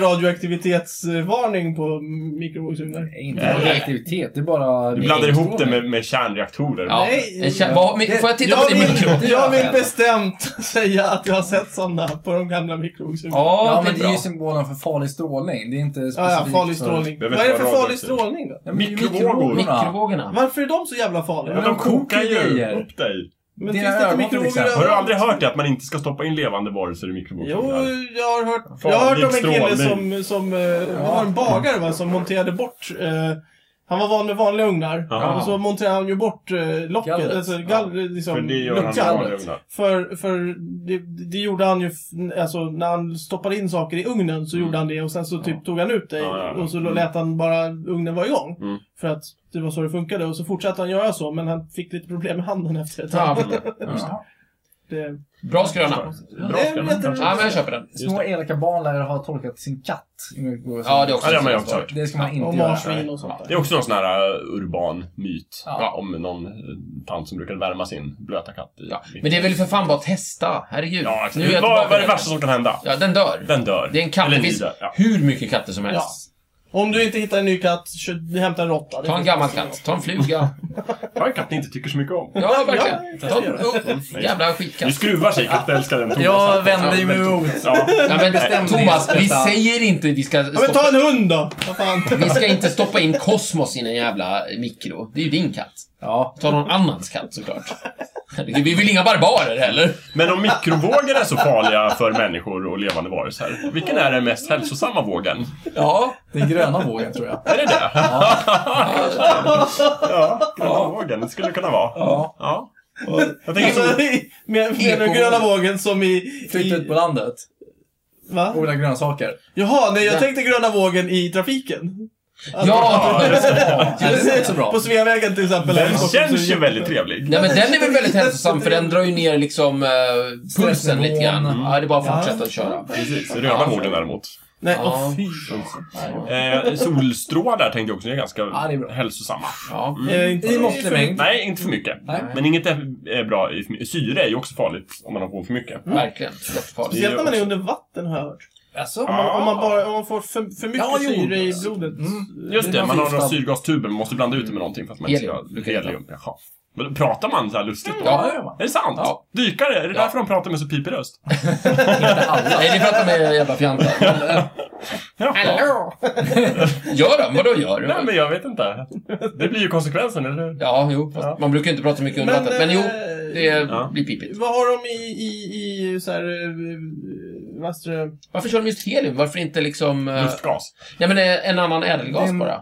[SPEAKER 1] radioaktivitetsvarning på mikrovågsugnar.
[SPEAKER 4] Inte radioaktivitet, det är bara...
[SPEAKER 3] Du blandar ihop det med, med kärnreaktorer.
[SPEAKER 2] Ja.
[SPEAKER 1] Nej.
[SPEAKER 2] En kä- vad, men, får jag titta
[SPEAKER 1] Jag
[SPEAKER 2] på din
[SPEAKER 1] vill,
[SPEAKER 2] mikro?
[SPEAKER 1] jag vill bestämt säga att jag har sett sådana på de gamla mikrovågsugnarna.
[SPEAKER 2] Ja,
[SPEAKER 4] Ja,
[SPEAKER 2] det
[SPEAKER 4] men
[SPEAKER 2] är
[SPEAKER 4] det är
[SPEAKER 2] bra.
[SPEAKER 4] ju symbolen för farlig strålning. Det är inte specifikt
[SPEAKER 1] Ja, ja, farlig
[SPEAKER 4] för-
[SPEAKER 1] strålning.
[SPEAKER 3] Jag
[SPEAKER 1] Vad
[SPEAKER 3] vet
[SPEAKER 1] är det
[SPEAKER 3] inte
[SPEAKER 1] för
[SPEAKER 3] vad
[SPEAKER 1] farlig
[SPEAKER 3] radio
[SPEAKER 1] strålning då?
[SPEAKER 4] Ja, men det är ju
[SPEAKER 3] Mikrovågor.
[SPEAKER 4] Mikrovågorna.
[SPEAKER 2] Mikrovågorna.
[SPEAKER 1] Varför är de så jävla farliga?
[SPEAKER 3] Men de kokar ju
[SPEAKER 4] grejer.
[SPEAKER 3] upp dig.
[SPEAKER 1] Men
[SPEAKER 4] Dina
[SPEAKER 1] finns det inte
[SPEAKER 4] ögon liksom- till
[SPEAKER 1] mikrovågor
[SPEAKER 4] exempel.
[SPEAKER 3] Har du
[SPEAKER 1] överallt?
[SPEAKER 3] aldrig hört det att man inte ska stoppa in levande varelser i
[SPEAKER 1] Jo,
[SPEAKER 3] mikrovågsugnar?
[SPEAKER 1] jag har hört,
[SPEAKER 3] Farlig
[SPEAKER 1] jag har hört om en kille som,
[SPEAKER 3] strålning.
[SPEAKER 1] som eh, var en bagare va, som monterade bort eh, han var van med vanliga ugnar
[SPEAKER 3] Aha.
[SPEAKER 1] och så monterade han ju bort eh, locket,
[SPEAKER 4] Gallret.
[SPEAKER 1] alltså gallret, liksom,
[SPEAKER 3] För det gör han i
[SPEAKER 1] luckan.
[SPEAKER 3] vanliga ugnar.
[SPEAKER 1] För, för det, det gjorde han ju, f- alltså när han stoppade in saker i ugnen så gjorde han det och sen så typ tog han ut det
[SPEAKER 3] Mm. Ja, ja, ja.
[SPEAKER 1] och så lät han bara ugnen vara igång.
[SPEAKER 3] Mm.
[SPEAKER 1] För att det var så det funkade och så fortsatte han göra så men han fick lite problem med handen efter ett tag.
[SPEAKER 2] Ja,
[SPEAKER 4] Ja.
[SPEAKER 1] Det,
[SPEAKER 2] bra skröna.
[SPEAKER 3] Bra
[SPEAKER 1] Det är
[SPEAKER 3] skröna.
[SPEAKER 1] jättebra.
[SPEAKER 2] Ja, men jag köper den.
[SPEAKER 4] Små elaka barn lär ha tolkat sin katt. i mikrovågsugnen.
[SPEAKER 2] Ja, det är också
[SPEAKER 3] Ja, det har man ju
[SPEAKER 2] en
[SPEAKER 3] också hört.
[SPEAKER 4] Det ska man
[SPEAKER 1] och
[SPEAKER 4] inte göra.
[SPEAKER 1] marsvin och sånt där.
[SPEAKER 3] Det är också någon sån här eh, urban myt.
[SPEAKER 4] Ja.
[SPEAKER 3] Om någon eh, tant som brukade värma sin blöta katt i
[SPEAKER 2] Ja. Men det är väl för fan bara att testa. Herregud.
[SPEAKER 3] Ja, exakt.
[SPEAKER 2] Nu är jag
[SPEAKER 3] vad,
[SPEAKER 2] tillbaka
[SPEAKER 3] vad är det
[SPEAKER 2] där.
[SPEAKER 3] värsta som kan hända?
[SPEAKER 2] Ja, den dör.
[SPEAKER 3] Den dör.
[SPEAKER 2] Det är en katt.
[SPEAKER 3] Eller
[SPEAKER 2] Det
[SPEAKER 3] ni
[SPEAKER 2] finns
[SPEAKER 3] dör. Ja.
[SPEAKER 2] hur mycket katter som helst.
[SPEAKER 1] Om du inte hittar en ny katt, kö- hämta en råtta. Det
[SPEAKER 2] Ta en
[SPEAKER 1] finns-
[SPEAKER 2] gammal katt. Ta en fluga.
[SPEAKER 3] Jag har en katt ni inte tycker så mycket om.
[SPEAKER 2] Ja, verkligen.
[SPEAKER 1] Ja,
[SPEAKER 2] Ta en oh, jävla
[SPEAKER 3] Nu
[SPEAKER 2] skitkatt.
[SPEAKER 3] skruvar sig kattälskaren Thomas.
[SPEAKER 4] Jag vänder mig emot.
[SPEAKER 3] Ja.
[SPEAKER 2] Ja, men,
[SPEAKER 4] bestämning.
[SPEAKER 2] Thomas, vi säger inte vi ska
[SPEAKER 1] Ja, men
[SPEAKER 2] stoppa
[SPEAKER 1] ta en hund då! Vad fan.
[SPEAKER 2] Vi ska inte stoppa in kosmos i en jävla mikro. Det är ju din katt.
[SPEAKER 4] Ja.
[SPEAKER 2] Ta någon annans katt såklart. Herregud, Vi vill inga barbarer heller.
[SPEAKER 3] Men om mikrovågor är så farliga för människor och levande varelser, vilken är den mest hälsosamma vågen?
[SPEAKER 2] Ja.
[SPEAKER 4] Den gröna vågen tror jag.
[SPEAKER 3] Är det det? Ja, gröna vågen. Det skulle det kunna vara.
[SPEAKER 4] Ja.
[SPEAKER 3] Ja.
[SPEAKER 4] Och
[SPEAKER 3] Jag tänker
[SPEAKER 1] Alltså,
[SPEAKER 3] så...
[SPEAKER 1] i- med, med den
[SPEAKER 2] Eko.
[SPEAKER 1] gröna vågen som i...
[SPEAKER 4] flytta ut på
[SPEAKER 1] i
[SPEAKER 4] landet.
[SPEAKER 1] va?
[SPEAKER 4] Odla grönsaker.
[SPEAKER 1] Jaha, nej jag
[SPEAKER 2] Ja.
[SPEAKER 1] tänkte gröna vågen i trafiken. Alltså,
[SPEAKER 2] Ja!
[SPEAKER 3] Ja, just det.
[SPEAKER 4] Ja, det är också bra.
[SPEAKER 1] På Sveavägen till exempel.
[SPEAKER 3] Den känns ju väldigt trevlig.
[SPEAKER 2] Nej men den är väl väldigt hälsosam för den drar ju ner liksom eh, pulsen
[SPEAKER 4] Stressnivån.
[SPEAKER 2] lite grann.
[SPEAKER 4] Mm.
[SPEAKER 2] Ja, det är bara att fortsätta att köra.
[SPEAKER 3] Precis. Röda vågen däremot.
[SPEAKER 1] Nej,
[SPEAKER 2] Ja.
[SPEAKER 1] åh fy. alltså.
[SPEAKER 3] Eh, solstrålar tänkte jag också är ganska
[SPEAKER 4] Ja, det är bra.
[SPEAKER 3] hälsosamma.
[SPEAKER 2] Ja.
[SPEAKER 3] Mm.
[SPEAKER 1] Eh, inte-
[SPEAKER 4] I måttlig mängd.
[SPEAKER 3] Nej, inte för mycket.
[SPEAKER 4] Nej.
[SPEAKER 3] Men inget är är bra. i för mycket. Syre är ju också farligt om man har på för mycket.
[SPEAKER 2] Verkligen. Jättefarligt.
[SPEAKER 1] Speciellt när man är under vatten har jag hört.
[SPEAKER 4] Alltså,
[SPEAKER 1] Om man, om man, bara, om man får för, för mycket
[SPEAKER 4] Ja, jo.
[SPEAKER 1] syre i blodet.
[SPEAKER 4] Mm.
[SPEAKER 3] Just det, man har några
[SPEAKER 4] förgiftad.
[SPEAKER 3] syrgastuber. Man måste blanda ut det med någonting för att man inte ska...
[SPEAKER 2] Helium brukar det
[SPEAKER 3] Helium. Jaha. Men pratar man så här lustigt då?
[SPEAKER 2] Ja.
[SPEAKER 4] Ja, det gör man.
[SPEAKER 3] Är det sant?
[SPEAKER 2] Ja.
[SPEAKER 3] Dykare? Är det
[SPEAKER 2] Ja.
[SPEAKER 3] därför de pratar med så pipig röst?
[SPEAKER 2] Nej, det är för att de är jävla fjantar. Men, eh,
[SPEAKER 1] Hallå!
[SPEAKER 2] Gör de? Vadå gör
[SPEAKER 3] Nej,
[SPEAKER 2] de?
[SPEAKER 3] men jag vet inte. Det blir ju konsekvensen, eller hur?
[SPEAKER 2] Ja, jo. fast
[SPEAKER 3] Ja.
[SPEAKER 2] Man brukar ju inte prata så mycket under
[SPEAKER 1] Men,
[SPEAKER 2] vattnet. Men jo,
[SPEAKER 1] eh,
[SPEAKER 2] det
[SPEAKER 3] ja.
[SPEAKER 2] blir pipigt.
[SPEAKER 1] Vad har de i, i, i så här, eh, vad heter det?
[SPEAKER 2] Varför kör de just helium? Varför inte liksom... eh,
[SPEAKER 3] Luftgas.
[SPEAKER 2] Nej, men eh, en annan ädelgas
[SPEAKER 4] Mm.
[SPEAKER 2] bara.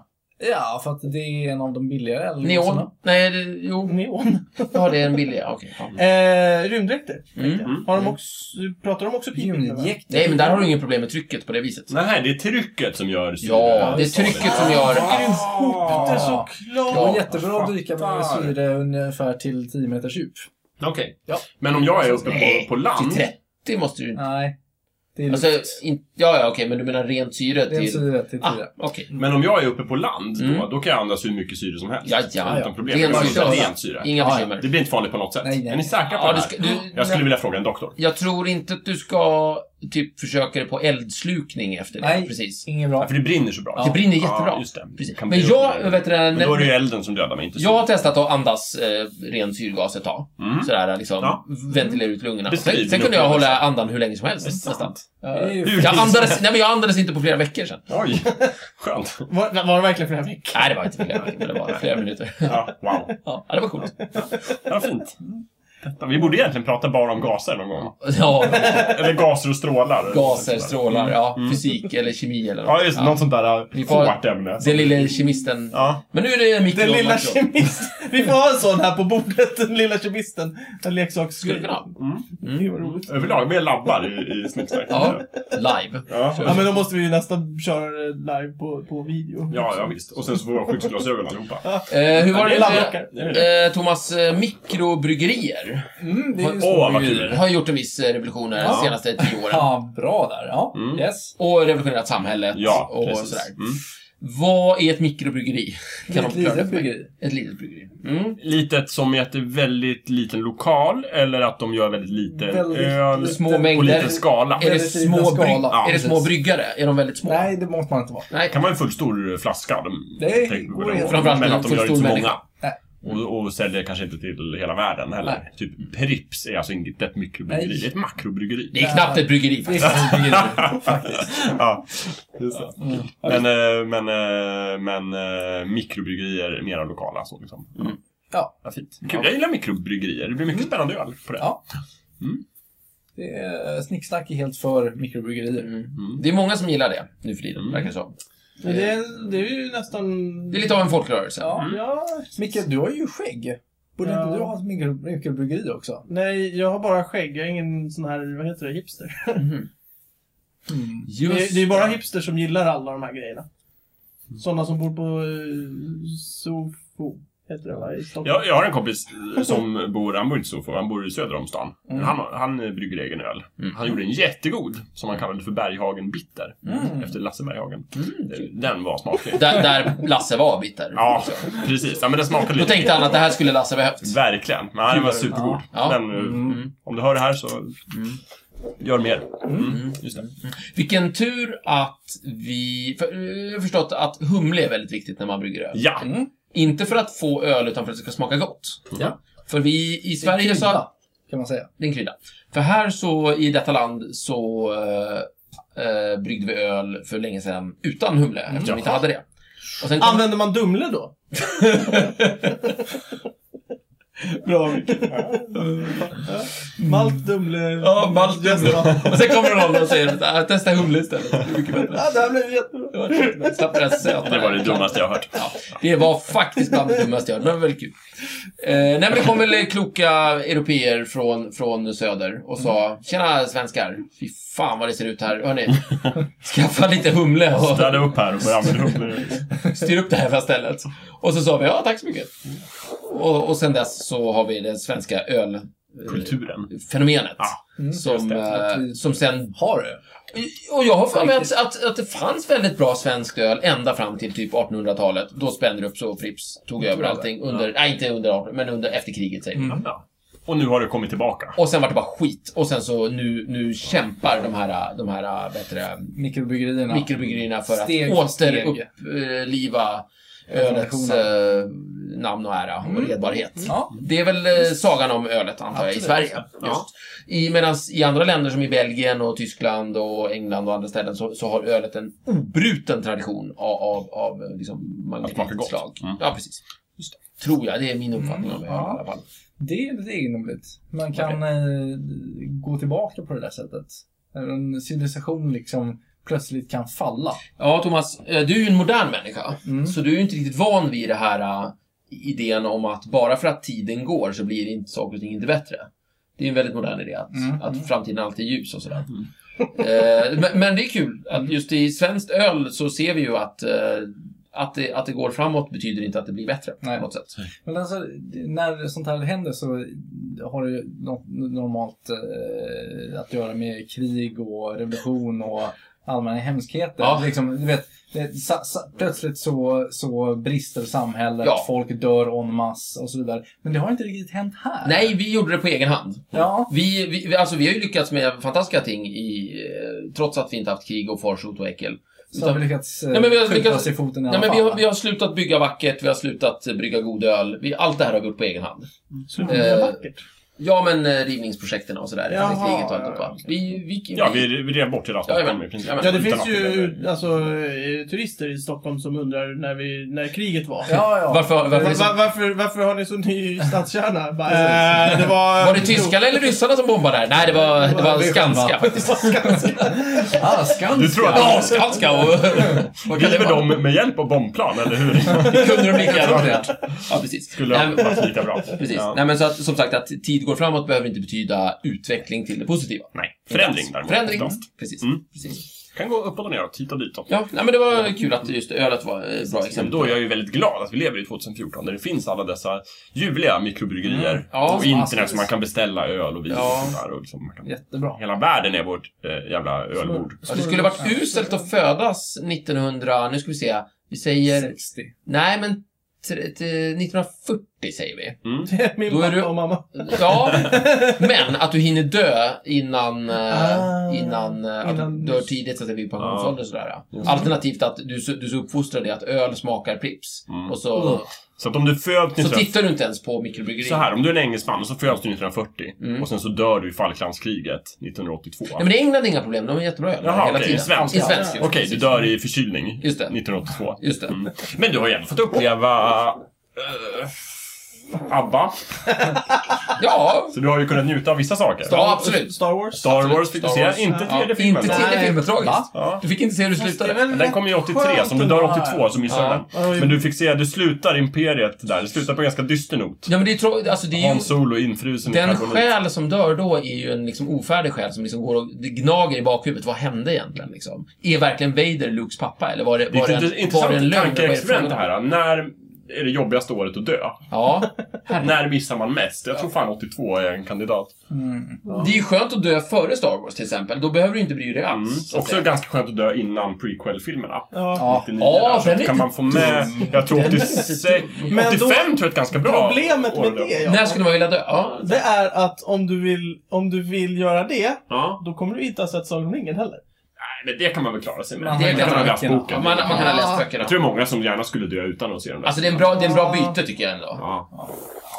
[SPEAKER 4] Ja, för att det är en av de billigare
[SPEAKER 2] Neon? Nej, det, jo.
[SPEAKER 1] neon?
[SPEAKER 2] Ja, det är en billig. ja, Okej. ja.
[SPEAKER 1] Eh, rymddräkter.
[SPEAKER 2] Mm.
[SPEAKER 1] Har de också, pratar de också pipigt? med varandra?
[SPEAKER 4] Ljumjekt.
[SPEAKER 2] Nej, men där har du inget problem med trycket på det viset.
[SPEAKER 3] Nej, det är trycket som gör
[SPEAKER 4] Ah.
[SPEAKER 2] Ja, det är trycket som gör...
[SPEAKER 1] Grymt
[SPEAKER 2] att-
[SPEAKER 1] hoppigt,
[SPEAKER 4] Det var
[SPEAKER 1] såklart!
[SPEAKER 2] Ja.
[SPEAKER 4] jättebra att dyka med
[SPEAKER 3] fattar.
[SPEAKER 4] syre ungefär till 10 meters djup.
[SPEAKER 3] Okej.
[SPEAKER 4] Ja.
[SPEAKER 3] Men om jag är uppe
[SPEAKER 2] Nej,
[SPEAKER 3] på, på land...
[SPEAKER 2] Till 30 måste du...
[SPEAKER 4] Nej, det är
[SPEAKER 2] Alltså,
[SPEAKER 4] luft.
[SPEAKER 2] in, ja, ja, okej, men du menar rent syre
[SPEAKER 4] Det är
[SPEAKER 2] till...
[SPEAKER 4] syre till 10.
[SPEAKER 2] Ah, okej.
[SPEAKER 3] Men om jag är uppe på land, då,
[SPEAKER 2] Mm.
[SPEAKER 3] då kan jag andas hur mycket syre som helst.
[SPEAKER 2] Ja, ja.
[SPEAKER 3] Utan problem.
[SPEAKER 2] Ren
[SPEAKER 3] Rent syre.
[SPEAKER 4] syre.
[SPEAKER 3] Rent syre.
[SPEAKER 2] Inga
[SPEAKER 4] Ja, ja.
[SPEAKER 2] bekymmer.
[SPEAKER 3] Det blir inte farligt på något sätt.
[SPEAKER 4] Nej, nej.
[SPEAKER 3] Är ni säkra på
[SPEAKER 2] Ja,
[SPEAKER 3] det
[SPEAKER 2] du
[SPEAKER 3] här?
[SPEAKER 2] ska, du,
[SPEAKER 3] Jag skulle vilja fråga en doktor.
[SPEAKER 2] Jag tror inte att du ska typ försöka dig på eldslukning efter det.
[SPEAKER 4] Nej.
[SPEAKER 2] Precis.
[SPEAKER 4] Inget
[SPEAKER 3] Ja,
[SPEAKER 4] bra.
[SPEAKER 3] för det brinner så bra.
[SPEAKER 2] Det brinner
[SPEAKER 3] Ja,
[SPEAKER 2] jättebra.
[SPEAKER 3] just det.
[SPEAKER 2] Precis.
[SPEAKER 3] Kan
[SPEAKER 2] Men
[SPEAKER 3] bli
[SPEAKER 2] jag,
[SPEAKER 3] upp-
[SPEAKER 2] vet du,
[SPEAKER 3] Men då är det ju
[SPEAKER 2] när,
[SPEAKER 3] elden som dödar mig, inte
[SPEAKER 2] jag
[SPEAKER 3] syret.
[SPEAKER 2] har testat att andas eh, ren syrgas ett tag.
[SPEAKER 3] Mm.
[SPEAKER 2] Sådär liksom,
[SPEAKER 3] Ja.
[SPEAKER 2] ventilera ut lungorna.
[SPEAKER 3] Beskriv
[SPEAKER 2] Sen,
[SPEAKER 3] din
[SPEAKER 2] sen kunde jag
[SPEAKER 3] upplevelse.
[SPEAKER 2] hålla andan hur länge som helst.
[SPEAKER 3] Det är sant.
[SPEAKER 2] Nästan.
[SPEAKER 4] Det är ju
[SPEAKER 3] Hur-
[SPEAKER 2] Jag andades, nej men jag andades inte på flera veckor sen.
[SPEAKER 3] Oj, skönt.
[SPEAKER 1] Var, var det verkligen flera veckor?
[SPEAKER 2] Nej, det var inte flera veckor, men det var flera minuter.
[SPEAKER 3] Ja, wow.
[SPEAKER 2] Ja, det var coolt.
[SPEAKER 3] Ja, fint. Detta- Vi borde egentligen prata bara om gaser någon gång.
[SPEAKER 2] Ja,
[SPEAKER 3] Eller gaser och strålar.
[SPEAKER 2] gaser, strålar, ja, fysik eller kemi eller
[SPEAKER 3] Ja, just det. Något sånt där
[SPEAKER 2] Vi
[SPEAKER 3] äh,
[SPEAKER 2] får-
[SPEAKER 3] hårt ämne.
[SPEAKER 2] Den lille kemisten.
[SPEAKER 3] Ja.
[SPEAKER 2] Men nu är det mikron
[SPEAKER 1] Den lilla
[SPEAKER 2] också.
[SPEAKER 1] kemisten. Vi får ha en sån här på bordet, den lilla kemisten. En leksaks...
[SPEAKER 2] Skulle kunna ha.
[SPEAKER 3] Mm.
[SPEAKER 1] Det var roligt.
[SPEAKER 3] Överlag mer labbar i, i snicksnack.
[SPEAKER 2] Ja, live.
[SPEAKER 3] Ja.
[SPEAKER 1] Ja, men då måste vi ju nästan köra det live på, på video.
[SPEAKER 3] Ja, ja, visst. Och sen så får vi ha skyddsglasögon allihopa.
[SPEAKER 2] Eh, hur var
[SPEAKER 1] Ja, det är
[SPEAKER 2] det?
[SPEAKER 1] labbrockar.
[SPEAKER 3] Det är det.
[SPEAKER 2] Eh, Thomas, eh, mikrobryggerier
[SPEAKER 4] Mm, det är ju
[SPEAKER 3] Åh, vad
[SPEAKER 4] småbryggerier.
[SPEAKER 3] kul.
[SPEAKER 2] har gjort en viss eh, revolution här de
[SPEAKER 4] Ja.
[SPEAKER 2] senaste tio åren.
[SPEAKER 4] Ja, bra där. Ja,
[SPEAKER 3] Mm.
[SPEAKER 4] yes.
[SPEAKER 2] Och revolutionerat samhället
[SPEAKER 3] Ja,
[SPEAKER 2] och
[SPEAKER 3] precis.
[SPEAKER 2] sådär.
[SPEAKER 3] Mm.
[SPEAKER 2] Vad är ett mikrobryggeri?
[SPEAKER 4] Det är
[SPEAKER 2] de
[SPEAKER 4] ett
[SPEAKER 2] förklara
[SPEAKER 4] litet
[SPEAKER 2] för mig?
[SPEAKER 4] bryggeri.
[SPEAKER 2] Ett litet bryggeri. Mm.
[SPEAKER 3] Litet som i att det är väldigt liten lokal eller att de gör väldigt lite
[SPEAKER 4] Väldigt
[SPEAKER 3] öl
[SPEAKER 4] lite.
[SPEAKER 2] Små
[SPEAKER 3] på
[SPEAKER 2] mängder.
[SPEAKER 3] liten skala.
[SPEAKER 2] Är det,
[SPEAKER 4] Väldigt liten
[SPEAKER 2] små bryg-
[SPEAKER 4] typ skala.
[SPEAKER 2] är det
[SPEAKER 3] Ja,
[SPEAKER 2] små
[SPEAKER 4] precis.
[SPEAKER 2] bryggare? Är de väldigt små?
[SPEAKER 4] Nej, det måste man inte vara.
[SPEAKER 2] Nej.
[SPEAKER 3] kan vara en full stor flaska. De,
[SPEAKER 4] Det
[SPEAKER 3] tänker på
[SPEAKER 4] går
[SPEAKER 3] det.
[SPEAKER 4] helt-
[SPEAKER 2] Framförallt
[SPEAKER 3] Men
[SPEAKER 2] en
[SPEAKER 3] att de
[SPEAKER 2] full
[SPEAKER 3] gör inte så
[SPEAKER 2] stor
[SPEAKER 3] många.
[SPEAKER 2] människa.
[SPEAKER 4] Nej.
[SPEAKER 3] Och, och säljer kanske inte till hela världen heller.
[SPEAKER 2] Nej.
[SPEAKER 3] Typ Prips är alltså inte ett mikrobryggeri,
[SPEAKER 4] Nej.
[SPEAKER 3] det är ett makrobryggeri.
[SPEAKER 2] Det är knappt ett bryggeri
[SPEAKER 4] Det är
[SPEAKER 2] faktiskt.
[SPEAKER 4] ett bryggeri, faktiskt.
[SPEAKER 3] ja, just det.
[SPEAKER 2] Mm.
[SPEAKER 3] Men, eh, men, eh, men eh, mikrobryggerier är mera lokala. Så liksom.
[SPEAKER 4] Ja,
[SPEAKER 3] Ja, Mm. fint. Kul, jag gillar mikrobryggerier. Det blir mycket spännande öl på det.
[SPEAKER 4] Ja. det är, eh, snicksnack är helt för mikrobryggerier.
[SPEAKER 2] Mm. Det är många som gillar det nu för tiden,
[SPEAKER 3] Mm.
[SPEAKER 2] verkar det som.
[SPEAKER 1] Men Det, är- det är ju nästan...
[SPEAKER 2] Det är lite av en folkrörelse.
[SPEAKER 4] Ja.
[SPEAKER 1] Ja.
[SPEAKER 4] Micke, du har ju skägg. Borde
[SPEAKER 1] Ja.
[SPEAKER 4] inte du ha ett mikro, mikrobryggeri också?
[SPEAKER 1] Nej, jag har bara skägg. Jag är ingen sån här, vad heter det, hipster.
[SPEAKER 2] Mhm.
[SPEAKER 1] Det
[SPEAKER 2] Just
[SPEAKER 1] är, det är bara hipsters som gillar alla de här grejerna. Sådana som bor på eh, Sofo, heter det va? I Stockholm.
[SPEAKER 3] Jag, jag har en kompis som bor, han bor inte så få, han bor söder om stan.
[SPEAKER 4] Mm.
[SPEAKER 3] Han, han brygger egen öl.
[SPEAKER 2] Mm.
[SPEAKER 3] Han gjorde en jättegod som han kallade för Berghagen Bitter.
[SPEAKER 4] Mm.
[SPEAKER 3] Efter Lasse Berghagen. Eh, Den var smaklig.
[SPEAKER 2] Där, där Lasse var bitter.
[SPEAKER 3] Ja, precis. Ja, men den smakade
[SPEAKER 2] Då
[SPEAKER 3] lite.
[SPEAKER 2] tänkte han att det här skulle Lasse behövt.
[SPEAKER 3] Verkligen. Men den var supergod.
[SPEAKER 2] Ja.
[SPEAKER 3] Den, eh, Om du hör det här så gör mer. Mm. Just det.
[SPEAKER 2] Vilken tur att vi... För, eh, jag har förstått att humle är väldigt viktigt när man brygger öl.
[SPEAKER 3] Ja,
[SPEAKER 2] Inte för att få öl, utan för att det ska smaka gott.
[SPEAKER 4] Ja.
[SPEAKER 2] För vi i
[SPEAKER 4] Det är
[SPEAKER 2] Sverige så...
[SPEAKER 4] krydda, Kan man säga.
[SPEAKER 2] Det är en krydda. För här så, i detta land, så eh, eh, bryggde vi öl för länge sedan utan humle, eftersom vi inte hade det. Och sen kom,
[SPEAKER 1] Använder man Dumle då? Bra mycket. Malt Dumle.
[SPEAKER 2] Ja, malt Dumle. och sen kommer någon och säger "Ah, testa humle istället. Det är mycket bättre.
[SPEAKER 1] Ja, det här blev jättebra.
[SPEAKER 2] Det var det. Slapp det där söta.
[SPEAKER 3] det var det dummaste jag har hört.
[SPEAKER 2] Ja, det var faktiskt bland det dummaste jag hört, men det var väldigt kul. Eh, nej, men det kom väl kloka européer från, från söder och sa Tjena svenskar, fy fan vad det ser ut här. Hörni, skaffa lite humle och
[SPEAKER 3] Städa upp här och börja använda humle.
[SPEAKER 2] styr upp det här jävla stället. Och så sa vi ja, tack så mycket. Och, och sen dess så har vi det svenska ölfenomenet.
[SPEAKER 3] Kulturen. Ja,
[SPEAKER 2] som,
[SPEAKER 3] det.
[SPEAKER 2] eh, som sen...
[SPEAKER 4] Har du?
[SPEAKER 2] Och jag har för mig att, att, att det fanns väldigt bra svensk öl ända fram till typ 1800-talet. Då Spendrups och Pripps tog över
[SPEAKER 4] det. Mm.
[SPEAKER 2] allting. Under, Nej, inte under 1800 men under efter kriget säger vi.
[SPEAKER 3] Ja. Och nu har det kommit tillbaka.
[SPEAKER 2] Och sen var det bara skit. Och sen så nu, nu kämpar de här, de här bättre
[SPEAKER 4] Mikrobryggerierna.
[SPEAKER 2] mikrobryggerierna för att
[SPEAKER 4] Steg för steg.
[SPEAKER 2] återuppliva ölets eh, namn och ära och
[SPEAKER 4] Mm.
[SPEAKER 2] redbarhet.
[SPEAKER 4] Ja.
[SPEAKER 2] Det är väl eh, sagan om ölet, antar jag, i
[SPEAKER 4] Absolut.
[SPEAKER 2] Sverige.
[SPEAKER 3] Ja.
[SPEAKER 2] I, medan i andra länder som i Belgien och Tyskland och England och andra ställen så, så har ölet en obruten tradition av, av, av eh, liksom,
[SPEAKER 3] smaka gott.
[SPEAKER 2] magnetitslag.
[SPEAKER 3] Mm.
[SPEAKER 2] Ja, precis. Tror jag, det är min uppfattning om öl i
[SPEAKER 4] ja.
[SPEAKER 2] alla fall.
[SPEAKER 4] Det är lite egendomligt. Man kan eh, gå tillbaka på det där sättet. En civilisation liksom plötsligt kan falla.
[SPEAKER 2] Ja, Thomas, eh, du är ju en modern människa.
[SPEAKER 4] Mm.
[SPEAKER 2] Så du är ju inte riktigt van vid det här eh, idén om att bara för att tiden går så blir inte saker och ting inte bättre. Det är ju en väldigt modern idé att,
[SPEAKER 4] Mm.
[SPEAKER 2] att framtiden alltid är ljus och sådär. Eh, men, men det är kul
[SPEAKER 4] Mm.
[SPEAKER 2] att just i svenskt öl så ser vi ju att, eh, att, det, att det går framåt betyder inte att det blir bättre
[SPEAKER 4] Nej.
[SPEAKER 2] på något sätt.
[SPEAKER 4] Men alltså, när sånt här händer så har det ju no- normalt eh, att göra med krig och revolution och allmänna hemskheter.
[SPEAKER 2] Ja.
[SPEAKER 4] Liksom, du vet, det, sa, sa, plötsligt så, så brister samhället,
[SPEAKER 2] Ja.
[SPEAKER 4] folk dör en masse och så vidare. Men det har inte riktigt hänt här.
[SPEAKER 2] Nej, vi gjorde det på egen hand.
[SPEAKER 4] Ja.
[SPEAKER 2] Vi, vi, vi- alltså, vi har ju lyckats med fantastiska ting i, eh, trots att vi inte haft krig och farsot och äckel.
[SPEAKER 4] Så har vi lyckats eh,
[SPEAKER 2] Nej, men vi har
[SPEAKER 4] skjuta
[SPEAKER 2] lyckats-
[SPEAKER 4] oss i foten i alla
[SPEAKER 2] Nej, men vi,
[SPEAKER 4] fall.
[SPEAKER 2] har, vi har slutat bygga vackert, vi har slutat eh, brygga god öl. Vi, allt det här har vi gjort på egen hand.
[SPEAKER 1] Sluta med
[SPEAKER 2] Eh,
[SPEAKER 1] vackert.
[SPEAKER 2] Ja, men eh, rivningsprojekten och sådär.
[SPEAKER 1] Jaha,
[SPEAKER 2] efter kriget och allt
[SPEAKER 1] ja.
[SPEAKER 2] ja. vi, vi,
[SPEAKER 3] Ja, vi, vi rev bort hela Stockholm
[SPEAKER 2] Jajamän.
[SPEAKER 3] i princip.
[SPEAKER 2] Jajamän.
[SPEAKER 1] Ja, det
[SPEAKER 3] Utan
[SPEAKER 1] finns
[SPEAKER 3] att
[SPEAKER 1] ju
[SPEAKER 3] det-
[SPEAKER 1] alltså, eh, turister i Stockholm som undrar när, vi, när kriget var.
[SPEAKER 4] Ja, ja.
[SPEAKER 2] Varför, varför,
[SPEAKER 1] Va-
[SPEAKER 2] varför,
[SPEAKER 1] va- varför, varför har ni så ny stadskärna? Bara, eh, det var...
[SPEAKER 2] var det tyskarna eller ryssarna som bombade där? Nej, det var, det var
[SPEAKER 4] Vi själva.
[SPEAKER 2] Skanska faktiskt.
[SPEAKER 4] Ah, Skanska.
[SPEAKER 3] Du tror att-
[SPEAKER 2] Ja, Skanska och... Vad kan det
[SPEAKER 3] Driver
[SPEAKER 2] vara?
[SPEAKER 3] de med hjälp av bombplan, eller hur?
[SPEAKER 2] Kunde de lika gärna det? Ja, precis.
[SPEAKER 3] Skulle
[SPEAKER 2] Nej,
[SPEAKER 3] ha
[SPEAKER 2] men-
[SPEAKER 3] varit lika bra.
[SPEAKER 2] Precis.
[SPEAKER 3] Ja.
[SPEAKER 2] Nej, men så att, som sagt, att tid går framåt behöver inte betyda utveckling till det positiva.
[SPEAKER 3] Nej, förändring däremot.
[SPEAKER 2] Förändring,
[SPEAKER 3] oftast.
[SPEAKER 2] precis.
[SPEAKER 3] Mm.
[SPEAKER 2] precis.
[SPEAKER 3] Kan gå upp och neråt, hit och dit. Också.
[SPEAKER 2] Ja, nej, men det var kul att just ölet var ett bra exempel.
[SPEAKER 3] Men då är jag ju väldigt glad att vi lever i 2014 där det finns alla dessa ljuvliga mikrobryggerier.
[SPEAKER 2] Mm. Ja,
[SPEAKER 3] och internet så man kan beställa öl och vin
[SPEAKER 2] Ja.
[SPEAKER 3] och sådär. Och liksom, man kan...
[SPEAKER 4] Jättebra.
[SPEAKER 3] Hela världen är vårt eh, jävla ölbord.
[SPEAKER 2] Ja, det skulle varit uselt att födas 1900, nu ska vi se, vi säger,
[SPEAKER 4] 60.
[SPEAKER 2] nej men t- t- 1940 säger vi.
[SPEAKER 1] Min
[SPEAKER 2] Då är
[SPEAKER 1] pappa
[SPEAKER 2] du-
[SPEAKER 1] och mamma.
[SPEAKER 2] Ja, men att du hinner dö innan, eh,
[SPEAKER 1] Ah,
[SPEAKER 2] innan, eh, att
[SPEAKER 1] innan-
[SPEAKER 2] du dör tidigt så att det blir pensionsålder och sådär. ja.
[SPEAKER 3] Mm.
[SPEAKER 2] Alternativt att du, så- du så uppfostrar dig att öl smakar Pripps.
[SPEAKER 3] Mm.
[SPEAKER 2] Och så,
[SPEAKER 3] Så att om du föds
[SPEAKER 2] så
[SPEAKER 3] 1940
[SPEAKER 2] tittar du inte ens på mikrobryggerier.
[SPEAKER 3] Så här, om du är en engelsman och så föds du 1940
[SPEAKER 2] Mm.
[SPEAKER 3] och sen så dör du i Falklandskriget 1982.
[SPEAKER 2] Nej men i England är inga problem, de är jättebra öl.
[SPEAKER 3] Jaha,
[SPEAKER 2] hela
[SPEAKER 3] okej,
[SPEAKER 2] tiden.
[SPEAKER 3] i svensk.
[SPEAKER 2] I svensk
[SPEAKER 1] Ja.
[SPEAKER 2] ja.
[SPEAKER 3] Okej, du dör i förkylning
[SPEAKER 2] Just det.
[SPEAKER 3] 1982.
[SPEAKER 2] Just det.
[SPEAKER 3] Mm. Men du har ju ändå fått uppleva eh, ABBA.
[SPEAKER 2] Ja,
[SPEAKER 3] Så du har ju kunnat njuta av vissa saker.
[SPEAKER 2] ja absolut.
[SPEAKER 1] Star Wars.
[SPEAKER 3] Star Wars fick du
[SPEAKER 2] Star Wars.
[SPEAKER 3] se, inte
[SPEAKER 1] Ja.
[SPEAKER 3] tredje filmen.
[SPEAKER 2] Inte tredje
[SPEAKER 1] Nej.
[SPEAKER 2] filmen, tragiskt.
[SPEAKER 3] Ja.
[SPEAKER 2] Du fick inte se hur det
[SPEAKER 1] Fast det
[SPEAKER 2] slutade.
[SPEAKER 1] är väl
[SPEAKER 3] Men Den kom ju 83,
[SPEAKER 1] skönt
[SPEAKER 3] som du dör
[SPEAKER 1] ändå här.
[SPEAKER 3] 82 så missar
[SPEAKER 2] Ja.
[SPEAKER 3] du den. Men du fick se, du slutar Imperiet där. Det slutar på en ganska dyster not.
[SPEAKER 2] Ja, men det är, trå- alltså, det är ju...
[SPEAKER 3] Hans Solo infrusen i
[SPEAKER 2] Den
[SPEAKER 3] karbonit.
[SPEAKER 2] själ som dör då är ju en liksom ofärdig själ som liksom går och det gnager i bakhuvudet. Vad hände egentligen? Liksom? Är verkligen Vader Lukes pappa? Eller var det,
[SPEAKER 3] Det
[SPEAKER 2] var
[SPEAKER 3] är
[SPEAKER 2] det,
[SPEAKER 3] ett
[SPEAKER 2] en, var det en
[SPEAKER 3] intressant
[SPEAKER 2] lögn? Vad är det
[SPEAKER 3] tankeexperiment det
[SPEAKER 2] frågan om?
[SPEAKER 3] här. När är det jobbigaste året att dö?
[SPEAKER 2] Ja. Mm.
[SPEAKER 3] När missar man mest? Jag tror fan 82 är en kandidat.
[SPEAKER 2] Det är ju skönt att dö före Star Wars till exempel. Då behöver du inte bry dig alls. så att
[SPEAKER 3] Mm. Också
[SPEAKER 2] säga.
[SPEAKER 3] ganska skönt att dö innan prequel-filmerna.
[SPEAKER 1] Ja.
[SPEAKER 4] Ja.
[SPEAKER 3] 99
[SPEAKER 2] Ja,
[SPEAKER 3] där. Så
[SPEAKER 2] den är
[SPEAKER 3] kan
[SPEAKER 2] inte
[SPEAKER 3] man få med... Jag tror 86... 85
[SPEAKER 1] Men då-
[SPEAKER 3] tror jag är ett ganska bra
[SPEAKER 1] Problemet
[SPEAKER 3] år
[SPEAKER 1] med
[SPEAKER 3] att
[SPEAKER 1] det,
[SPEAKER 3] dö.
[SPEAKER 1] ja.
[SPEAKER 2] När skulle man vilja dö? Ja.
[SPEAKER 1] Det är att om du vill, om du vill göra det,
[SPEAKER 3] Ja.
[SPEAKER 1] då kommer du inte ha sett Sagan om ringen heller.
[SPEAKER 3] Nej, men det kan man väl klara sig med.
[SPEAKER 4] Man
[SPEAKER 2] Det
[SPEAKER 3] Man
[SPEAKER 2] kan
[SPEAKER 3] kan
[SPEAKER 2] man
[SPEAKER 3] ha läst
[SPEAKER 4] verkligen.
[SPEAKER 2] Man,
[SPEAKER 3] boken.
[SPEAKER 2] man kan ha läst
[SPEAKER 3] Jag
[SPEAKER 2] böckerna.
[SPEAKER 3] tror det är många som gärna skulle dö utan att se den där.
[SPEAKER 2] Alltså det är, en bra, det är en bra byte tycker jag ändå.
[SPEAKER 3] Ja.
[SPEAKER 1] Ja.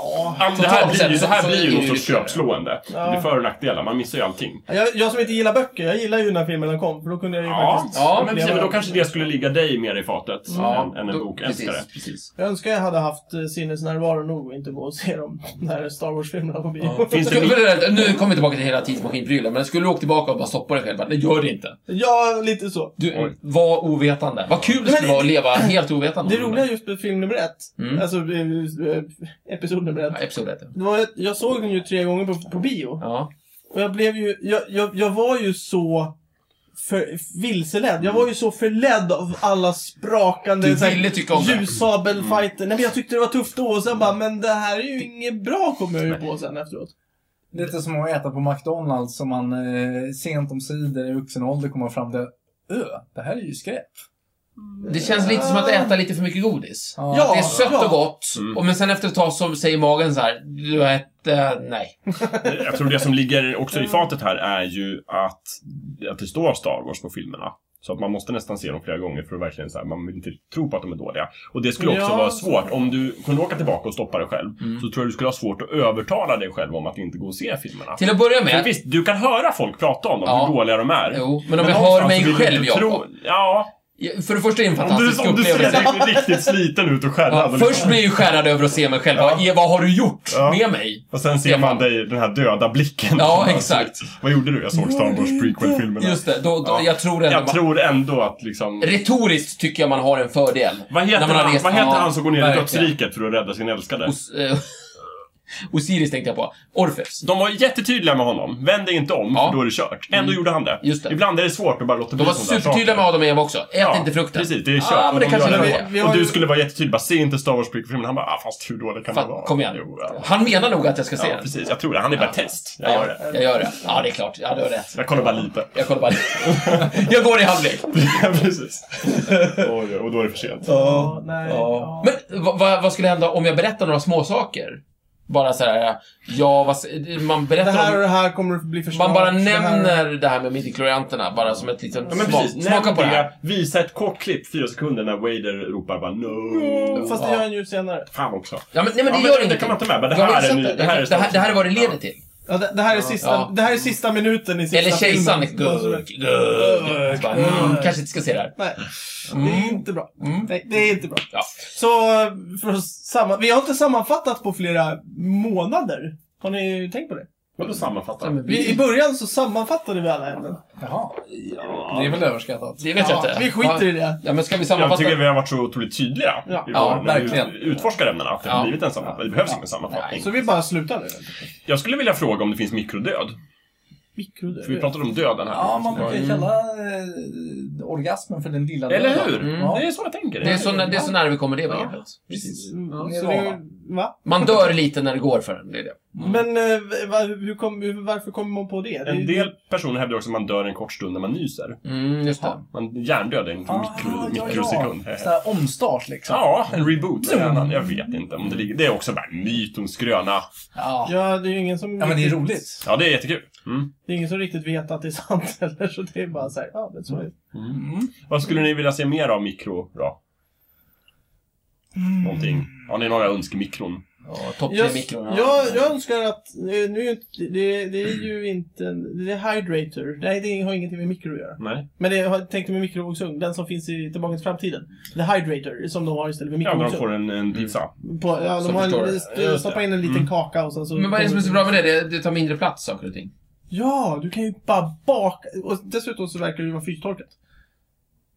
[SPEAKER 3] Ja, men det här
[SPEAKER 2] Totalt
[SPEAKER 3] blir ju,
[SPEAKER 2] sett
[SPEAKER 3] så här
[SPEAKER 2] så
[SPEAKER 3] blir
[SPEAKER 2] är
[SPEAKER 3] ju
[SPEAKER 2] det
[SPEAKER 3] någon
[SPEAKER 2] ju
[SPEAKER 3] sorts
[SPEAKER 2] lite-
[SPEAKER 3] köpslående.
[SPEAKER 1] Ja.
[SPEAKER 3] Det är för och nackdelar, man missar ju allting.
[SPEAKER 1] Jag, jag som inte gillar böcker, jag gillar ju när filmerna kom, för då kunde jag ju
[SPEAKER 3] Ja,
[SPEAKER 1] faktiskt...
[SPEAKER 3] ja men,
[SPEAKER 1] uppleva
[SPEAKER 3] precis, men då
[SPEAKER 1] det.
[SPEAKER 3] kanske det skulle ligga dig mer i fatet än, än en
[SPEAKER 2] då-
[SPEAKER 3] bokälskare.
[SPEAKER 2] precis, precis.
[SPEAKER 1] Jag önskar jag hade haft eh, sinnesnärvaro nog och inte gå och se de där Star Wars-filmerna på bio.
[SPEAKER 3] Finns det
[SPEAKER 2] Skulle, vänta, nu kommer vi tillbaka till hela tidsmaskinprylen, men skulle du åka tillbaka och bara stoppa dig själv? Bara, Nej, gör det inte.
[SPEAKER 1] Ja, lite så.
[SPEAKER 2] Du, var ovetande. Vad kul det
[SPEAKER 1] Men
[SPEAKER 2] skulle vara att
[SPEAKER 1] det-
[SPEAKER 2] leva helt ovetande.
[SPEAKER 1] Det roliga just med film nummer ett,
[SPEAKER 2] Mm.
[SPEAKER 1] alltså eh, eh, episod nummer ett,
[SPEAKER 2] Ja, episod ett, ja.
[SPEAKER 1] det var, att jag såg den ju tre gånger på, på bio.
[SPEAKER 2] Ja.
[SPEAKER 1] Och jag blev ju, jag, jag, jag var ju så för, vilseledd. Jag var ju så förledd av alla sprakande
[SPEAKER 2] Du
[SPEAKER 1] så här,
[SPEAKER 2] ville tycka om det. Mm.
[SPEAKER 1] ljussabelfighter. Nej men jag tyckte det var tufft då och sen bara, men det här är ju inget bra kom jag ju på sen efteråt.
[SPEAKER 4] Lite som att äta på McDonalds som man eh, sent om sidor i vuxen ålder kommer fram till. Ö, det här är ju skräp.
[SPEAKER 2] Det känns lite som att äta lite för mycket godis.
[SPEAKER 4] Ja.
[SPEAKER 2] Det är sött
[SPEAKER 1] Ah. ja.
[SPEAKER 2] och gott,
[SPEAKER 3] Mm.
[SPEAKER 2] och men sen efter ett tag så säger magen så här, du har ett, eh, nej.
[SPEAKER 3] Jag tror det som ligger också i fatet här är ju att, att det står Star Wars på filmerna. Så att man måste nästan se dem flera gånger för att verkligen så här, man vill inte tro på att de är dåliga. Och det skulle också
[SPEAKER 1] Ja.
[SPEAKER 3] vara svårt. Om du kunde åka tillbaka och stoppa dig själv
[SPEAKER 2] Mm.
[SPEAKER 3] så tror jag du skulle ha svårt att övertala dig själv om att inte gå och se filmerna.
[SPEAKER 2] Till att börja
[SPEAKER 3] För
[SPEAKER 2] med,
[SPEAKER 3] visst, du kan höra folk prata om dem,
[SPEAKER 2] Ja.
[SPEAKER 3] hur dåliga de är.
[SPEAKER 2] jo, men om jag hör
[SPEAKER 3] någonstans
[SPEAKER 2] mig
[SPEAKER 3] vill du
[SPEAKER 2] själv,
[SPEAKER 3] inte tro-
[SPEAKER 2] Jakob.
[SPEAKER 3] Ja,
[SPEAKER 2] För det första är det en
[SPEAKER 3] om du, liksom-
[SPEAKER 2] fantastisk
[SPEAKER 3] om du ser
[SPEAKER 2] upplevelse.
[SPEAKER 3] dig riktigt sliten ut och
[SPEAKER 2] Ja,
[SPEAKER 3] skärrad. och liksom-
[SPEAKER 2] först blir jag ju skärrad över att se mig själv. Vad är- Vad har du gjort
[SPEAKER 3] Ja.
[SPEAKER 2] med mig?
[SPEAKER 3] Och sen ser
[SPEAKER 2] Ser
[SPEAKER 3] man
[SPEAKER 2] man.
[SPEAKER 3] dig, den här döda blicken. Alltså,
[SPEAKER 2] Ja, exakt.
[SPEAKER 3] Vad gjorde du? Jag såg Star Wars prequel-filmerna.
[SPEAKER 2] Just det, då, då,
[SPEAKER 3] Ja.
[SPEAKER 2] jag tror ändå...
[SPEAKER 3] Jag tror ändå att liksom...
[SPEAKER 2] Retoriskt tycker jag man har en fördel.
[SPEAKER 3] Vad heter,
[SPEAKER 2] När man har
[SPEAKER 3] han,
[SPEAKER 2] rest-
[SPEAKER 3] vad heter
[SPEAKER 2] Ja,
[SPEAKER 3] han som går ner i
[SPEAKER 2] verkligen.
[SPEAKER 3] dödsriket för att rädda sin älskade?
[SPEAKER 2] Os eh, Osiris tänkte jag på. Orfeus.
[SPEAKER 3] De var jättetydliga med honom. Vänd dig inte om,
[SPEAKER 2] Ja. Mm.
[SPEAKER 3] för då är det kört. Ändå gjorde han det.
[SPEAKER 2] Just det.
[SPEAKER 3] Ibland är det svårt att bara låta bli
[SPEAKER 2] De var
[SPEAKER 3] sådana där
[SPEAKER 2] supertydliga
[SPEAKER 3] saker.
[SPEAKER 2] med Adam och Eva också. Ät
[SPEAKER 3] Ja,
[SPEAKER 2] inte frukten.
[SPEAKER 3] Precis, det är kört.
[SPEAKER 2] Ah, men det
[SPEAKER 3] Och de
[SPEAKER 2] kanske
[SPEAKER 3] gör
[SPEAKER 1] det
[SPEAKER 3] det.
[SPEAKER 1] var. Vi har
[SPEAKER 3] Och
[SPEAKER 1] ju-
[SPEAKER 3] du skulle vara jättetydlig. Bara, se inte Star Wars prequel-filmen. Han bara, ah, fast hur dålig kan man
[SPEAKER 2] Fan,
[SPEAKER 3] vara?
[SPEAKER 2] kom igen.
[SPEAKER 3] Jo, ja.
[SPEAKER 2] Han menar nog att jag ska se
[SPEAKER 3] ja,
[SPEAKER 2] den.
[SPEAKER 3] precis. Jag tror det. Han är bara test. Jag gör det.
[SPEAKER 2] Jag gör det. Ja, det är klart. Ja, du har rätt.
[SPEAKER 3] Jag kollar bara lite.
[SPEAKER 2] Jag kollar bara. jag går i halvlek.
[SPEAKER 3] precis. Oj, och då är det för sent.
[SPEAKER 1] Ja, nej. Ja.
[SPEAKER 2] Men vad- vad- vad skulle hända om jag berättar några småsaker? Bara så här, ja, vad, s- man
[SPEAKER 1] Det
[SPEAKER 2] berättar
[SPEAKER 1] här och
[SPEAKER 2] om,
[SPEAKER 1] det här kommer du bli för
[SPEAKER 2] Man
[SPEAKER 1] snart,
[SPEAKER 2] bara
[SPEAKER 1] det här-
[SPEAKER 2] nämner det här med midjeklorianterna, bara som ett litet
[SPEAKER 3] Ja, men
[SPEAKER 2] smak.
[SPEAKER 3] precis.
[SPEAKER 2] Smaka på det här.
[SPEAKER 3] Visa ett kort klipp, fyra sekunder, när Wader ropar bara no.
[SPEAKER 1] Mm, Fast det gör han ju senare.
[SPEAKER 3] Fan också.
[SPEAKER 2] Ja, men, nej, men det
[SPEAKER 3] Ja,
[SPEAKER 2] gör
[SPEAKER 3] det
[SPEAKER 2] ingenting.
[SPEAKER 3] kan man ta med. Men det
[SPEAKER 2] Jag har
[SPEAKER 3] här är
[SPEAKER 2] sett
[SPEAKER 3] ny-
[SPEAKER 2] det. Jag- det, här, det här är vad det leder till.
[SPEAKER 1] Ja, det, det, här är sista,
[SPEAKER 2] Ja.
[SPEAKER 1] det här är sista minuten i sista
[SPEAKER 2] Eller kejsaren.
[SPEAKER 1] filmen.
[SPEAKER 2] liksom, Gurk, gurk. Bara, mm, Kanske inte ska se det här.
[SPEAKER 1] Nej, det är
[SPEAKER 2] Mm.
[SPEAKER 1] inte bra.
[SPEAKER 2] Mm.
[SPEAKER 1] Nej, det är inte bra.
[SPEAKER 2] Ja.
[SPEAKER 1] Så, för att samma, vi har inte sammanfattat på flera månader. Har ni tänkt på det?
[SPEAKER 3] Vadå sammanfatta?
[SPEAKER 1] Vi, I början så sammanfattade vi alla ämnen.
[SPEAKER 4] Jaha. Det är väl överskattat.
[SPEAKER 2] Det vet jag inte.
[SPEAKER 1] vi skiter i det.
[SPEAKER 2] Ja, men ska vi
[SPEAKER 3] Jag
[SPEAKER 2] sammanfatta?
[SPEAKER 3] tycker vi har varit så otroligt tydliga
[SPEAKER 1] Ja.
[SPEAKER 3] i
[SPEAKER 2] Ja,
[SPEAKER 3] vår- när vi
[SPEAKER 4] verkligen.
[SPEAKER 3] utforskar ämnena. Att det har
[SPEAKER 2] Ja.
[SPEAKER 3] blivit en sammanfattning. Det behövs
[SPEAKER 4] Ja.
[SPEAKER 3] ingen sammanfattning.
[SPEAKER 1] Så vi bara slutar nu.
[SPEAKER 3] Jag skulle vilja fråga om det finns mikrodöd. För vi
[SPEAKER 1] Mikrodöd.
[SPEAKER 3] pratade om döden här.
[SPEAKER 4] Ja, man
[SPEAKER 3] Mm.
[SPEAKER 4] brukar kalla eh, orgasmen för den lilla
[SPEAKER 3] Eller
[SPEAKER 4] döden.
[SPEAKER 3] hur?
[SPEAKER 2] Mm.
[SPEAKER 3] Det är så jag tänker.
[SPEAKER 2] Det är så, när- det är så nära vi kommer det
[SPEAKER 3] Ja.
[SPEAKER 2] begreppet.
[SPEAKER 3] Precis.
[SPEAKER 1] Mm,
[SPEAKER 4] Ja,
[SPEAKER 1] så
[SPEAKER 4] nirvana.
[SPEAKER 1] det, va?
[SPEAKER 2] Man dör lite när det går för en. Det är det.
[SPEAKER 1] Men eh, va, hur kom, hur, varför kommer man på det? det
[SPEAKER 3] En del personer hävdar också att man dör en kort stund när man nyser.
[SPEAKER 2] Mm, just det.
[SPEAKER 3] Man hjärndöd är en
[SPEAKER 4] Ah,
[SPEAKER 3] mikro,
[SPEAKER 4] ja,
[SPEAKER 3] mikrosekund.
[SPEAKER 4] ja. Sån här omstart liksom.
[SPEAKER 3] Ja, en reboot. säger han. Jag vet inte om det ligger... Det är också bara en myt om skröna.
[SPEAKER 4] Ja.
[SPEAKER 1] Ja, det är ju ingen som...
[SPEAKER 4] ja, men det är
[SPEAKER 1] riktigt-
[SPEAKER 4] roligt.
[SPEAKER 3] Ja, det är jättekul. Mm.
[SPEAKER 1] Det är ingen som riktigt vet att det är sant heller, så det är bara såhär, ja men så är det.
[SPEAKER 4] Mm.
[SPEAKER 3] Vad skulle ni vilja se mer av mikro då? Någonting? Har ni några önskemikron?
[SPEAKER 2] Ja, Topp tre
[SPEAKER 1] Jag,
[SPEAKER 2] mikron.
[SPEAKER 1] jag, jag önskar att, eh, nu är ju inte, det, det är ju inte, en- det är Hydrator. Nej, det har ingenting med mikro att göra.
[SPEAKER 3] Nej.
[SPEAKER 1] Men det har- jag tänkte med mikrovågsugn, den som finns i Tillbaka till framtiden. The Hydrator, som de har istället för
[SPEAKER 3] Ja, men de
[SPEAKER 1] mikrovågsugn.
[SPEAKER 3] får en, en pizza.
[SPEAKER 1] På, ja, de
[SPEAKER 2] Som
[SPEAKER 1] har
[SPEAKER 2] förstår
[SPEAKER 1] en,
[SPEAKER 2] det.
[SPEAKER 1] st- stoppa in en liten kaka och sen så...
[SPEAKER 2] Mm. Men vad är det som är så
[SPEAKER 1] kommer-
[SPEAKER 2] bra med det? Det, det tar mindre plats, saker och ting.
[SPEAKER 1] Ja, du kan ju bara baka. Och dessutom så verkar det ju vara fystorkat.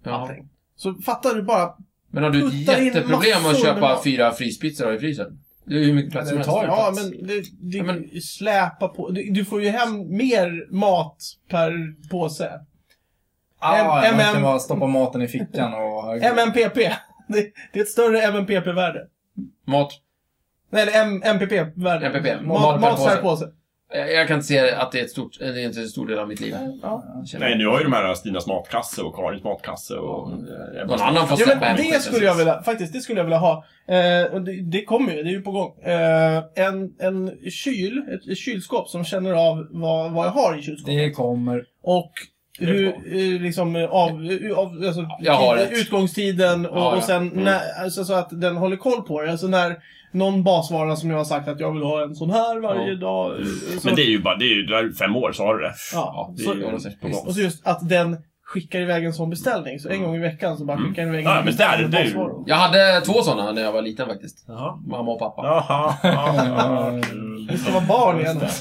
[SPEAKER 2] Ja.
[SPEAKER 1] Allting. Så fattar du bara...
[SPEAKER 2] Men har du ett
[SPEAKER 1] Putta in
[SPEAKER 2] jätteproblem
[SPEAKER 1] massor
[SPEAKER 2] att
[SPEAKER 1] med
[SPEAKER 2] köpa
[SPEAKER 1] mat.
[SPEAKER 2] fyra fryspizzor i frysen? Det är ju hur mycket plats
[SPEAKER 4] Men
[SPEAKER 2] som
[SPEAKER 4] det
[SPEAKER 2] helst.
[SPEAKER 4] tar ju-
[SPEAKER 1] Ja,
[SPEAKER 4] plats.
[SPEAKER 1] men det, det
[SPEAKER 2] Ja, men-
[SPEAKER 1] släpa på. Du, du får ju hem mer mat per påse.
[SPEAKER 4] Ah,
[SPEAKER 1] M-
[SPEAKER 4] man kan
[SPEAKER 1] MM.
[SPEAKER 4] bara stoppa maten i fickan och...
[SPEAKER 3] Mm.
[SPEAKER 1] MMPP. Det, det är ett större MMPP-värde.
[SPEAKER 2] Mat.
[SPEAKER 1] Nej, eller M- MPP-värde.
[SPEAKER 2] MPP.
[SPEAKER 1] Mat, mat per
[SPEAKER 2] påse.
[SPEAKER 1] påse.
[SPEAKER 2] Jag, jag kan inte se att det är, ett stort, eh, det är inte en stor del av mitt liv.
[SPEAKER 1] Ja.
[SPEAKER 2] Känner
[SPEAKER 3] Nej,
[SPEAKER 2] jag.
[SPEAKER 3] nu har ju de här Stinas matkasse och Karins matkasse och... eh,
[SPEAKER 2] Någon annan får
[SPEAKER 1] Ja,
[SPEAKER 2] släppa
[SPEAKER 1] men
[SPEAKER 2] en
[SPEAKER 1] det
[SPEAKER 2] skit,
[SPEAKER 1] skulle jag vilja, faktiskt, det skulle jag vilja ha. Eh, och det, det kommer ju, det är ju på gång. Eh, en, en kyl, ett, ett kylskåp som känner av vad, vad jag har i kylskåpet.
[SPEAKER 4] Det
[SPEAKER 3] Mm.
[SPEAKER 4] kommer.
[SPEAKER 1] Och
[SPEAKER 3] Det är
[SPEAKER 1] hur,
[SPEAKER 3] bra.
[SPEAKER 1] eh, liksom, eh, av, eh, av alltså,
[SPEAKER 2] Jag har
[SPEAKER 1] tid-
[SPEAKER 2] ett.
[SPEAKER 1] utgångstiden och,
[SPEAKER 2] Ja, ja.
[SPEAKER 1] och sen
[SPEAKER 3] Mm.
[SPEAKER 1] när, alltså, så att den håller koll på det. Alltså när någon basvara som jag har sagt att jag vill ha en sån här varje
[SPEAKER 2] Ja.
[SPEAKER 1] dag. eh, Så,
[SPEAKER 3] Mm. Men det är ju bara... Det är ju det är fem år så har du det.
[SPEAKER 1] ja,
[SPEAKER 3] det är
[SPEAKER 1] så,
[SPEAKER 3] ju-
[SPEAKER 1] och så just att den skickar iväg en sån beställning. Så en
[SPEAKER 3] Mm.
[SPEAKER 1] gång i veckan så bara
[SPEAKER 3] Mm.
[SPEAKER 1] skickar den iväg en
[SPEAKER 3] Ja, men där-
[SPEAKER 1] beställning
[SPEAKER 3] det är ju-
[SPEAKER 1] basvaror.
[SPEAKER 2] Jag hade två sådana när jag var liten faktiskt.
[SPEAKER 3] Jaha.
[SPEAKER 2] Mamma och pappa.
[SPEAKER 3] Jaha. Jaha.
[SPEAKER 1] Vi ska vara barn igen.
[SPEAKER 4] Jag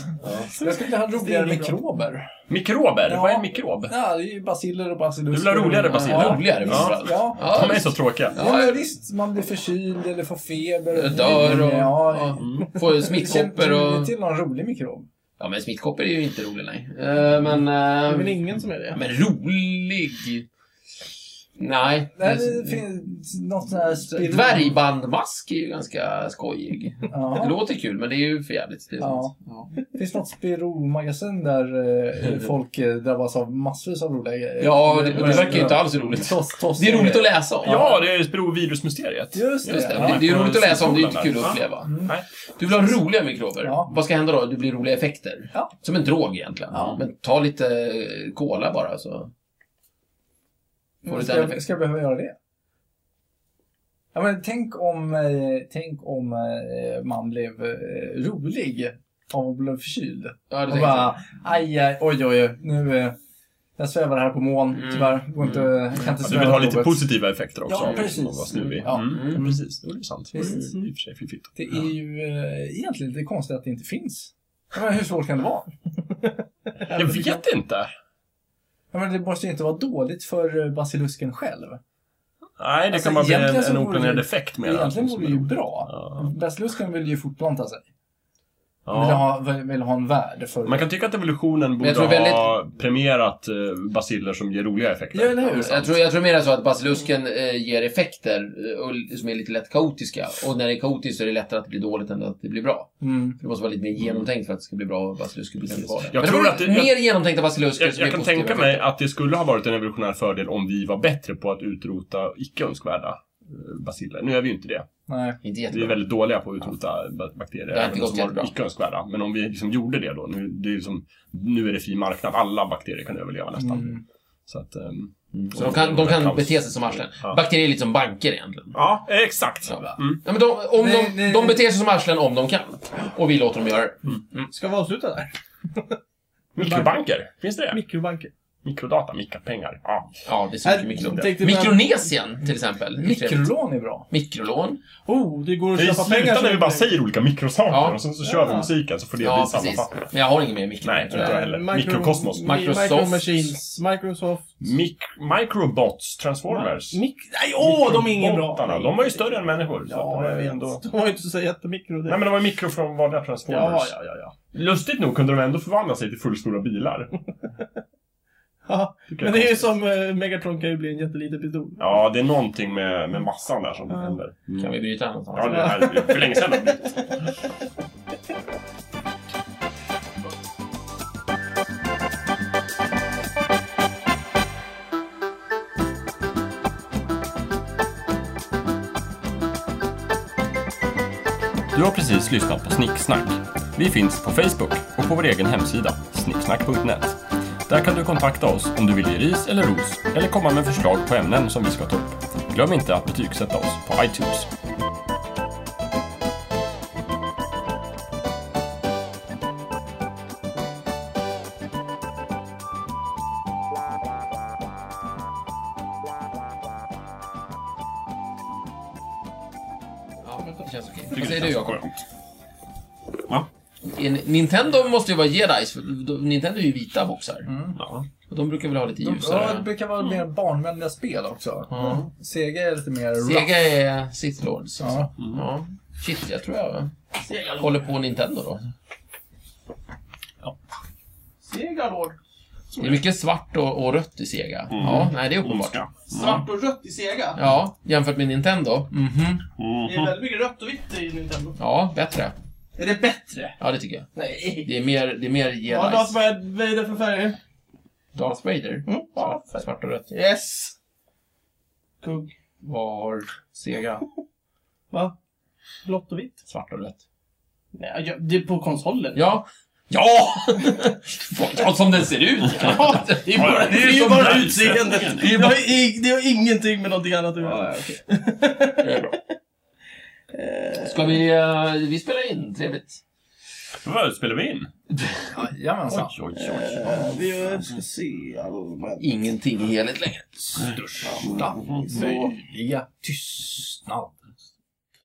[SPEAKER 4] skulle vilja ha roligare
[SPEAKER 1] Det är bra.
[SPEAKER 4] mikrober.
[SPEAKER 3] Mikrober?
[SPEAKER 4] Ja.
[SPEAKER 3] Vad är en mikrob?
[SPEAKER 4] Ja, det är ju basiller och basilusker.
[SPEAKER 3] Du vill ha roligare basiler?
[SPEAKER 2] Ja, roligare
[SPEAKER 3] ja.
[SPEAKER 2] basiler.
[SPEAKER 4] Ja.
[SPEAKER 2] Ja,
[SPEAKER 3] De är så tråkiga.
[SPEAKER 4] Ja, men visst, man blir förkyld eller får feber.
[SPEAKER 2] Dör och...
[SPEAKER 4] Ja,
[SPEAKER 2] Ja,
[SPEAKER 3] Mm.
[SPEAKER 2] Får
[SPEAKER 4] Känner
[SPEAKER 2] smittkoppor
[SPEAKER 4] ni
[SPEAKER 2] och...
[SPEAKER 4] till någon rolig mikrob?
[SPEAKER 2] Ja, men smittkoppor är ju inte rolig, nej. Eh, Men...
[SPEAKER 1] Det är
[SPEAKER 2] eh,
[SPEAKER 1] väl ingen som är det?
[SPEAKER 2] Men rolig... Nej.
[SPEAKER 4] Nej, det finns något sånt här spiral-
[SPEAKER 2] Dvärgbandmask är ju ganska skojig. Det
[SPEAKER 4] Ja.
[SPEAKER 2] låter kul, men det är ju för jävligt. Det är
[SPEAKER 4] Ja.
[SPEAKER 2] sant.
[SPEAKER 4] Det finns något spiromagasin där eh, folk eh, drabbas av massvis av roliga grejer.
[SPEAKER 2] Ja, det, det verkar ju inte alls roligt.
[SPEAKER 4] Toss, toss,
[SPEAKER 2] Det är roligt att läsa om.
[SPEAKER 3] Ja, det är sporovirusmysteriet.
[SPEAKER 4] Just det.
[SPEAKER 2] Just det,
[SPEAKER 4] Ja.
[SPEAKER 2] men det, det är ju roligt att läsa om, det är ju inte kul
[SPEAKER 3] Ja.
[SPEAKER 2] att uppleva.
[SPEAKER 3] Nej.
[SPEAKER 2] Du vill ha roliga mikrober.
[SPEAKER 4] Ja.
[SPEAKER 2] Vad ska hända då? Det blir roliga effekter.
[SPEAKER 4] Ja.
[SPEAKER 2] Som en drog egentligen.
[SPEAKER 4] Ja.
[SPEAKER 2] Men ta lite eh, cola bara så Får du
[SPEAKER 4] ska,
[SPEAKER 2] den
[SPEAKER 4] jag,
[SPEAKER 2] effekten?
[SPEAKER 4] ska jag behöva göra det? Ja, men tänk om, eh, tänk om eh, man blev eh, rolig av att bli förkyld.
[SPEAKER 2] Ja, det
[SPEAKER 4] Och
[SPEAKER 2] tänker jag.
[SPEAKER 4] bara, aj, aj, oj, oj, oj, nu... eh, Jag svävar här på moln,
[SPEAKER 2] Mm.
[SPEAKER 4] tyvärr. Går inte, jag kan inte
[SPEAKER 3] Alltså, du vill ha
[SPEAKER 4] på
[SPEAKER 3] lite
[SPEAKER 4] jobbet.
[SPEAKER 3] positiva effekter också.
[SPEAKER 4] Ja,
[SPEAKER 3] om
[SPEAKER 4] precis.
[SPEAKER 3] man var snuvig.
[SPEAKER 4] Ja.
[SPEAKER 3] Mm.
[SPEAKER 2] Mm.
[SPEAKER 3] Ja, precis. Jo, Det är sant.
[SPEAKER 4] Precis.
[SPEAKER 3] Mm. I och för sig fiffigt.
[SPEAKER 4] Det är ju eh, egentligen lite konstigt att det inte finns. Jag menar, hur svårt kan det vara?
[SPEAKER 3] Jag vet inte.
[SPEAKER 4] Jag menar, det måste ju inte vara dåligt för eh, basilusken själv.
[SPEAKER 3] Nej, det
[SPEAKER 4] Alltså,
[SPEAKER 3] kan bara bli en,
[SPEAKER 4] egentligen så
[SPEAKER 3] en
[SPEAKER 4] vore det-
[SPEAKER 3] oplanerad effekt med alltså,
[SPEAKER 4] Egentligen vore det ju bra.
[SPEAKER 3] Ja.
[SPEAKER 4] Basilusken vill ju fortplanta sig. Vill,
[SPEAKER 3] Ja.
[SPEAKER 4] ha, vill- vill ha en värld för...
[SPEAKER 3] Man kan tycka att evolutionen borde
[SPEAKER 2] jag tror
[SPEAKER 3] ha premierat eh, basiller som ger roliga effekter.
[SPEAKER 4] Ja, eller hur?
[SPEAKER 2] Jag tror, jag tror mer så att basilusken eh, ger effekter eh, och, som är lite lätt kaotiska. Och när det är kaotiskt så är det lättare att det blir dåligt än att det blir bra.
[SPEAKER 4] Mm.
[SPEAKER 2] För det måste vara lite mer genomtänkt för att det ska bli bra basilusker blir kvar.
[SPEAKER 3] Jag
[SPEAKER 2] Men det
[SPEAKER 3] tror
[SPEAKER 2] var
[SPEAKER 3] att det-
[SPEAKER 2] mer
[SPEAKER 3] jag-
[SPEAKER 2] genomtänkta basilusker
[SPEAKER 3] Jag,
[SPEAKER 2] som
[SPEAKER 3] jag
[SPEAKER 2] ger
[SPEAKER 3] kan
[SPEAKER 2] positiva
[SPEAKER 3] tänka
[SPEAKER 2] effekter.
[SPEAKER 3] mig att det skulle ha varit en evolutionär fördel om vi var bättre på att utrota icke önskvärda eh, basiller. Nu är vi ju inte det.
[SPEAKER 4] Nej.
[SPEAKER 2] Inte
[SPEAKER 3] Vi är
[SPEAKER 2] jättebra.
[SPEAKER 3] väldigt dåliga på att utrota ba- bakterier.
[SPEAKER 2] Det har inte
[SPEAKER 3] även
[SPEAKER 2] gått
[SPEAKER 3] som var
[SPEAKER 2] jättebra.
[SPEAKER 3] icke önskvärda. Men om vi liksom gjorde det då. Nu, det är liksom, nu är det fri marknad. Alla bakterier kan överleva nästan.
[SPEAKER 4] Mm.
[SPEAKER 3] Så att, ehm,
[SPEAKER 2] Mm. Så de kan, de kan
[SPEAKER 3] Kaos.
[SPEAKER 2] bete sig som arslen.
[SPEAKER 3] Ja.
[SPEAKER 2] Bakterier är lite som banker egentligen.
[SPEAKER 3] Ja, eh, exakt.
[SPEAKER 2] Ja.
[SPEAKER 3] Mm.
[SPEAKER 2] Nej, men de, om
[SPEAKER 4] Nej,
[SPEAKER 2] de,
[SPEAKER 4] nej,
[SPEAKER 2] de
[SPEAKER 4] nej.
[SPEAKER 2] beter sig som arslen om de kan. Och vi låter dem göra det.
[SPEAKER 1] Ska vi avsluta där?
[SPEAKER 3] mm, Mikrobanker, finns det det?
[SPEAKER 1] Mikrobanker.
[SPEAKER 3] Mikrodata, mikropengar. Ja.
[SPEAKER 2] Ja, det suger
[SPEAKER 1] Äh,
[SPEAKER 2] mycket lån.
[SPEAKER 1] tänkte-
[SPEAKER 2] Mikronesien till exempel. Mikro...
[SPEAKER 4] Mikrolån är bra.
[SPEAKER 2] Mikrolån.
[SPEAKER 1] Oh, det går att
[SPEAKER 3] Vi
[SPEAKER 1] köpa pengar.
[SPEAKER 3] slutar
[SPEAKER 1] så
[SPEAKER 3] när vi
[SPEAKER 1] mycket.
[SPEAKER 3] bara säger olika mikrosaker
[SPEAKER 2] Ja.
[SPEAKER 3] och sen så kör vi
[SPEAKER 1] Ja.
[SPEAKER 3] musiken så får det bli
[SPEAKER 2] Ja, precis.
[SPEAKER 3] sammanfattning.
[SPEAKER 2] Men jag har inget mer mikro.
[SPEAKER 3] Nej,
[SPEAKER 2] tror jag.
[SPEAKER 3] inte jag heller.
[SPEAKER 1] Micro-
[SPEAKER 3] Mikrokosmos.
[SPEAKER 1] Mi-
[SPEAKER 2] Microsoft.
[SPEAKER 1] Micro Machines. Microsoft.
[SPEAKER 3] Mik- microbots, transformers.
[SPEAKER 1] Mik Nej, åh, de är ingen
[SPEAKER 3] Mikrobotarna,
[SPEAKER 1] bra.
[SPEAKER 3] De var ju större än människor. så att de
[SPEAKER 1] Ja,
[SPEAKER 3] var
[SPEAKER 1] jag
[SPEAKER 3] ju
[SPEAKER 1] vet.
[SPEAKER 3] ändå-
[SPEAKER 1] De var ju inte så jättemikro.
[SPEAKER 3] Nej men de var mikro från vanliga
[SPEAKER 1] ja,
[SPEAKER 3] transformers.
[SPEAKER 1] ja, ja, ja.
[SPEAKER 3] Lustigt nog kunde de ändå förvandla sig till fullstora bilar.
[SPEAKER 1] ja.
[SPEAKER 3] Tycker
[SPEAKER 1] Men
[SPEAKER 3] jag
[SPEAKER 1] det är ju
[SPEAKER 3] konstigt.
[SPEAKER 1] som eh, Megatron kan ju bli en jätteliten pistol.
[SPEAKER 3] Ja, det är någonting med, med massan där som
[SPEAKER 1] Ja.
[SPEAKER 3] händer.
[SPEAKER 2] Kan vi bryta någonstans?
[SPEAKER 3] Ja, det här är för länge sedan. Du har precis lyssnat på Snicksnack. Vi finns på Facebook och på vår egen hemsida, snicksnack.net. Där kan du kontakta oss om du vill ge ris eller ros eller komma med förslag på ämnen som vi ska ta upp. Glöm inte att betygsätta oss på iTunes.
[SPEAKER 2] Ja, det känns okej.
[SPEAKER 3] Tycker
[SPEAKER 2] Vad säger
[SPEAKER 3] det
[SPEAKER 2] du,
[SPEAKER 3] känns
[SPEAKER 2] Jakob?
[SPEAKER 3] skönt. Va?
[SPEAKER 2] En- Nintendo måste ju vara jedis, för de- Nintendo är ju vita boxar.
[SPEAKER 3] Ja.
[SPEAKER 2] Och de brukar väl ha lite
[SPEAKER 4] Ja, det
[SPEAKER 2] ljusare.
[SPEAKER 4] brukar vara mer barnvänliga spel också.
[SPEAKER 2] Ja.
[SPEAKER 4] Sega är lite mer rough.
[SPEAKER 2] Sega är Sith Lords.
[SPEAKER 4] Ja.
[SPEAKER 3] Mm.
[SPEAKER 2] Ja. Shit, jag tror jag håller på Nintendo då.
[SPEAKER 1] Segalord.
[SPEAKER 2] Det är mycket svart och, och rött i Sega.
[SPEAKER 3] Mm.
[SPEAKER 2] Ja, nej, det är uppenbart.
[SPEAKER 3] Ondska.
[SPEAKER 1] Svart och rött i Sega.
[SPEAKER 2] Ja, jämfört med Nintendo. Mhm.
[SPEAKER 1] Det
[SPEAKER 3] Mm.
[SPEAKER 1] är väldigt mycket rött och vitt i Nintendo.
[SPEAKER 2] Ja, bättre.
[SPEAKER 1] Är det bättre?
[SPEAKER 2] Ja, det tycker jag.
[SPEAKER 1] Nej.
[SPEAKER 2] Det är mer, det är mer jedis.
[SPEAKER 1] Ja, Darth Vader för färger.
[SPEAKER 2] Darth Vader.
[SPEAKER 1] Mm. Ja.
[SPEAKER 2] Svart, svart och rött.
[SPEAKER 1] Yes. Kugg.
[SPEAKER 2] Vad har Sega?
[SPEAKER 1] Va? Blått och vitt?
[SPEAKER 2] Svart och rött.
[SPEAKER 1] Nej, jag- det är på konsolen.
[SPEAKER 2] Ja! Ja! ja som den ser ut!
[SPEAKER 1] Ja, det är bara,
[SPEAKER 3] Ja,
[SPEAKER 1] det är ju
[SPEAKER 3] som
[SPEAKER 1] bara
[SPEAKER 3] nice.
[SPEAKER 1] utseendet. Det, är bara, i- det har ingenting med någonting annat att göra.
[SPEAKER 2] Ska vi... eh, vi spelar in, trevligt.
[SPEAKER 3] Vad spelar vi in?
[SPEAKER 4] Jajamensan.
[SPEAKER 3] oj, oj.
[SPEAKER 1] Eh, Vi eh, ska se. allmänt.
[SPEAKER 2] Ingenting heligt längre.
[SPEAKER 4] Största möjliga tystnad.